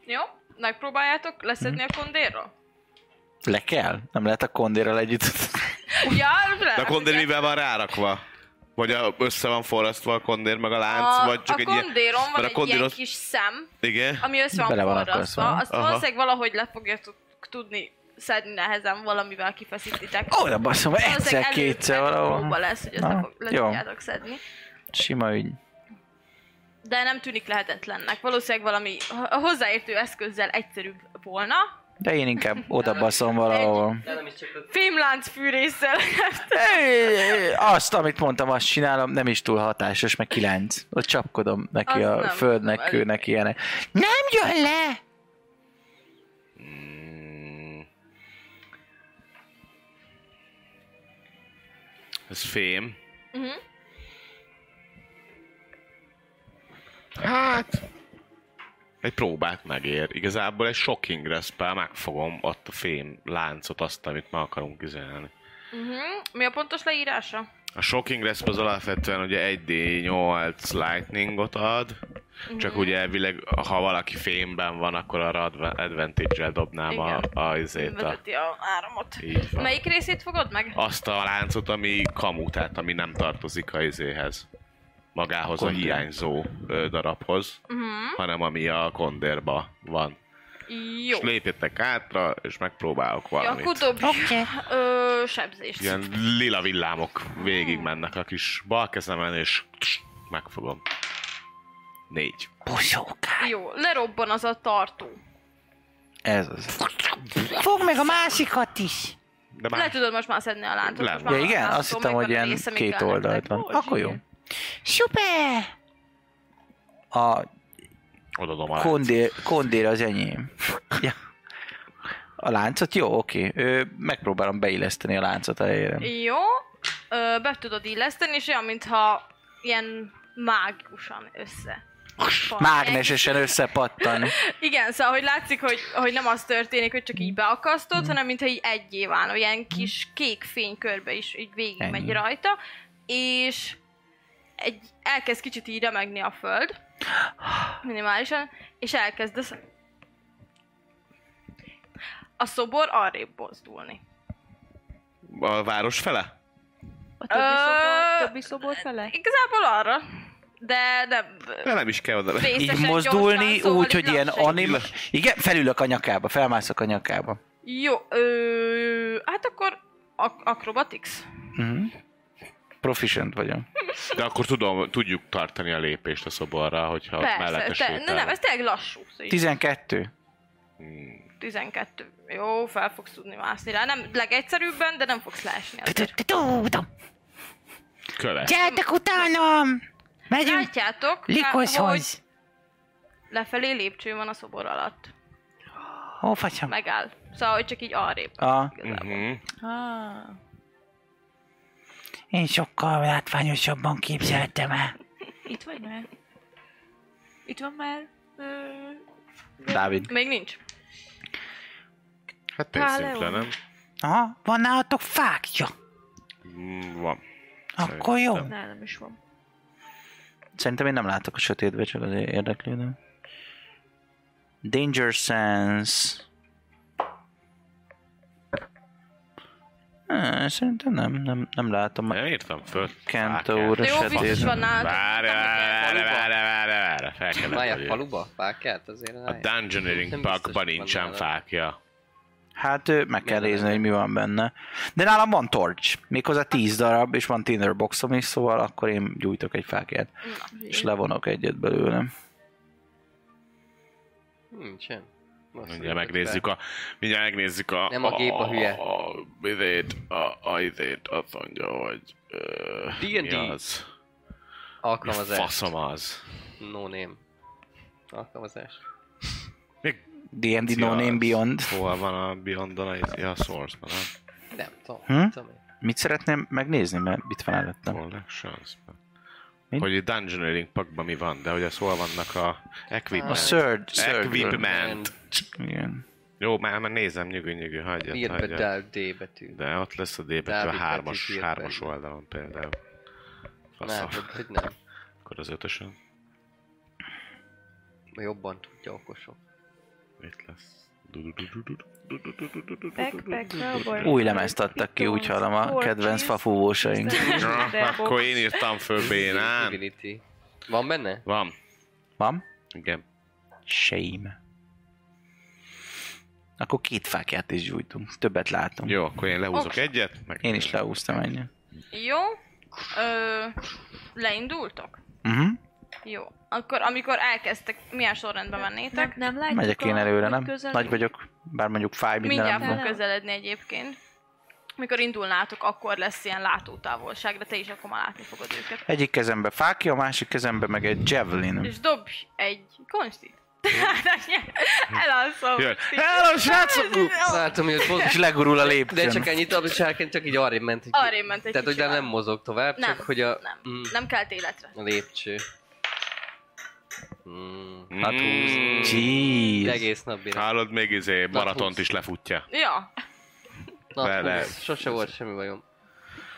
Speaker 2: Jó, megpróbáljátok leszedni
Speaker 3: Hm.
Speaker 2: a kondérra?
Speaker 3: Le kell? Nem lehet a kondérrel együtt.
Speaker 2: Ja,
Speaker 4: De a kondér mivel van rárakva? Vagy a, össze van forrasztva a kondér meg a lánc, vagy csak
Speaker 2: a
Speaker 4: egy ilyen...
Speaker 2: kondéron van
Speaker 4: mert a
Speaker 2: egy
Speaker 4: kondér
Speaker 2: ilyen
Speaker 4: az-
Speaker 2: kis szem,
Speaker 4: Igen?
Speaker 2: ami össze van
Speaker 3: Bele van
Speaker 2: forrasztva.
Speaker 3: akasztva.
Speaker 2: Azt
Speaker 4: Aha.
Speaker 2: valószínűleg valahogy le fogjátok tudni szedni nehezen valamivel kifeszítitek.
Speaker 3: Ó, de basszom,
Speaker 2: Valószínűleg
Speaker 3: egyszer,
Speaker 2: előbb
Speaker 3: kétszer
Speaker 2: meg próba
Speaker 3: valahol.
Speaker 2: lesz, hogy ezt
Speaker 3: Na,
Speaker 2: le, fog, le
Speaker 3: jó.
Speaker 2: tudjátok szedni.
Speaker 3: Sima ügy.
Speaker 2: De nem tűnik lehetetlennek. Valószínűleg valami h- hozzáértő eszközzel egyszerűbb volna.
Speaker 3: De én inkább oda baszom valahol.
Speaker 7: De nem is csak a...
Speaker 2: Fémlánc fűrészsel.
Speaker 3: Azt, amit mondtam, azt csinálom, nem is túl hatásos, meg kilenc. Ott csapkodom neki
Speaker 2: Azt
Speaker 3: a
Speaker 2: nem
Speaker 3: földnek,
Speaker 2: tudom,
Speaker 3: kőnek, ilyenek.
Speaker 5: Nem jön le!
Speaker 4: Mm. Ez fém.
Speaker 2: Mhm.
Speaker 4: Hát... Egy próbát megér. Igazából egy shocking respel megfogom ott a fém láncot, azt, amit meg akarunk üzenni.
Speaker 2: Mhm. [LAUGHS] Mi a pontos leírása?
Speaker 4: A shocking resp az alapvetően ugye 1d8 lightningot ad, csak ugye elvileg, ha valaki fémben van, akkor arra adva- advantage-el dobnám a,
Speaker 2: Igen.
Speaker 4: a, azért a,
Speaker 2: Vezeti a áramot.
Speaker 4: így van.
Speaker 2: Melyik részét fogod meg?
Speaker 4: Azt a láncot, ami kamu, tehát ami nem tartozik a izéhez. Magához a
Speaker 3: Kondér.
Speaker 4: hiányzó ö, darabhoz,
Speaker 2: Mhm.
Speaker 4: hanem ami a kondérba van.
Speaker 2: Jó.
Speaker 4: És lépjetek átra, és megpróbálok
Speaker 2: Ja,
Speaker 4: valamit.
Speaker 2: akkor dobj
Speaker 5: Oké.
Speaker 2: ö, sebzést.
Speaker 4: Ilyen lila villámok
Speaker 2: Hmm.
Speaker 4: végig mennek a kis bal kezemen, és megfogom. Négy.
Speaker 5: Boszókány.
Speaker 2: Jó, lerobban az a tartó.
Speaker 3: Ez az.
Speaker 5: Fogd meg a másikat is.
Speaker 4: De
Speaker 2: Le
Speaker 4: már
Speaker 2: tudod most már szedni a lántot.
Speaker 4: Le-
Speaker 2: most már
Speaker 3: Ja, igen?
Speaker 2: látható,
Speaker 3: Azt hittem,
Speaker 2: megvan
Speaker 3: hogy
Speaker 2: a
Speaker 3: ilyen
Speaker 2: része, mi
Speaker 3: két
Speaker 2: kell
Speaker 3: oldalt
Speaker 2: nektek.
Speaker 3: van.
Speaker 2: Ó,
Speaker 3: Akkor jó.
Speaker 2: igen.
Speaker 5: Szuper!
Speaker 3: A
Speaker 4: odadom alá.
Speaker 3: kondér, kondér az enyém. ja. A láncot? Jó, oké. Ö, megpróbálom beilleszteni a láncot a helyére.
Speaker 2: Jó, ö, be tudod illeszteni, és olyan, mintha ilyen mágusan össze.
Speaker 3: Mágnesesen összepattan.
Speaker 2: Igen, szóval, hogy látszik, hogy, hogy nem az történik, hogy csak így
Speaker 3: Mm.
Speaker 2: beakasztod, hanem mintha így egyé válna, ilyen kis kék fénykörbe is így végig megy
Speaker 3: Ennyi.
Speaker 2: rajta, és egy, elkezd kicsit így remegni a föld, minimálisan, és elkezdesz a szobor arrébb mozdulni.
Speaker 4: A város fele?
Speaker 6: A többi,
Speaker 2: Ö,
Speaker 6: szobor, többi szobor fele?
Speaker 2: Igazából arra, de nem...
Speaker 4: De nem is kell oda.
Speaker 3: Így
Speaker 2: részesen,
Speaker 3: mozdulni,
Speaker 2: gyorsan, szóval
Speaker 3: úgy, hogy ilyen
Speaker 2: lassan.
Speaker 3: anim... Igen, felülök a nyakába, felmászok a nyakába.
Speaker 2: Jó, ö, hát akkor ak- acrobatics.
Speaker 3: Mhm. Proficient vagyok.
Speaker 4: De akkor tudom, tudjuk tartani a lépést a szoborra, hogyha ott mellette
Speaker 2: Persze, te,
Speaker 4: sétál.
Speaker 2: ne, nem, ez tényleg lassú. Szóval így
Speaker 3: 12.
Speaker 4: Hmm.
Speaker 2: 12. Jó, fel fogsz tudni mászni rá. Nem legegyszerűbben, de nem fogsz leesni.
Speaker 5: Te- te- te- Tudom!
Speaker 4: Követ.
Speaker 5: Gyertek utánam! Megyünk
Speaker 2: Látjátok, hogy
Speaker 5: Likoszhoz!
Speaker 2: lefelé lépcső van a szobor alatt.
Speaker 5: Ó, faszom!
Speaker 2: Megáll. Szóval, hogy csak így arrébb.
Speaker 3: A...
Speaker 2: Igazából.
Speaker 4: Mhm.
Speaker 6: Ah,
Speaker 5: Én sokkal látványosabban képzeltem el.
Speaker 6: itt vagy már? Itt van már? Ö,
Speaker 3: Dávid.
Speaker 2: Még nincs.
Speaker 4: Hát pénzszimple, nem?
Speaker 5: Aha, van nálatok fákja?
Speaker 4: Mm, Van.
Speaker 5: Akkor jó.
Speaker 6: nálam is van.
Speaker 3: Szerintem én nem látok a sötétbe, csak azért érdeklődöm. Danger sense. Ne, szerintem nem, nem, nem látom.
Speaker 4: Nem írtam föl.
Speaker 3: Kenta
Speaker 4: Fákját.
Speaker 3: úr.
Speaker 2: De jó,
Speaker 3: Sötét.
Speaker 2: biztos van nálad.
Speaker 4: Várj,
Speaker 2: nem kell.
Speaker 4: várj, várj, várj, várj, fel
Speaker 7: Várj, a
Speaker 4: kellett, hogy...
Speaker 7: faluba? Fákját azért?
Speaker 4: A
Speaker 7: rájön.
Speaker 4: Dungeoneering
Speaker 7: Nem
Speaker 4: Parkban
Speaker 7: biztos, hogy
Speaker 4: nincsen
Speaker 7: van
Speaker 4: fákja.
Speaker 3: Hát ö, meg kell
Speaker 7: Miért
Speaker 3: nézni,
Speaker 7: nem?
Speaker 3: hogy mi van benne. De nálam van torch, méghozzá 10 darab, és van tinderboxom is, szóval akkor én gyújtok egy fákját, és levonok egyet belőlem.
Speaker 7: Nincsen. Most
Speaker 4: Mindjárt megnézzük a... Mindjárt megnézzük a...
Speaker 7: Nem a gép a hülye.
Speaker 4: A... Izét, a... A... Izét, azt mondja, hogy... ö,
Speaker 7: D&D.
Speaker 4: Mi az? Mi
Speaker 7: Alkalmazás.
Speaker 4: faszom az?
Speaker 7: No name. Alkalmazás.
Speaker 3: D&D
Speaker 4: Szia,
Speaker 3: No Name
Speaker 4: az-
Speaker 3: Beyond.
Speaker 4: Hol van a Beyond a... izé- Ja, a Source-ban, nem?
Speaker 7: Nem tudom.
Speaker 3: Hm?
Speaker 7: tudom én.
Speaker 3: Mit szeretném megnézni, mert itt van előttem.
Speaker 4: Collections-ban.
Speaker 3: Mi?
Speaker 4: Hogy itt Dungeoneering Parkban mi van, de hogy az hol vannak a
Speaker 3: A
Speaker 4: equipment.
Speaker 3: Surge. Surge.
Speaker 4: Equipment.
Speaker 3: Igen.
Speaker 4: Jó, már, már nézem, nyugi, nyugi, hagyjad,
Speaker 7: Írd be
Speaker 4: hagyjad.
Speaker 7: Del D betű.
Speaker 4: De ott lesz a D betű a
Speaker 7: Dávid
Speaker 4: hármas,
Speaker 7: betűt írd
Speaker 4: hármas
Speaker 7: be.
Speaker 4: oldalon például.
Speaker 7: Nem,
Speaker 4: Faszom.
Speaker 7: hogy nem.
Speaker 4: Akkor az ötösön
Speaker 7: Jobban tudja okosok.
Speaker 4: mit lesz?
Speaker 6: Backpack, cowboy.
Speaker 3: Új lemezt adtak ki, úgy hallom a
Speaker 6: Torches.
Speaker 3: kedvenc fafúvósaink.
Speaker 4: Ja, akkor én írtam föl bénán.
Speaker 7: Divinity. Van benne?
Speaker 4: Van.
Speaker 3: Van?
Speaker 4: Igen.
Speaker 3: Shame. Akkor két fákját is gyújtunk. Többet látunk.
Speaker 4: Jó, akkor én lehúzok
Speaker 2: Oké.
Speaker 4: egyet. Meg
Speaker 3: Én is leúztam ennyit.
Speaker 2: Jó. Ö, leindultok?
Speaker 3: Mhm.
Speaker 2: Jó. Akkor amikor elkezdtek, milyen sorrendben mennétek?
Speaker 6: Nem, nem látjuk
Speaker 3: Megyek én
Speaker 6: a-
Speaker 3: előre,
Speaker 6: hogy
Speaker 3: nem?
Speaker 6: közel-
Speaker 3: Nagy vagyok, bár mondjuk fáj
Speaker 2: Mindjárt
Speaker 3: mindenem.
Speaker 2: fog
Speaker 6: van.
Speaker 2: közeledni egyébként. Mikor indulnátok, akkor lesz ilyen látótávolság, de te is akkor már látni fogod őket.
Speaker 3: Egyik kezembe fákja, a másik kezembe meg egy
Speaker 4: Hm.
Speaker 3: javelin.
Speaker 2: És dobj egy konstit. [LAUGHS]
Speaker 4: Hm.
Speaker 2: Elalszom.
Speaker 4: Jön.
Speaker 3: Hello, srácok! Ú,
Speaker 7: Látom, hogy ott mozog. [LAUGHS]
Speaker 3: És legurul a
Speaker 7: De
Speaker 3: lépcsőn.
Speaker 7: csak ennyit a sárkány, csak így arrébb ment. Egy
Speaker 2: Arrébb ment egy
Speaker 7: Tehát, hogy
Speaker 2: kicsivel.
Speaker 7: nem mozog tovább,
Speaker 2: Nem,
Speaker 7: csak hogy a...
Speaker 2: nem.
Speaker 7: Mm,
Speaker 2: Nem kelt életre.
Speaker 7: A lépcső. Mm.
Speaker 4: Hát húz.
Speaker 3: Jeez.
Speaker 7: Egész nap bírás.
Speaker 4: Hallod, még izé maratont
Speaker 7: húsz.
Speaker 4: is lefutja.
Speaker 2: Ja,
Speaker 7: Na,
Speaker 4: Vele.
Speaker 7: húsz. sose volt semmi bajom.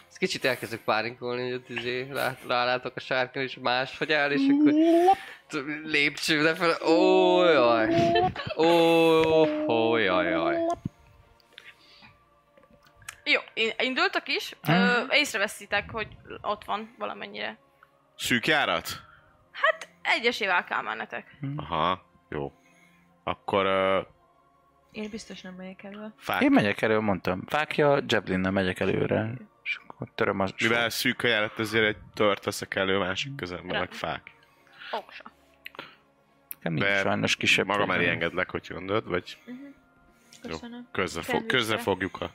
Speaker 7: Ezt kicsit elkezdek pánikolni, hogy ott izé rá- rálátok a sárkán, és máshogy áll, és akkor t- lépcső lefelé. Ó, jaj. Ó, ó, jaj, jaj.
Speaker 2: jó, in- indultak is.
Speaker 4: Hm.
Speaker 2: Ö, észreveszitek, hogy ott van valamennyire.
Speaker 4: Szűk járat?
Speaker 2: Egyesével kell mennetek.
Speaker 4: Aha, jó. Akkor ö,
Speaker 6: Én biztos nem megyek elő.
Speaker 4: fák.
Speaker 3: Én megyek elő, mondtam. Fákja, javelinnel megyek előre. És akkor töröm a...
Speaker 4: Mivel szűk a járat, ezért egy tört veszek elő másik közemben, meg
Speaker 2: Rendben.
Speaker 4: fák.
Speaker 2: Oksa.
Speaker 3: Nekem nincs
Speaker 4: de
Speaker 3: sajnos kisebb.
Speaker 4: Magam
Speaker 3: fegyverem.
Speaker 4: elé engedlek, hogy mondod, vagy
Speaker 6: Köszönöm.
Speaker 4: közre, fog,
Speaker 6: Felnőttre.
Speaker 4: közre fogjuk a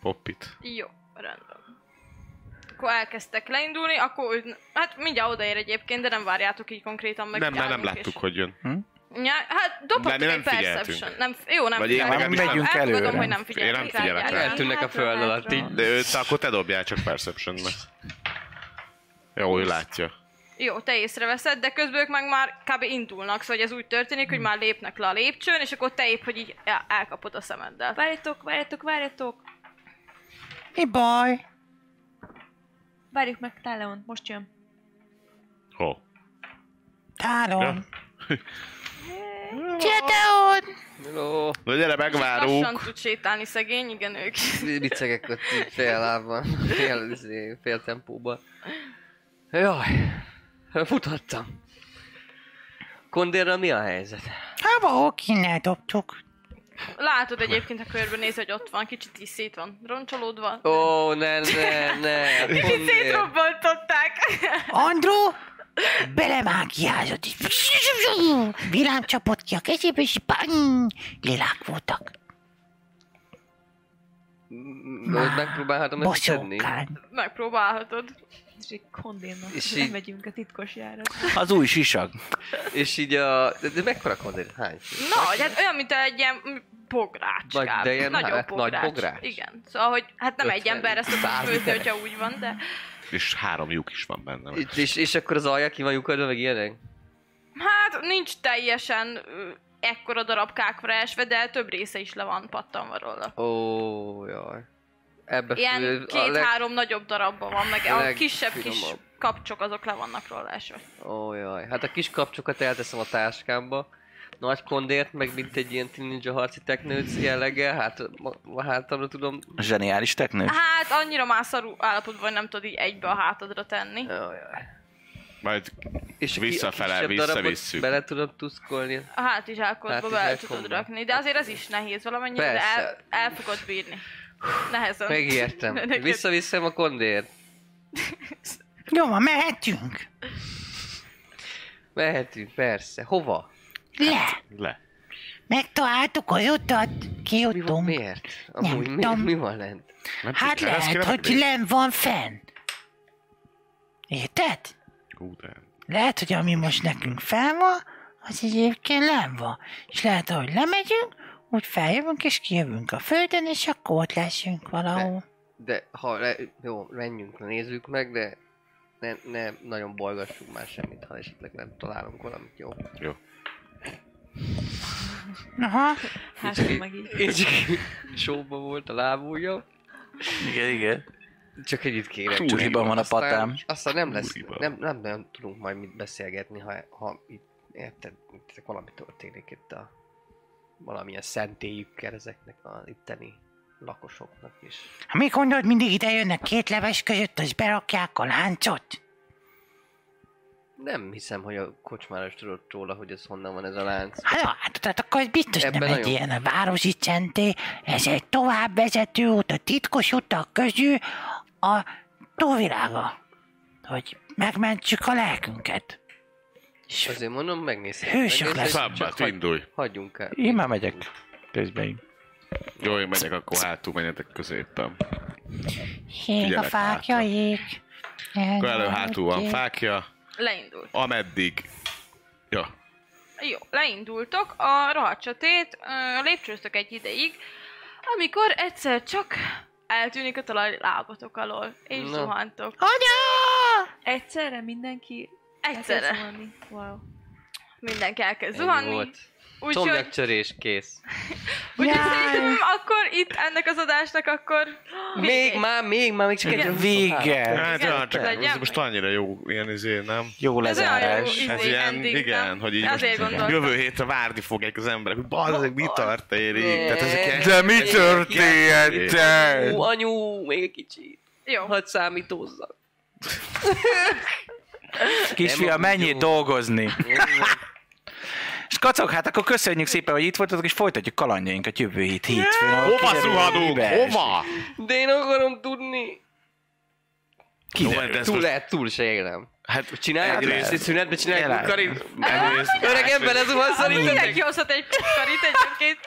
Speaker 4: Poppit.
Speaker 2: Jó, rendben. Akkor elkezdtek leindulni, akkor úgy, hát mindjárt odaér egyébként, de nem várjátok így konkrétan meg.
Speaker 4: nem,
Speaker 2: hogy
Speaker 4: mert nem
Speaker 2: állunk,
Speaker 4: láttuk, hogy jön.
Speaker 2: És... Ja, hát dobhatok
Speaker 4: De mi
Speaker 2: egy
Speaker 4: nem figyeltünk.
Speaker 2: perception. Nem, jó, nem
Speaker 4: Vagy én
Speaker 2: figyeltem.
Speaker 4: legalábbis
Speaker 3: Megyünk
Speaker 4: nem.
Speaker 2: Elfogadom,
Speaker 3: előre.
Speaker 2: hogy nem
Speaker 4: Én nem
Speaker 2: figyeltek rá.
Speaker 4: figyelek
Speaker 2: egyáltalán.
Speaker 4: rá.
Speaker 7: Eltűnnek a
Speaker 6: hátra,
Speaker 7: föld
Speaker 6: hátra.
Speaker 7: alatt így.
Speaker 4: De őt akkor te dobjál csak Perception-be. Jó, ő látja.
Speaker 2: Jó, te észreveszed, de közben ők meg már kb. indulnak, szóval hogy ez úgy történik, hogy már lépnek le a lépcsőn, és akkor te épp, hogy így el- elkapod a szemeddel.
Speaker 6: Várjatok, várjatok, várjatok!
Speaker 5: Mi baj?
Speaker 6: Várjuk meg Táleont, most jön.
Speaker 4: Ho.
Speaker 5: Tárom.
Speaker 7: Ó,
Speaker 4: Na gyere,
Speaker 2: Lassan
Speaker 4: megvárunk.
Speaker 2: tud sétálni szegény, igen ők.
Speaker 7: bicegek ott így fél lábban, fél, izé, fél tempóban. Jaj, futottam. Kondérra mi a helyzet?
Speaker 5: Hava okinnál Hát, dobtuk.
Speaker 2: Látod egyébként, ha körbenéz, hogy ott van, kicsit így szét van roncsolódva.
Speaker 7: Ó, ne, ne, ne. Hát
Speaker 2: Kicsit
Speaker 7: Kondér.
Speaker 2: szétrobbantották.
Speaker 5: Andró belemágiázott. így. Vilám csapott ki a kezébe, és bang, lilák voltak.
Speaker 7: Most megpróbálhatom ezt tenni.
Speaker 5: Boszókán.
Speaker 2: Megpróbálhatod.
Speaker 6: És egy kondénnak
Speaker 7: És
Speaker 6: és
Speaker 7: így-
Speaker 6: így... megyünk a titkos járat.
Speaker 3: Az új sisak.
Speaker 7: És így a... De, de mekkora kondér? Hány?
Speaker 2: Nagy, hát olyan, mint egy ilyen bogrács.
Speaker 7: Nagy,
Speaker 2: kb.
Speaker 7: de ilyen
Speaker 2: Nagyobb
Speaker 7: hát nagy
Speaker 2: bogrács.
Speaker 7: bogrács.
Speaker 2: Igen. Szóval, hogy hát nem egy
Speaker 7: 50,
Speaker 2: emberre szokott
Speaker 7: 100
Speaker 2: főzni,
Speaker 7: literes.
Speaker 2: hogyha úgy van, de...
Speaker 4: És három lyuk is van benne.
Speaker 7: Itt, és, és akkor az alja ki van lyukadva, meg ilyenek?
Speaker 2: Hát nincs teljesen ö, ekkora darabkákra esve, de több része is le van pattanva róla.
Speaker 7: Ó, jaj. Ebbe
Speaker 2: Ilyen
Speaker 7: fő-
Speaker 2: két-három nagyobb darabban van, meg a
Speaker 7: leg-
Speaker 2: kisebb kis
Speaker 7: finomabb.
Speaker 2: kapcsok azok le vannak róla esve.
Speaker 7: Ó, jaj. Hát a kis kapcsokat elteszem a táskámba. Nagy kondért, meg mint egy ilyen ninja harci teknőc jelleggel, hát ma- ma hátamra tudom.
Speaker 3: Zseniális teknő.
Speaker 2: Hát annyira már szarú állapotban, hogy nem tudod így egybe a hátadra tenni.
Speaker 7: Ó, jaj.
Speaker 4: Majd
Speaker 7: És a ki- a
Speaker 4: Visszafele,
Speaker 7: kisebb
Speaker 4: vissza
Speaker 7: darabot
Speaker 4: visszük.
Speaker 7: Bele tudom tuszkolni.
Speaker 2: [LAUGHS] A hátizsákodba
Speaker 7: Hát,
Speaker 2: be
Speaker 7: így
Speaker 2: tudod
Speaker 7: elkomban.
Speaker 2: rakni, de azért ez is nehéz valamennyire, de
Speaker 7: Persze.
Speaker 2: el, el fogod bírni. Nehezen. [LAUGHS]
Speaker 7: Megértem.
Speaker 2: Neked-
Speaker 7: Visszaviszem a kondért.
Speaker 5: Jó, van, mehetünk.
Speaker 7: Mehetünk, persze. Hova?
Speaker 5: Le.
Speaker 4: le.
Speaker 5: Megtaláltuk az utat,
Speaker 7: Mi van,
Speaker 5: kijutunk.
Speaker 7: miért? Amúgy mi,
Speaker 5: tudom.
Speaker 7: mi van lent?
Speaker 4: Nem
Speaker 5: Hát
Speaker 4: tudja, ezt kéne
Speaker 5: lehet, hogy
Speaker 4: megnézni.
Speaker 5: nem van fenn. Érted?
Speaker 4: Ú, de-
Speaker 5: Lehet, hogy ami most nekünk fel van, az egyébként nem van. És lehet, ahogy lemegyünk, úgy feljövünk és kijövünk a földön, és akkor ott leszünk valahol.
Speaker 7: De ha le, jó, menjünk, nézzük meg, de ne, ne nagyon bolgassunk már semmit, ha esetleg nem találunk valamit, jó?
Speaker 4: Jó.
Speaker 5: Aha,
Speaker 6: Hátra meg így.
Speaker 7: Én csak [LAUGHS] sóba volt a lábúja,
Speaker 3: Igen, igen.
Speaker 7: csak ennyit kérek.
Speaker 3: Csúriban
Speaker 7: Csuliban,
Speaker 3: van a
Speaker 7: aztán-
Speaker 3: patám.
Speaker 7: Aztán nem lesz,
Speaker 4: Csúriban.
Speaker 7: nem, nem, nem tudunk majd mit beszélgetni, ha, ha itt, érted, itt valami történik itt a valamilyen szentélyükkel ezeknek a itteni lakosoknak is.
Speaker 5: ha mi gondolod, mindig ide jönnek két leves között, és berakják a láncot?
Speaker 7: Nem hiszem, hogy a kocsmáros tudott róla, hogy ez honnan van ez a lánc.
Speaker 5: Hát, hát tudod, akkor ez biztos
Speaker 7: Ebben
Speaker 5: nem egy
Speaker 7: nagyon-
Speaker 5: ilyen a városi centé, ez egy továbbvezető út, a titkos utak közül a túlvilága, hogy megmentsük a lelkünket. És
Speaker 7: Azért mondom, megnézhetjük.
Speaker 5: Hősök
Speaker 7: megnézhetjük,
Speaker 5: leszünk.
Speaker 7: csak
Speaker 4: Szabbat,
Speaker 7: hagy-
Speaker 4: indulj.
Speaker 7: Hagyjunk el.
Speaker 3: Én már megyek. Közben.
Speaker 4: Jó, én megyek, akkor hátul menjetek középen.
Speaker 5: ég a
Speaker 4: Figyelek
Speaker 5: fákja,
Speaker 4: hátra.
Speaker 5: ég.
Speaker 4: Akkor elő-hátul van fákja,
Speaker 2: Leindult.
Speaker 4: ameddig... Ja,
Speaker 2: Jó, leindultok a rahacsatét, ö, lépcsőztök egy ideig, amikor egyszer csak eltűnik a talaj lábatok alól, és
Speaker 7: Na.
Speaker 2: no. zuhantok.
Speaker 6: Egyszerre mindenki
Speaker 2: Egyszerre
Speaker 6: elkezd zuhanni. Wow.
Speaker 2: mindenki elkezd
Speaker 7: Ennyi
Speaker 2: zuhanni,
Speaker 7: volt.
Speaker 2: úgyhogy
Speaker 7: Combjakcsörés, kész.
Speaker 2: úgy szerintem [LAUGHS] akkor itt ennek az adásnak akkor
Speaker 7: Még már, még már, még csak
Speaker 2: Igen.
Speaker 7: egy
Speaker 3: Vége.
Speaker 4: Hát
Speaker 2: Igen,
Speaker 4: olyan, csak
Speaker 2: legyen
Speaker 4: ez
Speaker 2: meg.
Speaker 4: most annyira jó ilyen izé, nem?
Speaker 3: Jó
Speaker 2: Ez olyan jó
Speaker 3: lezárás.
Speaker 2: izé,
Speaker 4: Ez ilyen,
Speaker 2: ending,
Speaker 4: igen,
Speaker 2: nem?
Speaker 4: hogy így
Speaker 2: Azért
Speaker 4: most
Speaker 2: gondoltam.
Speaker 4: jövő hétre várni fogják az emberek, hogy bazzeg, mi történik? Tehát ezek ilyen...
Speaker 7: De mi
Speaker 4: történt?
Speaker 7: Ú, anyu, még egy kicsit.
Speaker 2: Jó,
Speaker 7: Hadd számítózzak.
Speaker 3: Kisfia,
Speaker 7: Nem,
Speaker 3: mennyi
Speaker 7: jó.
Speaker 3: dolgozni?
Speaker 7: Jó, jó.
Speaker 3: És kacok, hát akkor köszönjük szépen, hogy itt voltatok, és folytatjuk kalandjainkat jövő hét hétfőn. ahol
Speaker 4: Hova
Speaker 3: kiderül,
Speaker 4: zuhanunk?
Speaker 3: mibe esik.
Speaker 4: Hova?
Speaker 7: De én akarom tudni.
Speaker 4: Jó,
Speaker 3: Kiderül.
Speaker 4: de ez
Speaker 7: Túl
Speaker 4: most-
Speaker 7: lehet, túl se élem.
Speaker 4: Hát
Speaker 7: Csinálják
Speaker 4: egyrészt-
Speaker 7: ezt egy szünetbe, csinálják
Speaker 4: Elállt.
Speaker 7: Karim.
Speaker 4: Egyrészt-
Speaker 7: Öreg ember, ez van
Speaker 2: Ami
Speaker 7: szerintem.
Speaker 2: mindenki hozhat egy kis karit egyébként.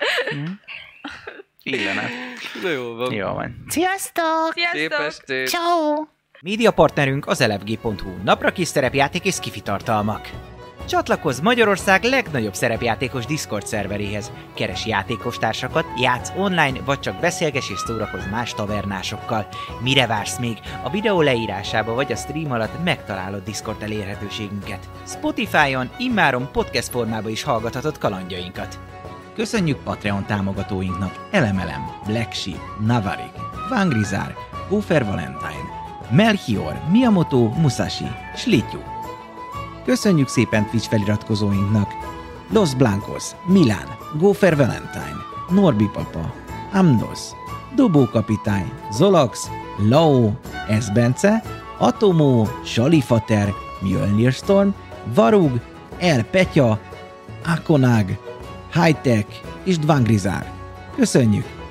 Speaker 3: Illene.
Speaker 7: Na jó van.
Speaker 3: Jó van.
Speaker 5: Sziasztok!
Speaker 7: Szép
Speaker 2: Sziasztok!
Speaker 7: estét.
Speaker 5: Ciao!
Speaker 1: Média partnerünk az elefg.hu, napra kis szerepjáték és kifi tartalmak. Csatlakozz Magyarország legnagyobb szerepjátékos Discord szerveréhez. Keres játékostársakat, játsz online, vagy csak beszélges és szórakozz más tavernásokkal. Mire vársz még? A videó leírásába vagy a stream alatt megtalálod Discord elérhetőségünket. Spotify-on immáron podcast formában is hallgathatod kalandjainkat. Köszönjük Patreon támogatóinknak Elemelem, Black Sheep, Navarik, Vangrizár, Gófer Valentine, Melchior, Miyamoto, Musashi, Slityu. Köszönjük szépen Twitch feliratkozóinknak Los Blancos, Milán, Gófer Valentine, Norbi Papa, Amnos, Dobó Kapitány, Zolax, Lao, Esbence, Atomó, Salifater, Mjölnir Storm, Varug, El Petya, Akonag, Hightech és Dvangrizár. Köszönjük!